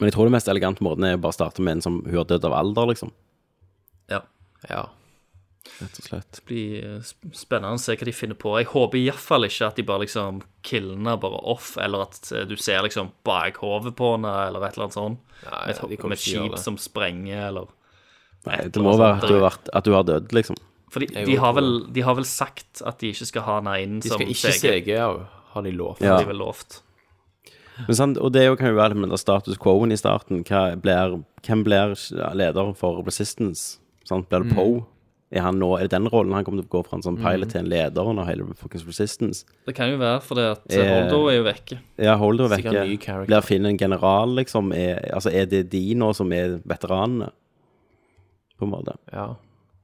D: Men jeg tror den mest elegante måten er å bare starte med en som hun har dødd av alder, liksom.
F: Ja.
E: Ja.
D: Rett og slett.
F: Det blir eh, sp- spennende å se hva de finner på. Jeg håper iallfall ikke at de bare liksom killer henne bare off, eller at eh, du ser liksom bakhovet på henne, eller et eller annet sånt.
E: Nei,
F: Med, et ho-
E: de
F: med
E: kommer
F: et
E: ikke til å gjøre
F: skip
E: det.
F: som sprenger, eller
D: Nei,
F: et
D: det
F: eller
D: må
F: annet
D: være
F: sånt.
D: at du har, vært, at du har dødd, liksom.
F: For de,
E: Jeg
F: de,
E: håper
F: har vel, de har vel sagt at de ikke skal ha henne inn
E: De
F: som
E: skal ikke
F: seger,
E: sege av, har de lovt.
D: Ja.
F: har de vel lovt.
D: Men sant, og det er jo- kan jo være med den status quo-en i starten. Hva blir, hvem blir leder for Resistance? Sant? Blir
E: Mm.
D: det Poe? Er, han nå, er det den rollen han kommer til å gå fra en sånn pilot til en leder under hele fuckings Resistance?
F: Det kan jo være, for det at
D: Eh,
F: Holdo er jo vekke.
D: Ja, Holdo er
E: Sikkert en ny
D: vekke.
E: character.
D: Blir Finn en general, liksom? Er, altså, er det de nå som er veteranene? På en måte.
E: Ja,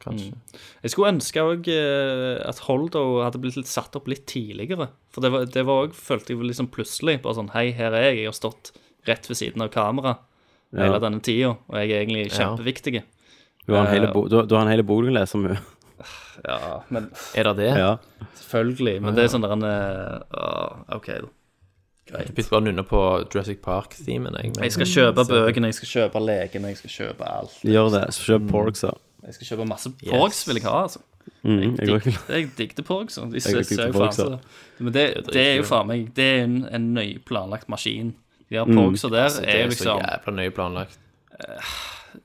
E: kanskje.
F: Mm. Jeg skulle ønske òg at Holdo hadde blitt litt satt opp litt tidligere. For det var- det var òg, følte jeg liksom plutselig, bare sånn Hei, her er jeg. Jeg har stått rett ved siden av kamera hele denne tida, og jeg er egentlig kjempeviktig.
D: Du har en hele bo- du- du har en hel bok du leser om henne.
F: Ja, men
E: Er det det?
D: Ja.
F: Selvfølgelig. Men det er sånn der en eh, ah, OK, da.
E: Jeg begynte bare å nunne på Jurassic Park-themen. Jeg, men-
F: Jeg skal kjøpe bøkene, jeg skal kjøpe lekene, jeg skal kjøpe alt.
D: Gjør det. Så
E: Mm.
D: Kjøp Porgs, da.
F: Jeg skal kjøpe masse Porgs vil jeg ha, altså.
D: Mm, jeg går ikke
F: Dik- Jeg digget Porgs. og De
D: digger
F: ser ser jo faen
D: Porgs, altså.
F: så Men det, det er jo faen meg Det er en, en nøye planlagt maskin. De
D: Mm.
F: her Porgsa der
E: Altså, Det
F: er
E: er
F: jo
E: så
F: liksom
E: jævla nøye planlagt.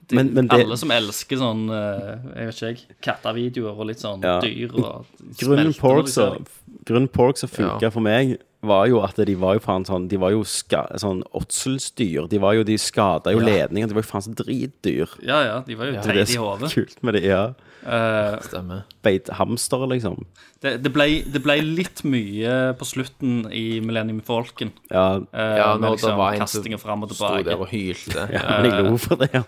F: de,
D: Men- men det-
F: Alle som elsker sånn eh, Jeg vet ikke, jeg, kattevideoer og litt sånn
D: Ja.
F: dyr og
D: Grunnen
F: smelter når de
D: Porgs
F: ser
D: og-
F: dem.
D: grunnen Porgs har funka
E: Ja.
D: for meg, var jo at de var jo faen sånn De var jo ska, sånn åtselsdyr. De var jo, de skada jo ledningen. De var jo faen så dritdyr.
F: Ja, ja, de var jo
D: Det er
F: teite i
D: så
F: hodet.
D: kult med det. Ja.
F: Eh,
E: Stemmer.
D: Beit hamster, liksom.
F: det, det, ble- det ble litt mye på slutten i Millennium Falcon.
D: Ja,
F: eh,
E: Ja,
F: med
E: når det
F: liksom
E: var en
F: kastinger fram
E: som
F: og
E: sto der
F: tilbake.
E: og hylte.
D: ja men jeg lo for det.
F: eh,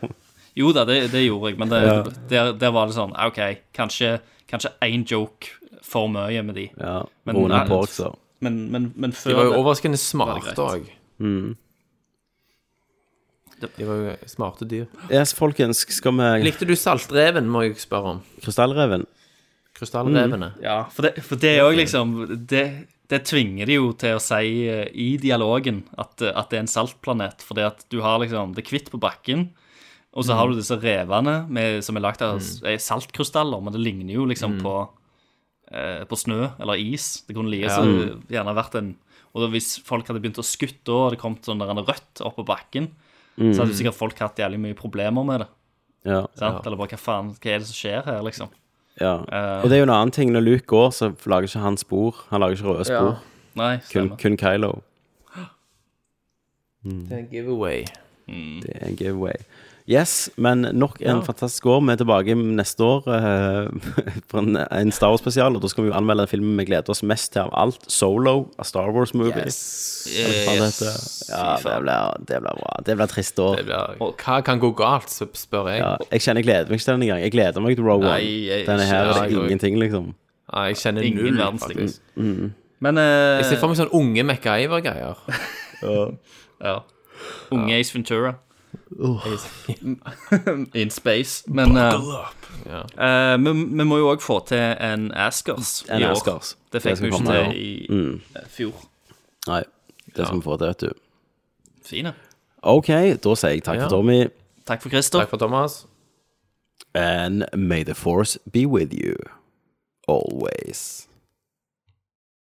F: Jo da, det, det gjorde jeg, men det, der, der var det sånn OK, kanskje Kanskje én joke for mye med de.
D: Ja,
F: Men-
D: Grunnen
F: Nei.
D: Porgs og-
F: Men, men, men før
E: De var jo
F: det-
E: overraskende
F: Var det Mm.
E: smarte òg.
F: Det-
E: De var jo smarte dyr.
D: Yes, folkens, skal vi
E: Likte du saltreven, må jeg spørre om?
D: Krystallreven?
E: Krystallrevene.
F: Ja, for det, for det er jo liksom det, det tvinger de jo til å si eh, i dialogen at, eh, at det er en saltplanet. Fordi at du har liksom det hvitt på bakken, og så har du disse revene med, som er lagd av s- eh, saltkrystaller, men det ligner jo liksom på, eh, på snø eller is. Det kunne like så gjerne vært en Og da hvis folk hadde begynt å skutte, og det kom sånn der en rødt opp på bakken, så hadde jo sikkert folk hatt jævlig mye problemer med det.
D: Ja.
F: Sant? Eller bare hva faen, hva er det som skjer her, liksom?
D: ja. Og
F: Eh.
D: det er jo en annen ting. Når Luke går, så lager ikke han spor. Han lager ikke røde spor.
F: Nei,
D: Kun,
F: stemmer.
D: kun Kylo.
E: Det er en giveaway.
D: Det er en giveaway. Yes, men nok en fantastisk år. Vi er tilbake neste år eh, for en, en Star Wars-spesial, og da skal vi jo anmelde filmen vi gleder oss mest til av alt. Solo, A Star Wars-movie.
F: Yes.
D: Ja, det blir, det blir bra. Det blir trist år.
E: Det blir, hva kan gå galt, så spør jeg.
D: Ja, jeg kjenner jeg gleder meg ikke til den engang. Jeg gleder meg til Row One.
E: Nei, jeg-
D: Denne her
E: ja,
D: er
E: jeg
D: det
E: går-
D: ingenting, liksom.
E: Nei, jeg kjenner
F: Ingen
E: null,
F: verdens ting.
E: faktisk.
D: Mm,
F: Men eh,
E: Jeg ser for meg sånn unge MacGyver-greier.
F: ja. Unge Ace Ventura.
E: Jeg-
F: In space. Men eh, eh, vi, vi må jo òg få til en Askers
D: En
F: i år.
D: Askers.
F: Det
D: Det
F: fikk
D: skal
F: vi jo ikke
D: komme Mm. i år.
F: til i eh, fjor.
D: Nei, det skal vi få til, vet du.
F: Fine.
D: OK, da sier jeg takk
E: Ja.
D: for Tommy,
F: Takk for Christer.
E: Takk for Thomas.
D: and may the force be with you always.